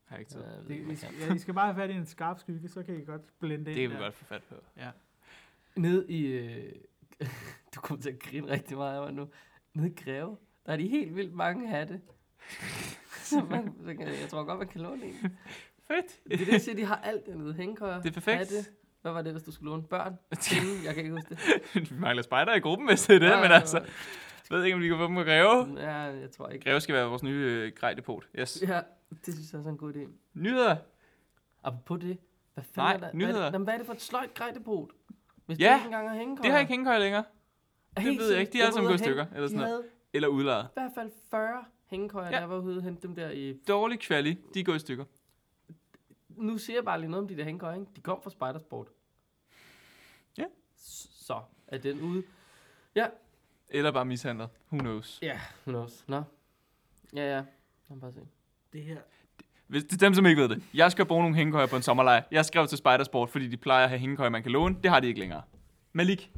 Speaker 5: Har jeg ikke
Speaker 2: Så,
Speaker 5: tid.
Speaker 2: jeg ved
Speaker 4: Det,
Speaker 2: ikke,
Speaker 4: I,
Speaker 2: man kan.
Speaker 4: skal- ja, I skal bare have fat i en skarp skygge, så kan I godt blende
Speaker 5: Det
Speaker 4: ind
Speaker 5: kan vi
Speaker 4: der.
Speaker 5: godt få fat på.
Speaker 2: Nede i... Øh, du kommer til at grine rigtig meget af mig nu. Nede i Greve, der er de helt vildt mange hatte. så man, så kan, jeg tror godt, man kan låne en.
Speaker 5: Fedt.
Speaker 2: Det er det, jeg siger, de har alt dernede. Hængkøjer,
Speaker 5: Det er perfekt.
Speaker 2: hatte. Hvad var det, hvis du skulle låne børn? Penge? Jeg kan ikke huske det.
Speaker 5: vi mangler spejder i gruppen, hvis det er det, men altså,
Speaker 2: Øh,
Speaker 5: jeg ved ikke, om vi kan få dem på Greve.
Speaker 2: Ja, jeg tror ikke.
Speaker 5: Greve skal være vores nye øh, grejdepot. Yes.
Speaker 2: Ja, det synes jeg også er en god idé.
Speaker 5: Nyheder.
Speaker 2: Apropos det, hvad fanden
Speaker 5: Nej,
Speaker 2: er der? Hvad er
Speaker 5: nyheder.
Speaker 2: det, jamen, hvad er det for et sløjt grejdepot? Hvis
Speaker 5: Ja,
Speaker 2: det ikke engang er hængekøjer.
Speaker 5: Det har ikke hængekøj længere.
Speaker 2: Er
Speaker 5: det
Speaker 2: helt
Speaker 5: ved jeg
Speaker 2: sikkert.
Speaker 5: ikke. De er
Speaker 2: Jeg
Speaker 5: alle
Speaker 2: var
Speaker 5: sammen
Speaker 2: ude
Speaker 5: gået
Speaker 2: at hente-
Speaker 5: i stykker, eller
Speaker 2: De
Speaker 5: sådan
Speaker 2: havde
Speaker 5: Eller udlejet.
Speaker 2: i hvert fald 40 hængekøjer,
Speaker 5: Ja.
Speaker 2: ja. der var ude og hente dem der i...
Speaker 5: Dårlig kvali. De er gået i stykker.
Speaker 2: Nu siger jeg bare lige noget om de der hængekøjer, ikke? De kom fra Spidersport.
Speaker 5: Ja.
Speaker 2: S- Så er den ude.
Speaker 5: Eller bare mishandlet. Who knows.
Speaker 2: Who knows? Nå. Ja, ja. Lad mig bare se.
Speaker 4: Det her.
Speaker 5: Hvis det er dem, som ikke ved det. Jeg skal bruge nogle hængekøjer på en sommerlejr. Jeg skrev til Spidersport, fordi de plejer at have hængekøjer, man kan låne. Det har de ikke længere. Malik.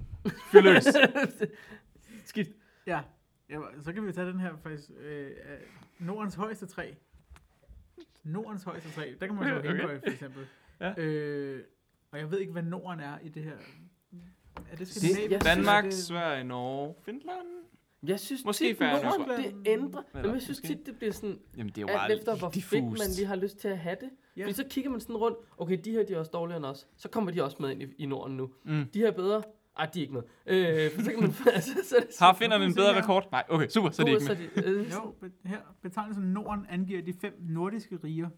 Speaker 5: Fyr løs.
Speaker 2: Skidt.
Speaker 4: Ja. ja, så kan vi tage den her faktisk. Øh, øh, Nordens højeste træ. Nordens højeste træ. Der kan man så
Speaker 5: Okay.
Speaker 4: okay. for eksempel.
Speaker 5: Ja.
Speaker 4: Øh, og jeg ved ikke, hvad Norden er i det her. Er det
Speaker 2: jeg
Speaker 4: Skandinavien?
Speaker 2: synes,
Speaker 5: Danmark,
Speaker 4: det-
Speaker 5: Sverige, Norge, Finland.
Speaker 2: Jeg synes
Speaker 5: Måske
Speaker 2: tit,
Speaker 5: Færøerne
Speaker 2: Norden,
Speaker 4: også.
Speaker 2: det ændrer.
Speaker 5: Eller
Speaker 2: Men jeg synes
Speaker 5: måske.
Speaker 2: tit, det bliver sådan,
Speaker 5: Jamen, det er jo bare
Speaker 2: alt efter hvor fedt man
Speaker 5: diffust.
Speaker 2: lige har lyst til at have det.
Speaker 4: Ja.
Speaker 2: Ja. Fordi så kigger man sådan rundt, okay, de her de er også dårligere end os. Så kommer de også med ind i, i Norden nu.
Speaker 5: Mm.
Speaker 2: De her er bedre. Ej, de er ikke med. Øh, for så kan man... altså, så er det
Speaker 5: Har
Speaker 2: sådan-
Speaker 5: finderne en
Speaker 4: se
Speaker 5: bedre
Speaker 4: her.
Speaker 5: rekord? Nej, okay, super, så er de
Speaker 2: Uh,
Speaker 5: ikke med.
Speaker 2: de- øh,
Speaker 4: Jo, be- her. Betegnelsen Norden angiver de fem nordiske riger.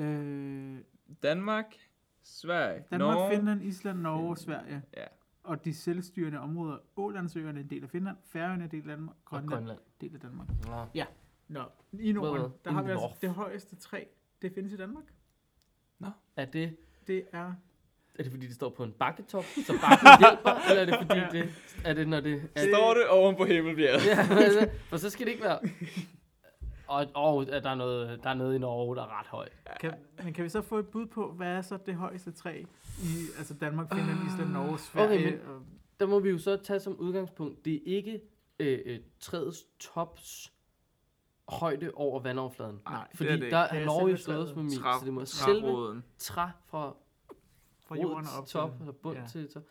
Speaker 4: Øh,
Speaker 5: Danmark, Sverige,
Speaker 4: Danmark,
Speaker 5: Norge.
Speaker 4: Norge. Finland, Island, Norge,
Speaker 5: Finland.
Speaker 4: Sverige.
Speaker 5: Ja.
Speaker 4: Og de selvstyrende områder. Ålandsøerne er en del af Finland, Færøerne er en del af Danmark,
Speaker 2: og
Speaker 4: Grønland, Grønland.
Speaker 2: Grønland.
Speaker 4: del af Danmark.
Speaker 2: Nå.
Speaker 4: Nå, i
Speaker 2: Hvad?
Speaker 4: Norden, der har
Speaker 2: I
Speaker 4: vi altså
Speaker 2: Norf.
Speaker 4: det højeste træ, det findes i Danmark.
Speaker 2: Er det,
Speaker 4: Det er...
Speaker 2: er det fordi, det står på en bakketop, så bakken hjælper? eller er det fordi, det, er det når det... Er,
Speaker 5: Står det oven på Himmelbjerget?
Speaker 2: ja, altså, for så skal det ikke være... Og, og er der, er noget, der er noget i Norge, der er ret højt.
Speaker 4: Kan, men kan vi så få et bud på, hvad er så det højeste træ i altså Danmark, Finland, Island, Norge, Sverige?
Speaker 2: Ah, men-
Speaker 4: og,
Speaker 2: Der må vi jo så tage som udgangspunkt, det er ikke øh, øh, træets tops højde over vandoverfladen.
Speaker 4: nej,
Speaker 2: Fordi
Speaker 5: det er det
Speaker 2: der
Speaker 4: ikke.
Speaker 2: er
Speaker 4: Ja,
Speaker 2: Norge jo
Speaker 4: selve
Speaker 2: slået
Speaker 4: træet.
Speaker 2: med min, så det må selve
Speaker 5: Træroden.
Speaker 2: træ fra,
Speaker 4: fra jorden og op
Speaker 2: op
Speaker 4: til-
Speaker 2: top, eller bund
Speaker 4: ja.
Speaker 2: til top.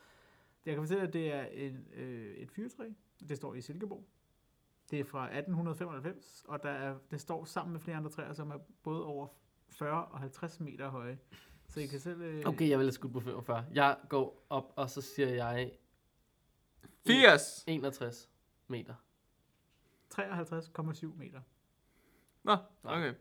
Speaker 4: Jeg kan fortælle, at det er en, øh, et fyrtræ. Det står i Silkeborg. Det er fra 1895, og der er, det står sammen med flere andre træer, som er både over 40 og 50 meter høje. Så I kan selv... Øh,
Speaker 2: Okay, jeg vil have skudt på 45. Jeg går op, og så siger jeg
Speaker 5: 80.
Speaker 2: 61 meter.
Speaker 4: 53,7 meter.
Speaker 5: Nå, okay.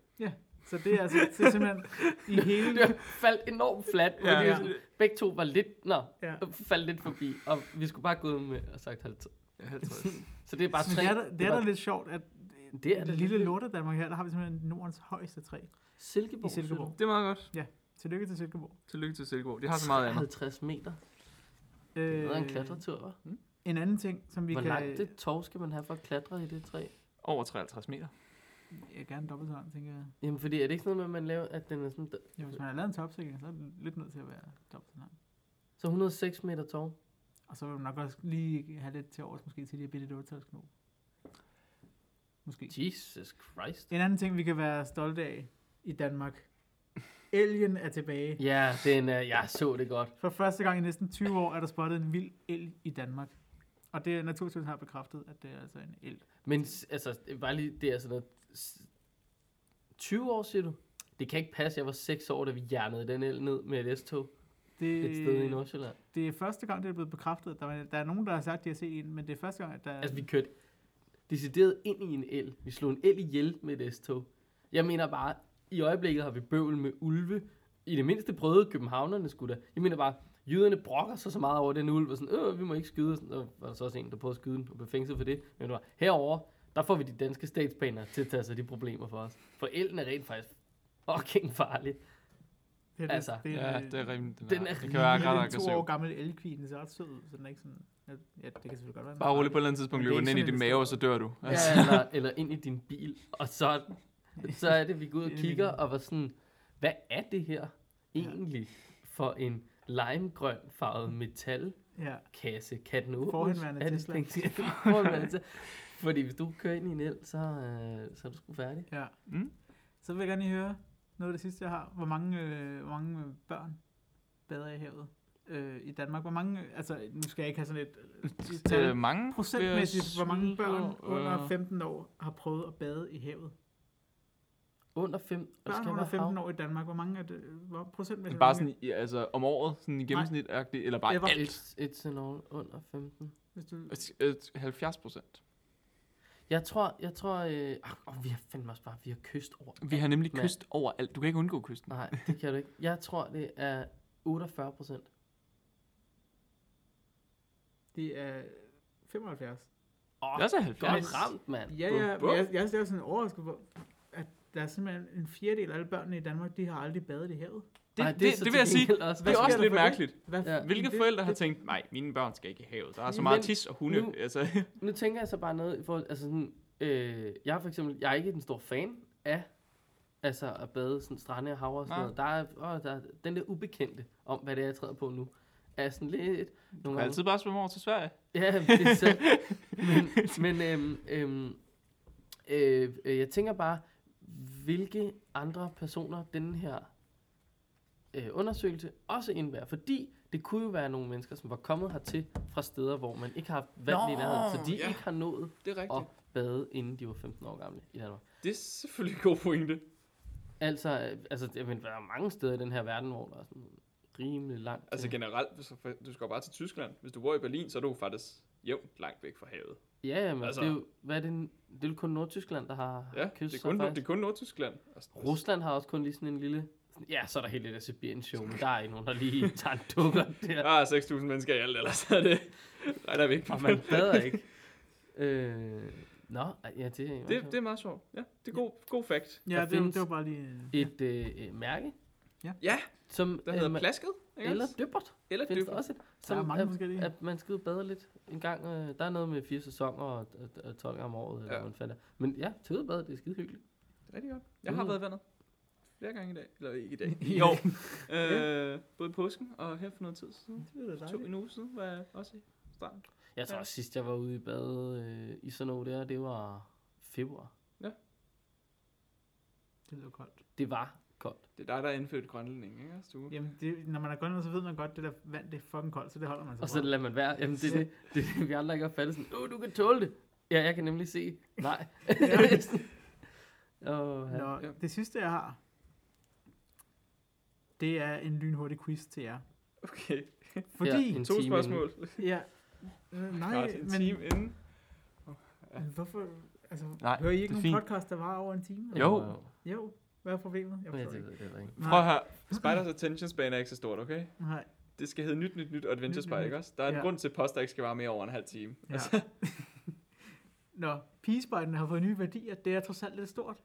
Speaker 4: Så det er altså det er simpelthen i hele...
Speaker 2: Det faldt enormt fladt,
Speaker 5: Ja.
Speaker 2: ja, ja. begge to var lidt, nå,
Speaker 4: Ja.
Speaker 2: faldt lidt forbi, og vi skulle bare gå ud med og sagt 50.
Speaker 5: Ja, 50.
Speaker 2: Så det er bare
Speaker 4: Så
Speaker 2: tre.
Speaker 4: det er, da- det er
Speaker 2: var-
Speaker 4: da lidt sjovt, at
Speaker 2: det er
Speaker 4: det
Speaker 2: da
Speaker 4: lille
Speaker 2: lidt-
Speaker 4: lorte Danmark her, der har vi simpelthen Nordens højeste træ i
Speaker 2: Silkeborg.
Speaker 4: Silkeborg.
Speaker 5: Det er meget godt.
Speaker 4: Tillykke til Silkeborg.
Speaker 5: Tillykke til Silkeborg. De har så meget andet.
Speaker 2: 50 meter. Det er en
Speaker 4: Øh,
Speaker 2: klatretur, hva'?
Speaker 4: en anden ting, som vi
Speaker 2: Hvor
Speaker 4: kan...
Speaker 2: langt det tov skal man have for at klatre i det træ?
Speaker 5: Over 53 meter.
Speaker 4: Jeg gerne dobbelt så langt, tænker jeg.
Speaker 2: Jamen, fordi er det ikke sådan noget med, at man laver, at den er sådan... der-
Speaker 4: Ja, hvis man har lavet en topsikring, så er den lidt nødt til at være dobbelt så lang.
Speaker 2: Så 106 meter tov.
Speaker 4: Og så vil man nok også lige have lidt til overs, måske til de her bitte 8 Måske.
Speaker 2: Jesus Christ.
Speaker 4: En anden ting, vi kan være stolte af i Danmark. Elgen er tilbage.
Speaker 2: Ja, den er, jeg så det godt.
Speaker 4: For første gang i næsten 20 år er der spottet en vild elg i Danmark. Og det er Naturstyrelsen har bekræftet, at det er altså en elg.
Speaker 2: Men s- altså, det er bare lige, det er sådan noget... s- 20 år, siger du? Det kan ikke passe, jeg var 6 år, da vi hjernede den el ned med et S-tog et
Speaker 4: Øh,
Speaker 2: sted i Nordsjælland.
Speaker 4: det er første gang, det er blevet bekræftet. Der, er- der er nogen, der har sagt, at de har set en, men det er første gang, at der
Speaker 2: Altså, vi kørte decideret ind i en el. Vi slog en el ihjel med et S-tog. Jeg mener bare, i øjeblikket har vi bøvl med ulve. I det mindste prøvede københavnerne skulle da. Jeg mener bare, jøderne brokker sig så meget over den ulv, og sådan, øh, vi må ikke skyde. Og sådan, og var der så også en, der prøvede at skyde den og blev fængslet for det. Men det var, herover der får vi de danske statsbaner til at tage sig de problemer for os. For elden er rent faktisk fucking farlig.
Speaker 4: det,
Speaker 2: altså,
Speaker 4: det,
Speaker 5: Ja, det er rimeligt. Den,
Speaker 2: Den
Speaker 5: er,
Speaker 2: er
Speaker 5: det kan være
Speaker 4: det
Speaker 5: ret
Speaker 4: er en to år
Speaker 5: aggressivt.
Speaker 4: gammel elgkvin, den ser ret sød ud, så den er ikke sådan... Ja, det kan selvfølgelig godt være. den
Speaker 5: Bare
Speaker 4: er
Speaker 5: roligt på et eller andet tidspunkt,
Speaker 4: Men det er
Speaker 5: løber den
Speaker 4: ikke
Speaker 5: ind
Speaker 4: sådan,
Speaker 5: i din
Speaker 4: det
Speaker 5: mave, og så
Speaker 4: står.
Speaker 5: dør du. Altså,
Speaker 4: Altså.
Speaker 2: Ja, eller, eller ind i din bil, og så, så er det, vi går ud og
Speaker 4: Ind i
Speaker 2: kigger,
Speaker 4: bilen.
Speaker 2: og var sådan, hvad er det her egentlig for en limegrøn farvet metalkasse?
Speaker 4: Ja,
Speaker 2: Kan den åbnes?
Speaker 4: Forhenværende
Speaker 2: er det
Speaker 4: Tesla.
Speaker 2: sådan- Forhenværende Tesla. Fordi hvis du kører ind i en el, så, øh, så er du sgu færdig.
Speaker 4: Ja.
Speaker 5: Mm.
Speaker 4: Så vil jeg gerne lige høre noget af det sidste, jeg har. Hvor mange, øh, hvor mange øh, børn bader i havet øh, i Danmark? Hvor mange, øh, altså nu skal jeg ikke have sådan et øh, et
Speaker 5: Det
Speaker 4: tal.
Speaker 5: er mange.
Speaker 4: procentmæssigt, hvor mange børn under
Speaker 5: Øh,
Speaker 4: 15 år har prøvet at bade i havet?
Speaker 2: Under 5
Speaker 5: Altså,
Speaker 4: Børn under 15 år i Danmark, hvor mange er det? Hvor procentmæssigt?
Speaker 5: Bare
Speaker 4: hvor mange-
Speaker 5: sådan, i- altså om året, sådan i gennemsnit, eller bare
Speaker 4: Ever.
Speaker 5: alt.
Speaker 2: It's, it's an all under 15.
Speaker 4: Hvis du,
Speaker 5: Øh, 70 procent.
Speaker 2: Jeg tror, jeg tror, øh, oh, vi har fandme også bare, vi har kyst over.
Speaker 5: Vi har nemlig
Speaker 2: Men-
Speaker 5: kyst over alt. Du kan ikke undgå kysten.
Speaker 2: Nej, det kan du ikke. Jeg tror, det er 48 procent.
Speaker 4: det er 75.
Speaker 2: Åh,
Speaker 5: Det er så
Speaker 2: godt
Speaker 5: 70.
Speaker 2: ramt, mand.
Speaker 4: Ja,
Speaker 5: Bum,
Speaker 4: ja,
Speaker 5: bum.
Speaker 4: men jeg, jeg er stadig sådan overrasket hvor at der er simpelthen en fjerdedel af alle børnene i Danmark, de har aldrig badet i havet.
Speaker 5: Det,
Speaker 2: Ej,
Speaker 5: det, det,
Speaker 2: så
Speaker 5: det
Speaker 2: til
Speaker 5: vil jeg sige,
Speaker 2: gengæld også,
Speaker 5: det er
Speaker 4: sker
Speaker 5: også
Speaker 4: der
Speaker 5: lidt
Speaker 4: for det?
Speaker 5: mærkeligt.
Speaker 4: Hvad,
Speaker 2: Ja.
Speaker 5: Hvilke
Speaker 4: det-
Speaker 5: forældre har
Speaker 4: det-
Speaker 5: tænkt, nej, mine børn skal ikke i havet. Der er så
Speaker 2: Men
Speaker 5: meget tis og hunde.
Speaker 2: nu-
Speaker 5: altså,
Speaker 2: Nu tænker jeg så bare noget i forhold, altså sådan, øh, jeg er for eksempel, jeg er ikke en stor fan af, altså at bade sådan strande og hav og sådan
Speaker 5: Nej.
Speaker 2: noget. Der er, åh, der er den der ubekendte om, hvad det er, jeg træder på nu, er sådan lidt
Speaker 5: du
Speaker 2: nogle
Speaker 5: kan
Speaker 2: gange.
Speaker 5: altid bare svømme over til Sverige.
Speaker 2: Ja, det er sandt. men men øhm, øhm, øh, øh, jeg tænker bare, hvilke andre personer den her øh, undersøgelse også indebærer. Fordi det kunne jo være nogle mennesker, som var kommet hertil fra steder, hvor man ikke har haft vand i
Speaker 5: Nå,
Speaker 2: nærheden, så de
Speaker 5: ja.
Speaker 2: ikke har nået
Speaker 5: Det er
Speaker 2: og bade, inden de var 15 år gamle i Danmark.
Speaker 5: Det er selvfølgelig en god pointe.
Speaker 2: Altså, øh, altså jeg mener, der er mange steder i den her verden, hvor der er sådan rimelig langt.
Speaker 6: Altså
Speaker 2: til-
Speaker 6: generelt, hvis du- du skal jo bare til Tyskland. Hvis du bor i Berlin, så er du faktisk jævnt langt væk fra havet.
Speaker 2: ja, ja, men altså,
Speaker 6: altså-
Speaker 2: det er jo, hvad er det, det er jo kun Nordtyskland, der har
Speaker 6: Ja,
Speaker 2: har kyst
Speaker 6: det er
Speaker 2: så
Speaker 6: kun,
Speaker 2: Ah, faktisk.
Speaker 6: det er kun Nordtyskland. Altså,
Speaker 2: Rusland har også kun lige sådan en lille... Ja, så er der helt lidt af Sibirien show, men der er ikke nogen, der lige tager en dukker der.
Speaker 6: Der er 6.000 mennesker i alt, ellers så er det... regner vi ikke på.
Speaker 2: Og man bader ikke. Øh, nå, ej, ja, det er meget
Speaker 6: Det,
Speaker 2: sjovt.
Speaker 6: det er meget sjovt. Ja, det er god, god fact.
Speaker 4: Ja,
Speaker 2: Der
Speaker 4: det, var-
Speaker 2: findes
Speaker 4: det var bare lige...
Speaker 2: Et øh, øh, mærke.
Speaker 4: Ja.
Speaker 6: Ja.
Speaker 2: Som,
Speaker 6: Der hedder
Speaker 2: man-
Speaker 6: plasket, ikke
Speaker 2: eller
Speaker 6: også?
Speaker 2: dybbert.
Speaker 6: eller
Speaker 2: Findes der
Speaker 6: dybt.
Speaker 2: også et,
Speaker 4: Der
Speaker 2: som,
Speaker 4: er mange
Speaker 2: at-
Speaker 4: forskellige.
Speaker 2: at man skal ud og bade lidt en gang. Øh, der er noget med fire sæsoner og, og, og 12 gange om året, eller
Speaker 6: Ja.
Speaker 2: hvad man fandt. Men ja, til udbad, det er skide hyggeligt.
Speaker 6: Rigtig godt. Jeg har
Speaker 2: Mm.
Speaker 6: været i vandet. Flere gange i dag. Eller ikke i dag. I år. øh, både i påsken og her for noget tid siden. To en uge siden var jeg også i stranden.
Speaker 2: Jeg tror
Speaker 6: Ja.
Speaker 2: også sidst, jeg var ude i bad øh, i sådan noget der, det var februar.
Speaker 4: Det lyder koldt.
Speaker 2: Det var koldt.
Speaker 6: Det er dig, der er indfødt grønlænding, ikke? også, du?
Speaker 4: Jamen, det, når man er grønlænder, så ved man godt, det der vand, det er fucking koldt, så det holder man sig
Speaker 2: Og så
Speaker 4: fra.
Speaker 2: lader man være. Jamen, det er det, det, er det vi andre ikke har fattet. Sådan, Åh, du kan tåle det. Ja, jeg kan nemlig se. Nej. Åh, ja.
Speaker 4: Nå,
Speaker 6: Ja.
Speaker 4: det sidste, jeg har, det er en lynhurtig quiz til jer.
Speaker 6: Okay.
Speaker 4: Fordi...
Speaker 2: Ja, en
Speaker 6: To
Speaker 2: time
Speaker 6: spørgsmål.
Speaker 4: Ja. Øh, Nej,
Speaker 6: Godt, en
Speaker 4: men,
Speaker 6: time inden.
Speaker 4: men hvorfor... Altså,
Speaker 5: Nej,
Speaker 4: Nej, hører I
Speaker 5: det er
Speaker 4: ikke nogen
Speaker 5: fint.
Speaker 4: podcast, der var over en time?
Speaker 2: inden.
Speaker 5: Jo.
Speaker 4: Jo, hvad er problemet? Jeg
Speaker 2: Men jeg
Speaker 4: forstår
Speaker 2: ved
Speaker 4: ikke.
Speaker 2: det heller ikke.
Speaker 4: Nej.
Speaker 5: Prøv at høre.
Speaker 6: Spiders attention span er ikke så stort, okay?
Speaker 4: Nej,
Speaker 6: Det skal hedde nyt, nyt, nyt og
Speaker 4: Nyt,
Speaker 6: Adventure
Speaker 4: nyt,
Speaker 6: Spy, ikke også? Der er en
Speaker 4: Ja.
Speaker 6: grund til, at poster ikke skal være mere over en halv time. Altså,
Speaker 4: ja. Nå, pigespejden har fået nye værdier. Det er trods alt lidt stort.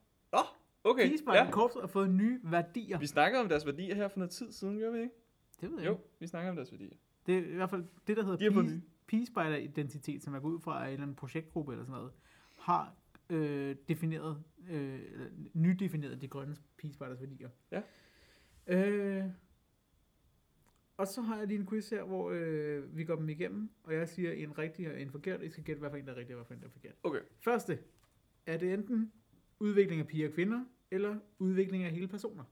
Speaker 4: Okay,
Speaker 6: Okay,
Speaker 4: pigespejden,
Speaker 6: ja.
Speaker 4: ja. korpset, har fået nye værdier.
Speaker 6: Vi snakkede om deres værdier her for noget tid siden, gjorde vi ikke?
Speaker 4: Det ved jeg
Speaker 6: Jo,
Speaker 4: ikke.
Speaker 6: vi snakkede om deres værdier.
Speaker 4: Det er i hvert fald det, der
Speaker 6: De har fået
Speaker 4: hedder
Speaker 6: nye.
Speaker 4: pigespejder-identitet, som jeg går ud fra er en eller anden projektgruppe eller sådan noget, har øh, defineret, øh, eller nydefineret de grønne pigespejders værdier.
Speaker 6: Ja.
Speaker 4: Øh, og så har jeg lige en quiz her, hvor øh, vi går dem igennem, og jeg siger en rigtig og en forkert. I skal gætte, hvad for en der er rigtig og hvad for en der er forkert.
Speaker 6: Okay.
Speaker 4: Første. Er det enten udvikling af piger og kvinder, eller udvikling af hele personer?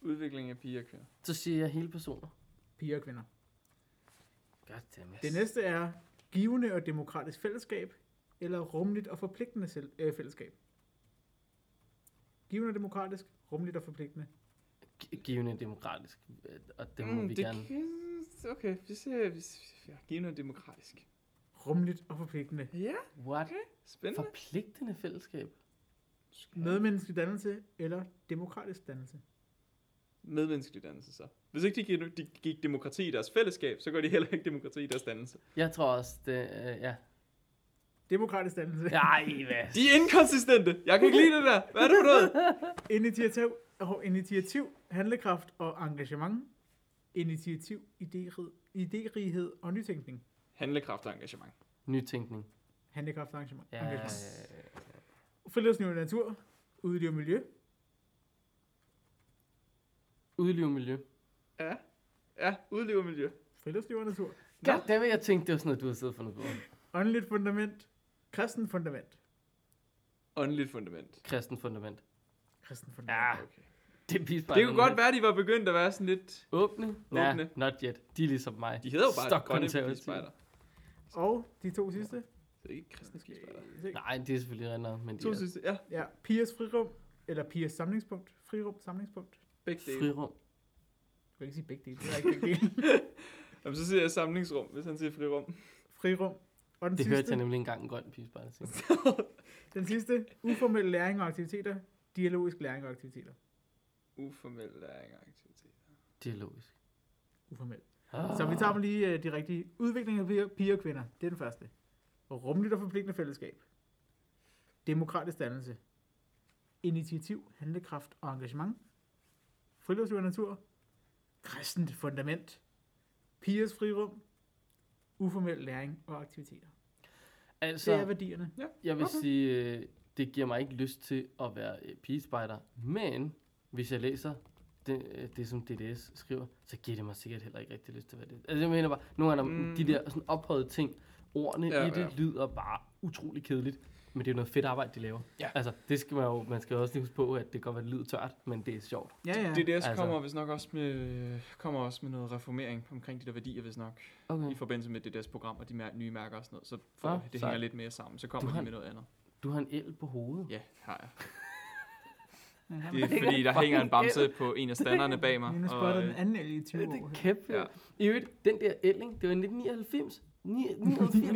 Speaker 6: Udvikling af piger og kvinder.
Speaker 2: Så siger jeg hele personer.
Speaker 4: Piger og kvinder.
Speaker 2: Goddammit.
Speaker 4: Det næste er givende og demokratisk fællesskab, eller rumligt og forpligtende selv, øh, fællesskab. Givende og demokratisk, rumligt og forpligtende.
Speaker 2: Gi- Givende demokratisk. øh, Og det må
Speaker 4: Mm,
Speaker 2: vi
Speaker 6: Mm, det
Speaker 2: gerne.
Speaker 6: Kan... Okay, vi ser, vi ser ja, giv noget demokratisk.
Speaker 4: Rumligt og forpligtende.
Speaker 6: Ja,
Speaker 2: What?
Speaker 6: spændende.
Speaker 2: Forpligtende fællesskab.
Speaker 4: Medmenneskelig dannelse eller demokratisk dannelse.
Speaker 6: Medmenneskelig dannelse så. Hvis ikke de gik, de gik demokrati i deres fællesskab, så går de heller ikke demokrati i deres dannelse.
Speaker 2: Jeg tror også, det øh, ja.
Speaker 4: Demokratisk dannelse.
Speaker 2: Ej, hvad?
Speaker 6: De er inkonsistente! Jeg kan ikke lide det der! Hvad er det for noget?
Speaker 4: Initiativ, og initiativ, handlekraft og engagement. Initiativ, idérighed, idérighed og nytænkning.
Speaker 6: Handlekraft og engagement.
Speaker 2: Nytænkning.
Speaker 4: Handlekraft og engagement.
Speaker 2: Ja,
Speaker 4: engagement.
Speaker 2: øh,
Speaker 4: Friluftsliv og natur. Udliv og miljø.
Speaker 2: udliv miljø.
Speaker 6: Ja, ja udlever miljø.
Speaker 4: Friluftsliv og natur.
Speaker 2: Goddammit, jeg tænkte, det var sådan noget, du havde siddet for noget på.
Speaker 4: Åndeligt fundament. Kristen fundament.
Speaker 5: Åndeligt fundament.
Speaker 2: Kristen fundament.
Speaker 4: Kristen
Speaker 2: Ja,
Speaker 4: fundament.
Speaker 5: Okay.
Speaker 2: det er vist bare
Speaker 5: Det kunne
Speaker 2: nogle
Speaker 5: godt
Speaker 2: af-
Speaker 5: være, de var begyndt at være sådan lidt...
Speaker 2: Åbne? Åbne.
Speaker 5: Åbne.
Speaker 2: Ja, not yet. De er ligesom mig.
Speaker 5: De hedder jo bare
Speaker 2: Stok
Speaker 5: grønne
Speaker 2: konservative.
Speaker 5: pispejder.
Speaker 4: Ja. Og de to sidste.
Speaker 5: Det er ikke kristne pispejder.
Speaker 2: Nej, det er selvfølgelig render, men de
Speaker 5: To
Speaker 2: er
Speaker 5: sidste, ja.
Speaker 4: Ja, pigers frirum, eller pigers samlingspunkt. Frirum, samlingspunkt.
Speaker 5: Begge dele.
Speaker 2: frirum.
Speaker 4: Du kan ikke sige begge dele, det er ikke begge dele.
Speaker 5: Jamen, så siger jeg samlingsrum, hvis han siger frirum.
Speaker 4: Frirum. Og den
Speaker 2: Det hørte
Speaker 4: sidste,
Speaker 2: jeg nemlig engang en grøn pigespejder sige.
Speaker 4: den sidste, uformel læring og aktiviteter. Dialogisk læring og aktiviteter.
Speaker 5: Uformel læring og aktivitet.
Speaker 2: Dialogisk.
Speaker 4: Uformel.
Speaker 2: Ah.
Speaker 4: Så vi tager dem lige øh, de rigtige. Udvikling af piger- piger og kvinder, det er den første. Rummeligt og forpligtende fællesskab. Demokratisk dannelse. Initiativ, handlekraft og engagement. Friluftsliv og natur. Kristent fundament. Pigers frirum. Uformel læring og aktiviteter.
Speaker 2: Altså,
Speaker 4: Så. Det er værdierne.
Speaker 2: jeg vil
Speaker 5: Okay.
Speaker 2: sige, øh, det giver mig ikke lyst til at være øh, pigespejder, men hvis jeg læser det, øh, det, som DDS skriver, så giver det mig sikkert heller ikke rigtig lyst til at være det. Altså, jeg mener bare, nogle gange mm.
Speaker 5: Mm.
Speaker 2: de der sådan ophøjede ting, ordene
Speaker 5: Ja,
Speaker 2: ja, i det
Speaker 5: ja.
Speaker 2: ja. lyder bare utrolig kedeligt. Men det er jo noget fedt arbejde, de laver.
Speaker 5: Ja.
Speaker 2: Altså, det skal man jo, man skal jo også lige huske på, at det kan godt være, det lyder tørt, men det er sjovt.
Speaker 4: Ja, ja.
Speaker 5: Det der
Speaker 2: Altså.
Speaker 5: altså. kommer vist nok også med, kommer også med noget reformering omkring de der værdier, hvis nok.
Speaker 2: Okay.
Speaker 5: I forbindelse med det deres program og de mær- nye mærker og sådan noget. Så for,
Speaker 2: Ah,
Speaker 5: ah, det
Speaker 2: sejt.
Speaker 5: hænger lidt mere sammen. Så
Speaker 2: Du
Speaker 5: kommer
Speaker 2: har-
Speaker 5: de med noget andet.
Speaker 2: Du har en el på hovedet.
Speaker 5: Ja, har jeg.
Speaker 4: Ja,
Speaker 5: Det
Speaker 4: han-
Speaker 5: er fordi, der hænger en bamse på en af standerne bag mig.
Speaker 4: Han har
Speaker 5: Og,
Speaker 4: spottet
Speaker 5: øh,
Speaker 4: den anden el i 20
Speaker 2: Det
Speaker 4: år.
Speaker 2: er kæft, ja.
Speaker 5: Ja.
Speaker 2: I øvrigt, den der ælling, det var i 1999. Ni- 99,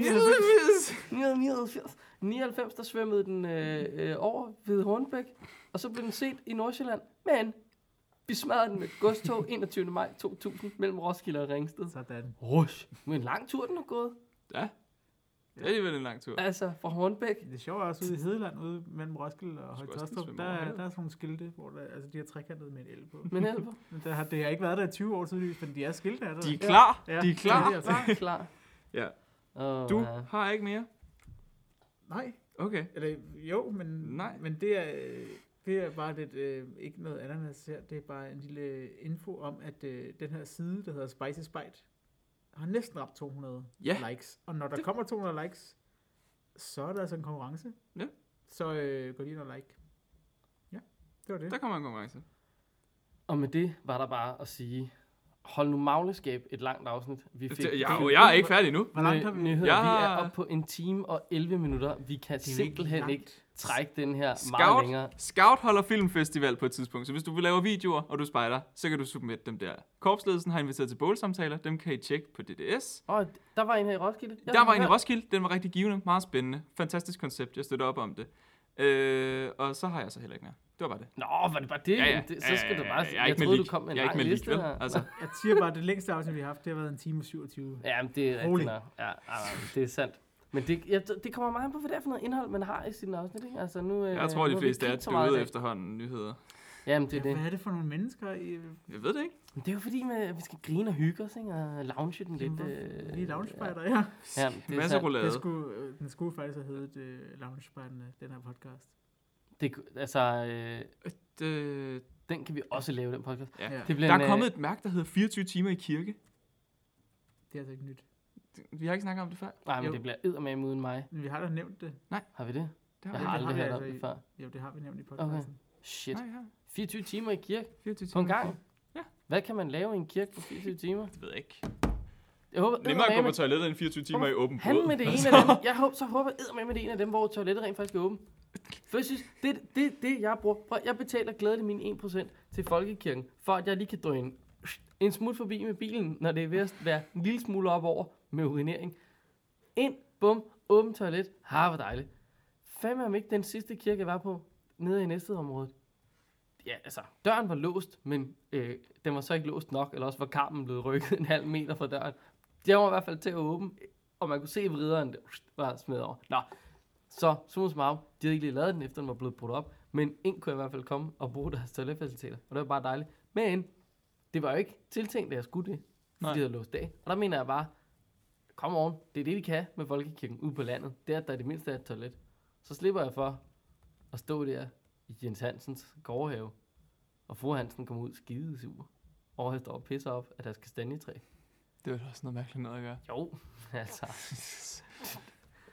Speaker 4: 99.
Speaker 2: 99, 99, der svømmede den øh, øh, over ved Hornbæk, og så blev den set i Nordsjælland, men vi smadrede den med godstog 21. maj 2000 mellem Roskilde og Ringsted.
Speaker 4: Sådan.
Speaker 2: Rush. Men en lang tur, den er gået.
Speaker 5: det er alligevel en lang tur.
Speaker 2: Altså, fra Hornbæk.
Speaker 4: Det sjove er også ude i Hedeland, ude mellem Roskilde og
Speaker 5: Du skal
Speaker 4: Høje
Speaker 5: også lige
Speaker 4: Tostrup,
Speaker 5: svømme
Speaker 4: der,
Speaker 5: over
Speaker 4: er,
Speaker 5: havet.
Speaker 4: der er sådan nogle skilte, hvor der, altså, de har trekantet med en el på.
Speaker 2: Men Elber,
Speaker 4: Men der har, det har ikke været der i 20 år tydeligvis, men de er skilte af det.
Speaker 5: De er klar.
Speaker 4: Ja.
Speaker 5: De er klar.
Speaker 4: Ja, det altså. er
Speaker 2: klar, altså klar.
Speaker 5: Ja.
Speaker 2: Oh,
Speaker 5: Du har ikke mere?
Speaker 4: Nej,
Speaker 5: Okay.
Speaker 4: eller jo, men,
Speaker 5: Nej.
Speaker 4: men det, er, øh, det er bare lidt, øh, ikke noget ananas her, det er bare en lille info om, at øh, den her side, der hedder Spicy Spite, har næsten ramt 200
Speaker 5: Ja.
Speaker 4: likes. Og når der
Speaker 5: Det-
Speaker 4: kommer 200 likes, så er der altså en konkurrence.
Speaker 5: Ja.
Speaker 4: Så øh, gå lige ind og like. Ja, det var det.
Speaker 5: Der kommer en konkurrence.
Speaker 2: Og med det var der bare at sige, hold nu magleskab et langt afsnit. Vi
Speaker 5: Det, jeg, og jeg er ikke færdig nu.
Speaker 4: Hvor langt har vi?
Speaker 2: Nyheder.
Speaker 5: Jeg
Speaker 2: Vi er
Speaker 5: har-
Speaker 2: oppe på en time og 11 minutter. Vi kan
Speaker 4: Det er jo ikke
Speaker 2: simpelthen
Speaker 4: langt.
Speaker 2: ikke trække den her meget
Speaker 5: Scout,
Speaker 2: længere.
Speaker 5: Scout holder filmfestival på et tidspunkt, så hvis du vil lave videoer, og du spejder, så kan du submitte dem der. Korpsledelsen har inviteret til bålsamtaler, dem kan I tjekke på DDS.
Speaker 2: Og der var en her i Roskilde. Jeg
Speaker 5: Der
Speaker 2: skal
Speaker 5: var en i
Speaker 2: høre.
Speaker 5: Roskilde, den var rigtig givende, meget spændende, fantastisk koncept, jeg støtter op om det. Øh, og så har jeg så heller ikke mere. Det var bare det.
Speaker 2: Nå, var det bare det? Ja, ja. det så skal du bare sige. Jeg, jeg troede, du kom med en
Speaker 5: jeg er ikke
Speaker 2: lang
Speaker 5: med
Speaker 2: liste.
Speaker 5: vel?
Speaker 2: her.
Speaker 5: Altså,
Speaker 4: Jeg siger bare, at det længste afsnit, vi har haft, det har været en time og 27.
Speaker 2: Ja, men det er rigtigt
Speaker 4: Rolig.
Speaker 2: nok. Ja, ja, det er sandt. Men det, ja, det kommer meget an på, hvad det er for noget indhold, man har i sin afsnit. Ikke? Altså, nu, øh,
Speaker 5: jeg tror,
Speaker 2: nu
Speaker 5: de
Speaker 2: har vi
Speaker 5: fleste er
Speaker 2: ikke så meget i
Speaker 5: døde
Speaker 2: dag.
Speaker 5: efterhånden nyheder.
Speaker 2: Jamen, det er
Speaker 4: Ja,
Speaker 2: det.
Speaker 4: hvad er det for nogle mennesker? I,
Speaker 5: Jeg ved det ikke.
Speaker 2: Men det er jo fordi, man, vi skal grine og hygge os, ikke? og lounge den lidt.
Speaker 4: øh, vi er
Speaker 2: ja.
Speaker 4: loungespejder, ja.
Speaker 2: Ja, men det, er
Speaker 5: Masser
Speaker 2: sandt.
Speaker 5: roulade.
Speaker 4: Det skulle, øh, den skulle faktisk have heddet øh, Loungespejderne, den her podcast.
Speaker 2: det, kunne- altså, øh,
Speaker 5: Øh,
Speaker 2: den kan vi også lave, den podcast.
Speaker 5: Ja.
Speaker 4: ja. Det,
Speaker 2: Det bliver
Speaker 5: der
Speaker 2: en,
Speaker 5: er
Speaker 2: øh,
Speaker 5: kommet et mærke, der hedder 24 timer i kirke.
Speaker 4: det er altså ikke nyt.
Speaker 5: Vi har ikke snakket om det før.
Speaker 2: Nej, men
Speaker 4: Jo.
Speaker 2: det bliver eddermame uden mig.
Speaker 4: Men vi har da nævnt det.
Speaker 2: Har vi det?
Speaker 5: Det
Speaker 2: Jeg har
Speaker 5: vi ikke.
Speaker 2: aldrig
Speaker 4: vi
Speaker 2: hørt om
Speaker 4: altså
Speaker 2: det
Speaker 4: i-
Speaker 2: før.
Speaker 4: Jo, det har vi nævnt i podcasten. Okay.
Speaker 2: Shit.
Speaker 5: Nej, ja.
Speaker 2: 24 timer i kirke
Speaker 5: 24
Speaker 2: på en
Speaker 5: timer.
Speaker 2: gang.
Speaker 5: Ja.
Speaker 2: Hvad kan man lave i en kirke på 24 timer?
Speaker 5: Det ved jeg ikke.
Speaker 2: Jeg håber,
Speaker 5: Nemmere at gå
Speaker 2: eddermame-
Speaker 5: på toilettet end 24 timer i åben
Speaker 2: Han med det ene af dem. Jeg håber, så håber jeg med det er en af dem, hvor toilettet rent faktisk er åbent. For jeg synes, det, det, det jeg bruger, prøv, at- jeg betaler glædeligt min 1% til folkekirken, for at jeg lige kan drøne en smut forbi med bilen, når det er ved at være en lille smule op over med urinering. Ind, bum, åbent toilet. Har, hvor dejligt. Fandme om ikke den sidste kirke, jeg var på, nede i næste område. Ja, altså, døren var låst, men øh, den var så ikke låst nok, eller også var karmen blevet rykket en halv meter fra døren. Den var i hvert fald til at åbne, og man kunne se vrideren, der var smidt over. Nå, så summa summarum, de havde ikke lige lavet den, efter den var blevet brudt op, men en kunne i hvert fald komme og bruge deres toiletfaciliteter, og det var bare dejligt. Men det var jo ikke tiltænkt, at jeg skulle det, fordi
Speaker 5: Nej.
Speaker 2: de havde låst af. Og der mener jeg bare, kom on, det er det, vi kan med folkekirken ude på landet, det er, at der i det mindste er et toilet. Så slipper jeg for at stå der i Jens Hansens gårdhave, og fru Hansen kommer ud skide sur, og jeg står og pisser op, at der skal stande i træ.
Speaker 5: Det er også noget mærkeligt noget at gøre.
Speaker 2: Jo, altså.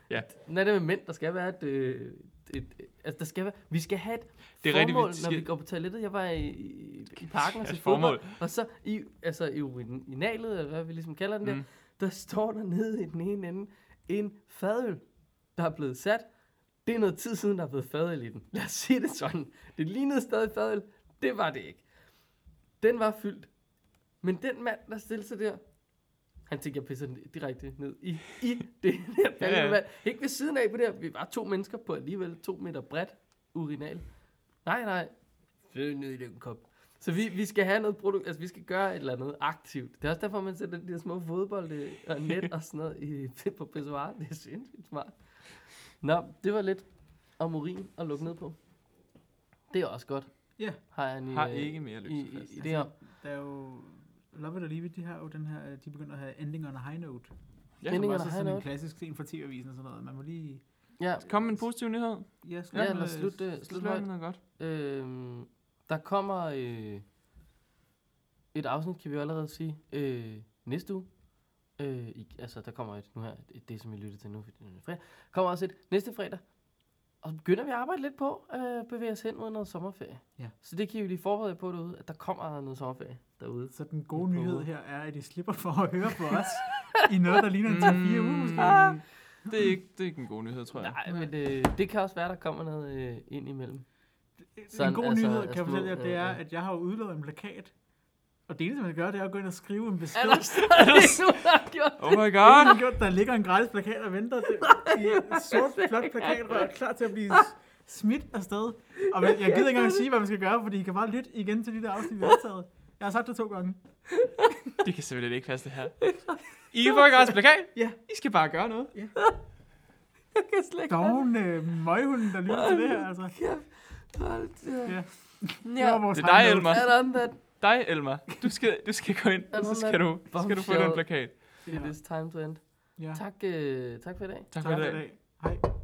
Speaker 5: Ja.
Speaker 2: Nej, det er med mænd, der skal være et, øh, et, et altså der skal være, vi skal have et
Speaker 5: Det er
Speaker 2: formål,
Speaker 5: rigtigt, vi
Speaker 2: når
Speaker 5: skal-
Speaker 2: vi går på toilettet. Jeg var i, i, i parken og
Speaker 5: Ja,
Speaker 2: så
Speaker 5: et formål.
Speaker 2: fodbold, og så i, altså i urinalet, eller hvad vi ligesom kalder den der,
Speaker 5: Mm.
Speaker 2: der står der nede i den ene ende en fadøl, der er blevet sat. Det er noget tid siden, der er blevet fadøl i den. Lad os sige det sådan. Det lignede stadig fadøl. Det var det ikke. Den var fyldt. Men den mand, der stillede sig der, han tænkte, jeg pisser den direkte ned i, i det der
Speaker 5: Ja, ja.
Speaker 2: faldende vand. Ikke ved siden af på det her. Vi var to mennesker på alligevel to meter bredt urinal. Nej, nej. Fød ned i den kop. Så vi, vi skal have noget produkt, altså vi skal gøre et eller andet aktivt. Det er også derfor, man sætter de der små fodbold øh, og net og sådan noget i, på pissoir. Det er sindssygt smart. Nå, det var lidt om urin at lukke ned på. Det er også godt.
Speaker 4: Ja.
Speaker 2: Har jeg en,
Speaker 5: Har
Speaker 2: øh,
Speaker 5: ikke mere Altså,
Speaker 2: i,
Speaker 5: løs
Speaker 2: i, i
Speaker 4: fast.
Speaker 2: det her.
Speaker 4: Der er jo... Love it or leave it, de har jo den her, øh, de begynder at have ending on a high note.
Speaker 5: Ja,
Speaker 4: Som
Speaker 2: Ending on
Speaker 4: også
Speaker 2: a
Speaker 4: er
Speaker 2: high
Speaker 4: sådan en
Speaker 2: note.
Speaker 4: klassisk scene fra TV-avisen og sådan noget. Man må lige...
Speaker 2: Ja,
Speaker 5: Kom med en positiv nyhed.
Speaker 4: Ja, slut,
Speaker 2: ja
Speaker 4: med-
Speaker 2: eller slut, øh, slut
Speaker 5: Slut
Speaker 2: højt.
Speaker 5: med noget godt.
Speaker 2: Øhm, der kommer øh, et afsnit, kan vi jo allerede sige, øh, næste uge. Øh, i, altså, der kommer et nu her, et, det som I lytter til nu, fordi det er fredag. kommer også et næste fredag. Og så begynder vi at arbejde lidt på at øh, bevæge os hen mod noget sommerferie.
Speaker 4: Ja.
Speaker 2: Så det kan I jo lige forberede jer på derude, at der kommer noget sommerferie derude.
Speaker 4: Så den
Speaker 2: Et
Speaker 4: gode nyhed
Speaker 2: par
Speaker 4: her er, at I slipper for at høre på os i noget, der ligner en 3-4 uger måske.
Speaker 5: Mm, det, er ikke, det er ikke en god nyhed, tror jeg.
Speaker 2: Nej, men øh, det kan også være, der kommer noget øh, ind imellem.
Speaker 4: en
Speaker 2: Sådan,
Speaker 4: god
Speaker 2: altså,
Speaker 4: nyhed, kan
Speaker 2: små,
Speaker 4: jeg fortælle jer, det
Speaker 2: ja,
Speaker 4: er,
Speaker 2: ja.
Speaker 4: at jeg har jo udlået en plakat. Og det eneste, man gør, det er at gå ind og skrive en besked.
Speaker 2: Er der stadig nogen, der har gjort
Speaker 5: Oh my
Speaker 4: Jeg
Speaker 5: god!
Speaker 4: har gjort, der ligger en gratis plakat og venter. Det, i et sort, flot plakatrør, klar til at blive s- smidt afsted. Og men, jeg gider ikke engang sige, hvad man skal gøre, fordi I kan bare lytte igen til de der afsnit, vi har taget. Jeg har sagt det to gange.
Speaker 5: Det kan simpelthen ikke passe, det her. I kan få en gratis plakat.
Speaker 4: Ja.
Speaker 5: I skal bare gøre noget.
Speaker 2: Jeg kan slet ikke have
Speaker 4: Dogne øh, møghunden, der lytter til det her, altså.
Speaker 2: det. Kæft. Hold da.
Speaker 4: Ja.
Speaker 2: Ja.
Speaker 4: Det var vores
Speaker 5: Det er dig,
Speaker 4: high note.
Speaker 5: Elmer.
Speaker 2: Er der andet,
Speaker 5: Dig, Elmer, du skal, du skal gå ind, og så skal du, så skal du få den plakat.
Speaker 2: It is time to end.
Speaker 4: Ja.
Speaker 2: Tak, øh, tak for i dag.
Speaker 5: Tak for
Speaker 4: Tak
Speaker 5: i
Speaker 4: for i
Speaker 5: dag.
Speaker 4: dag. Hej.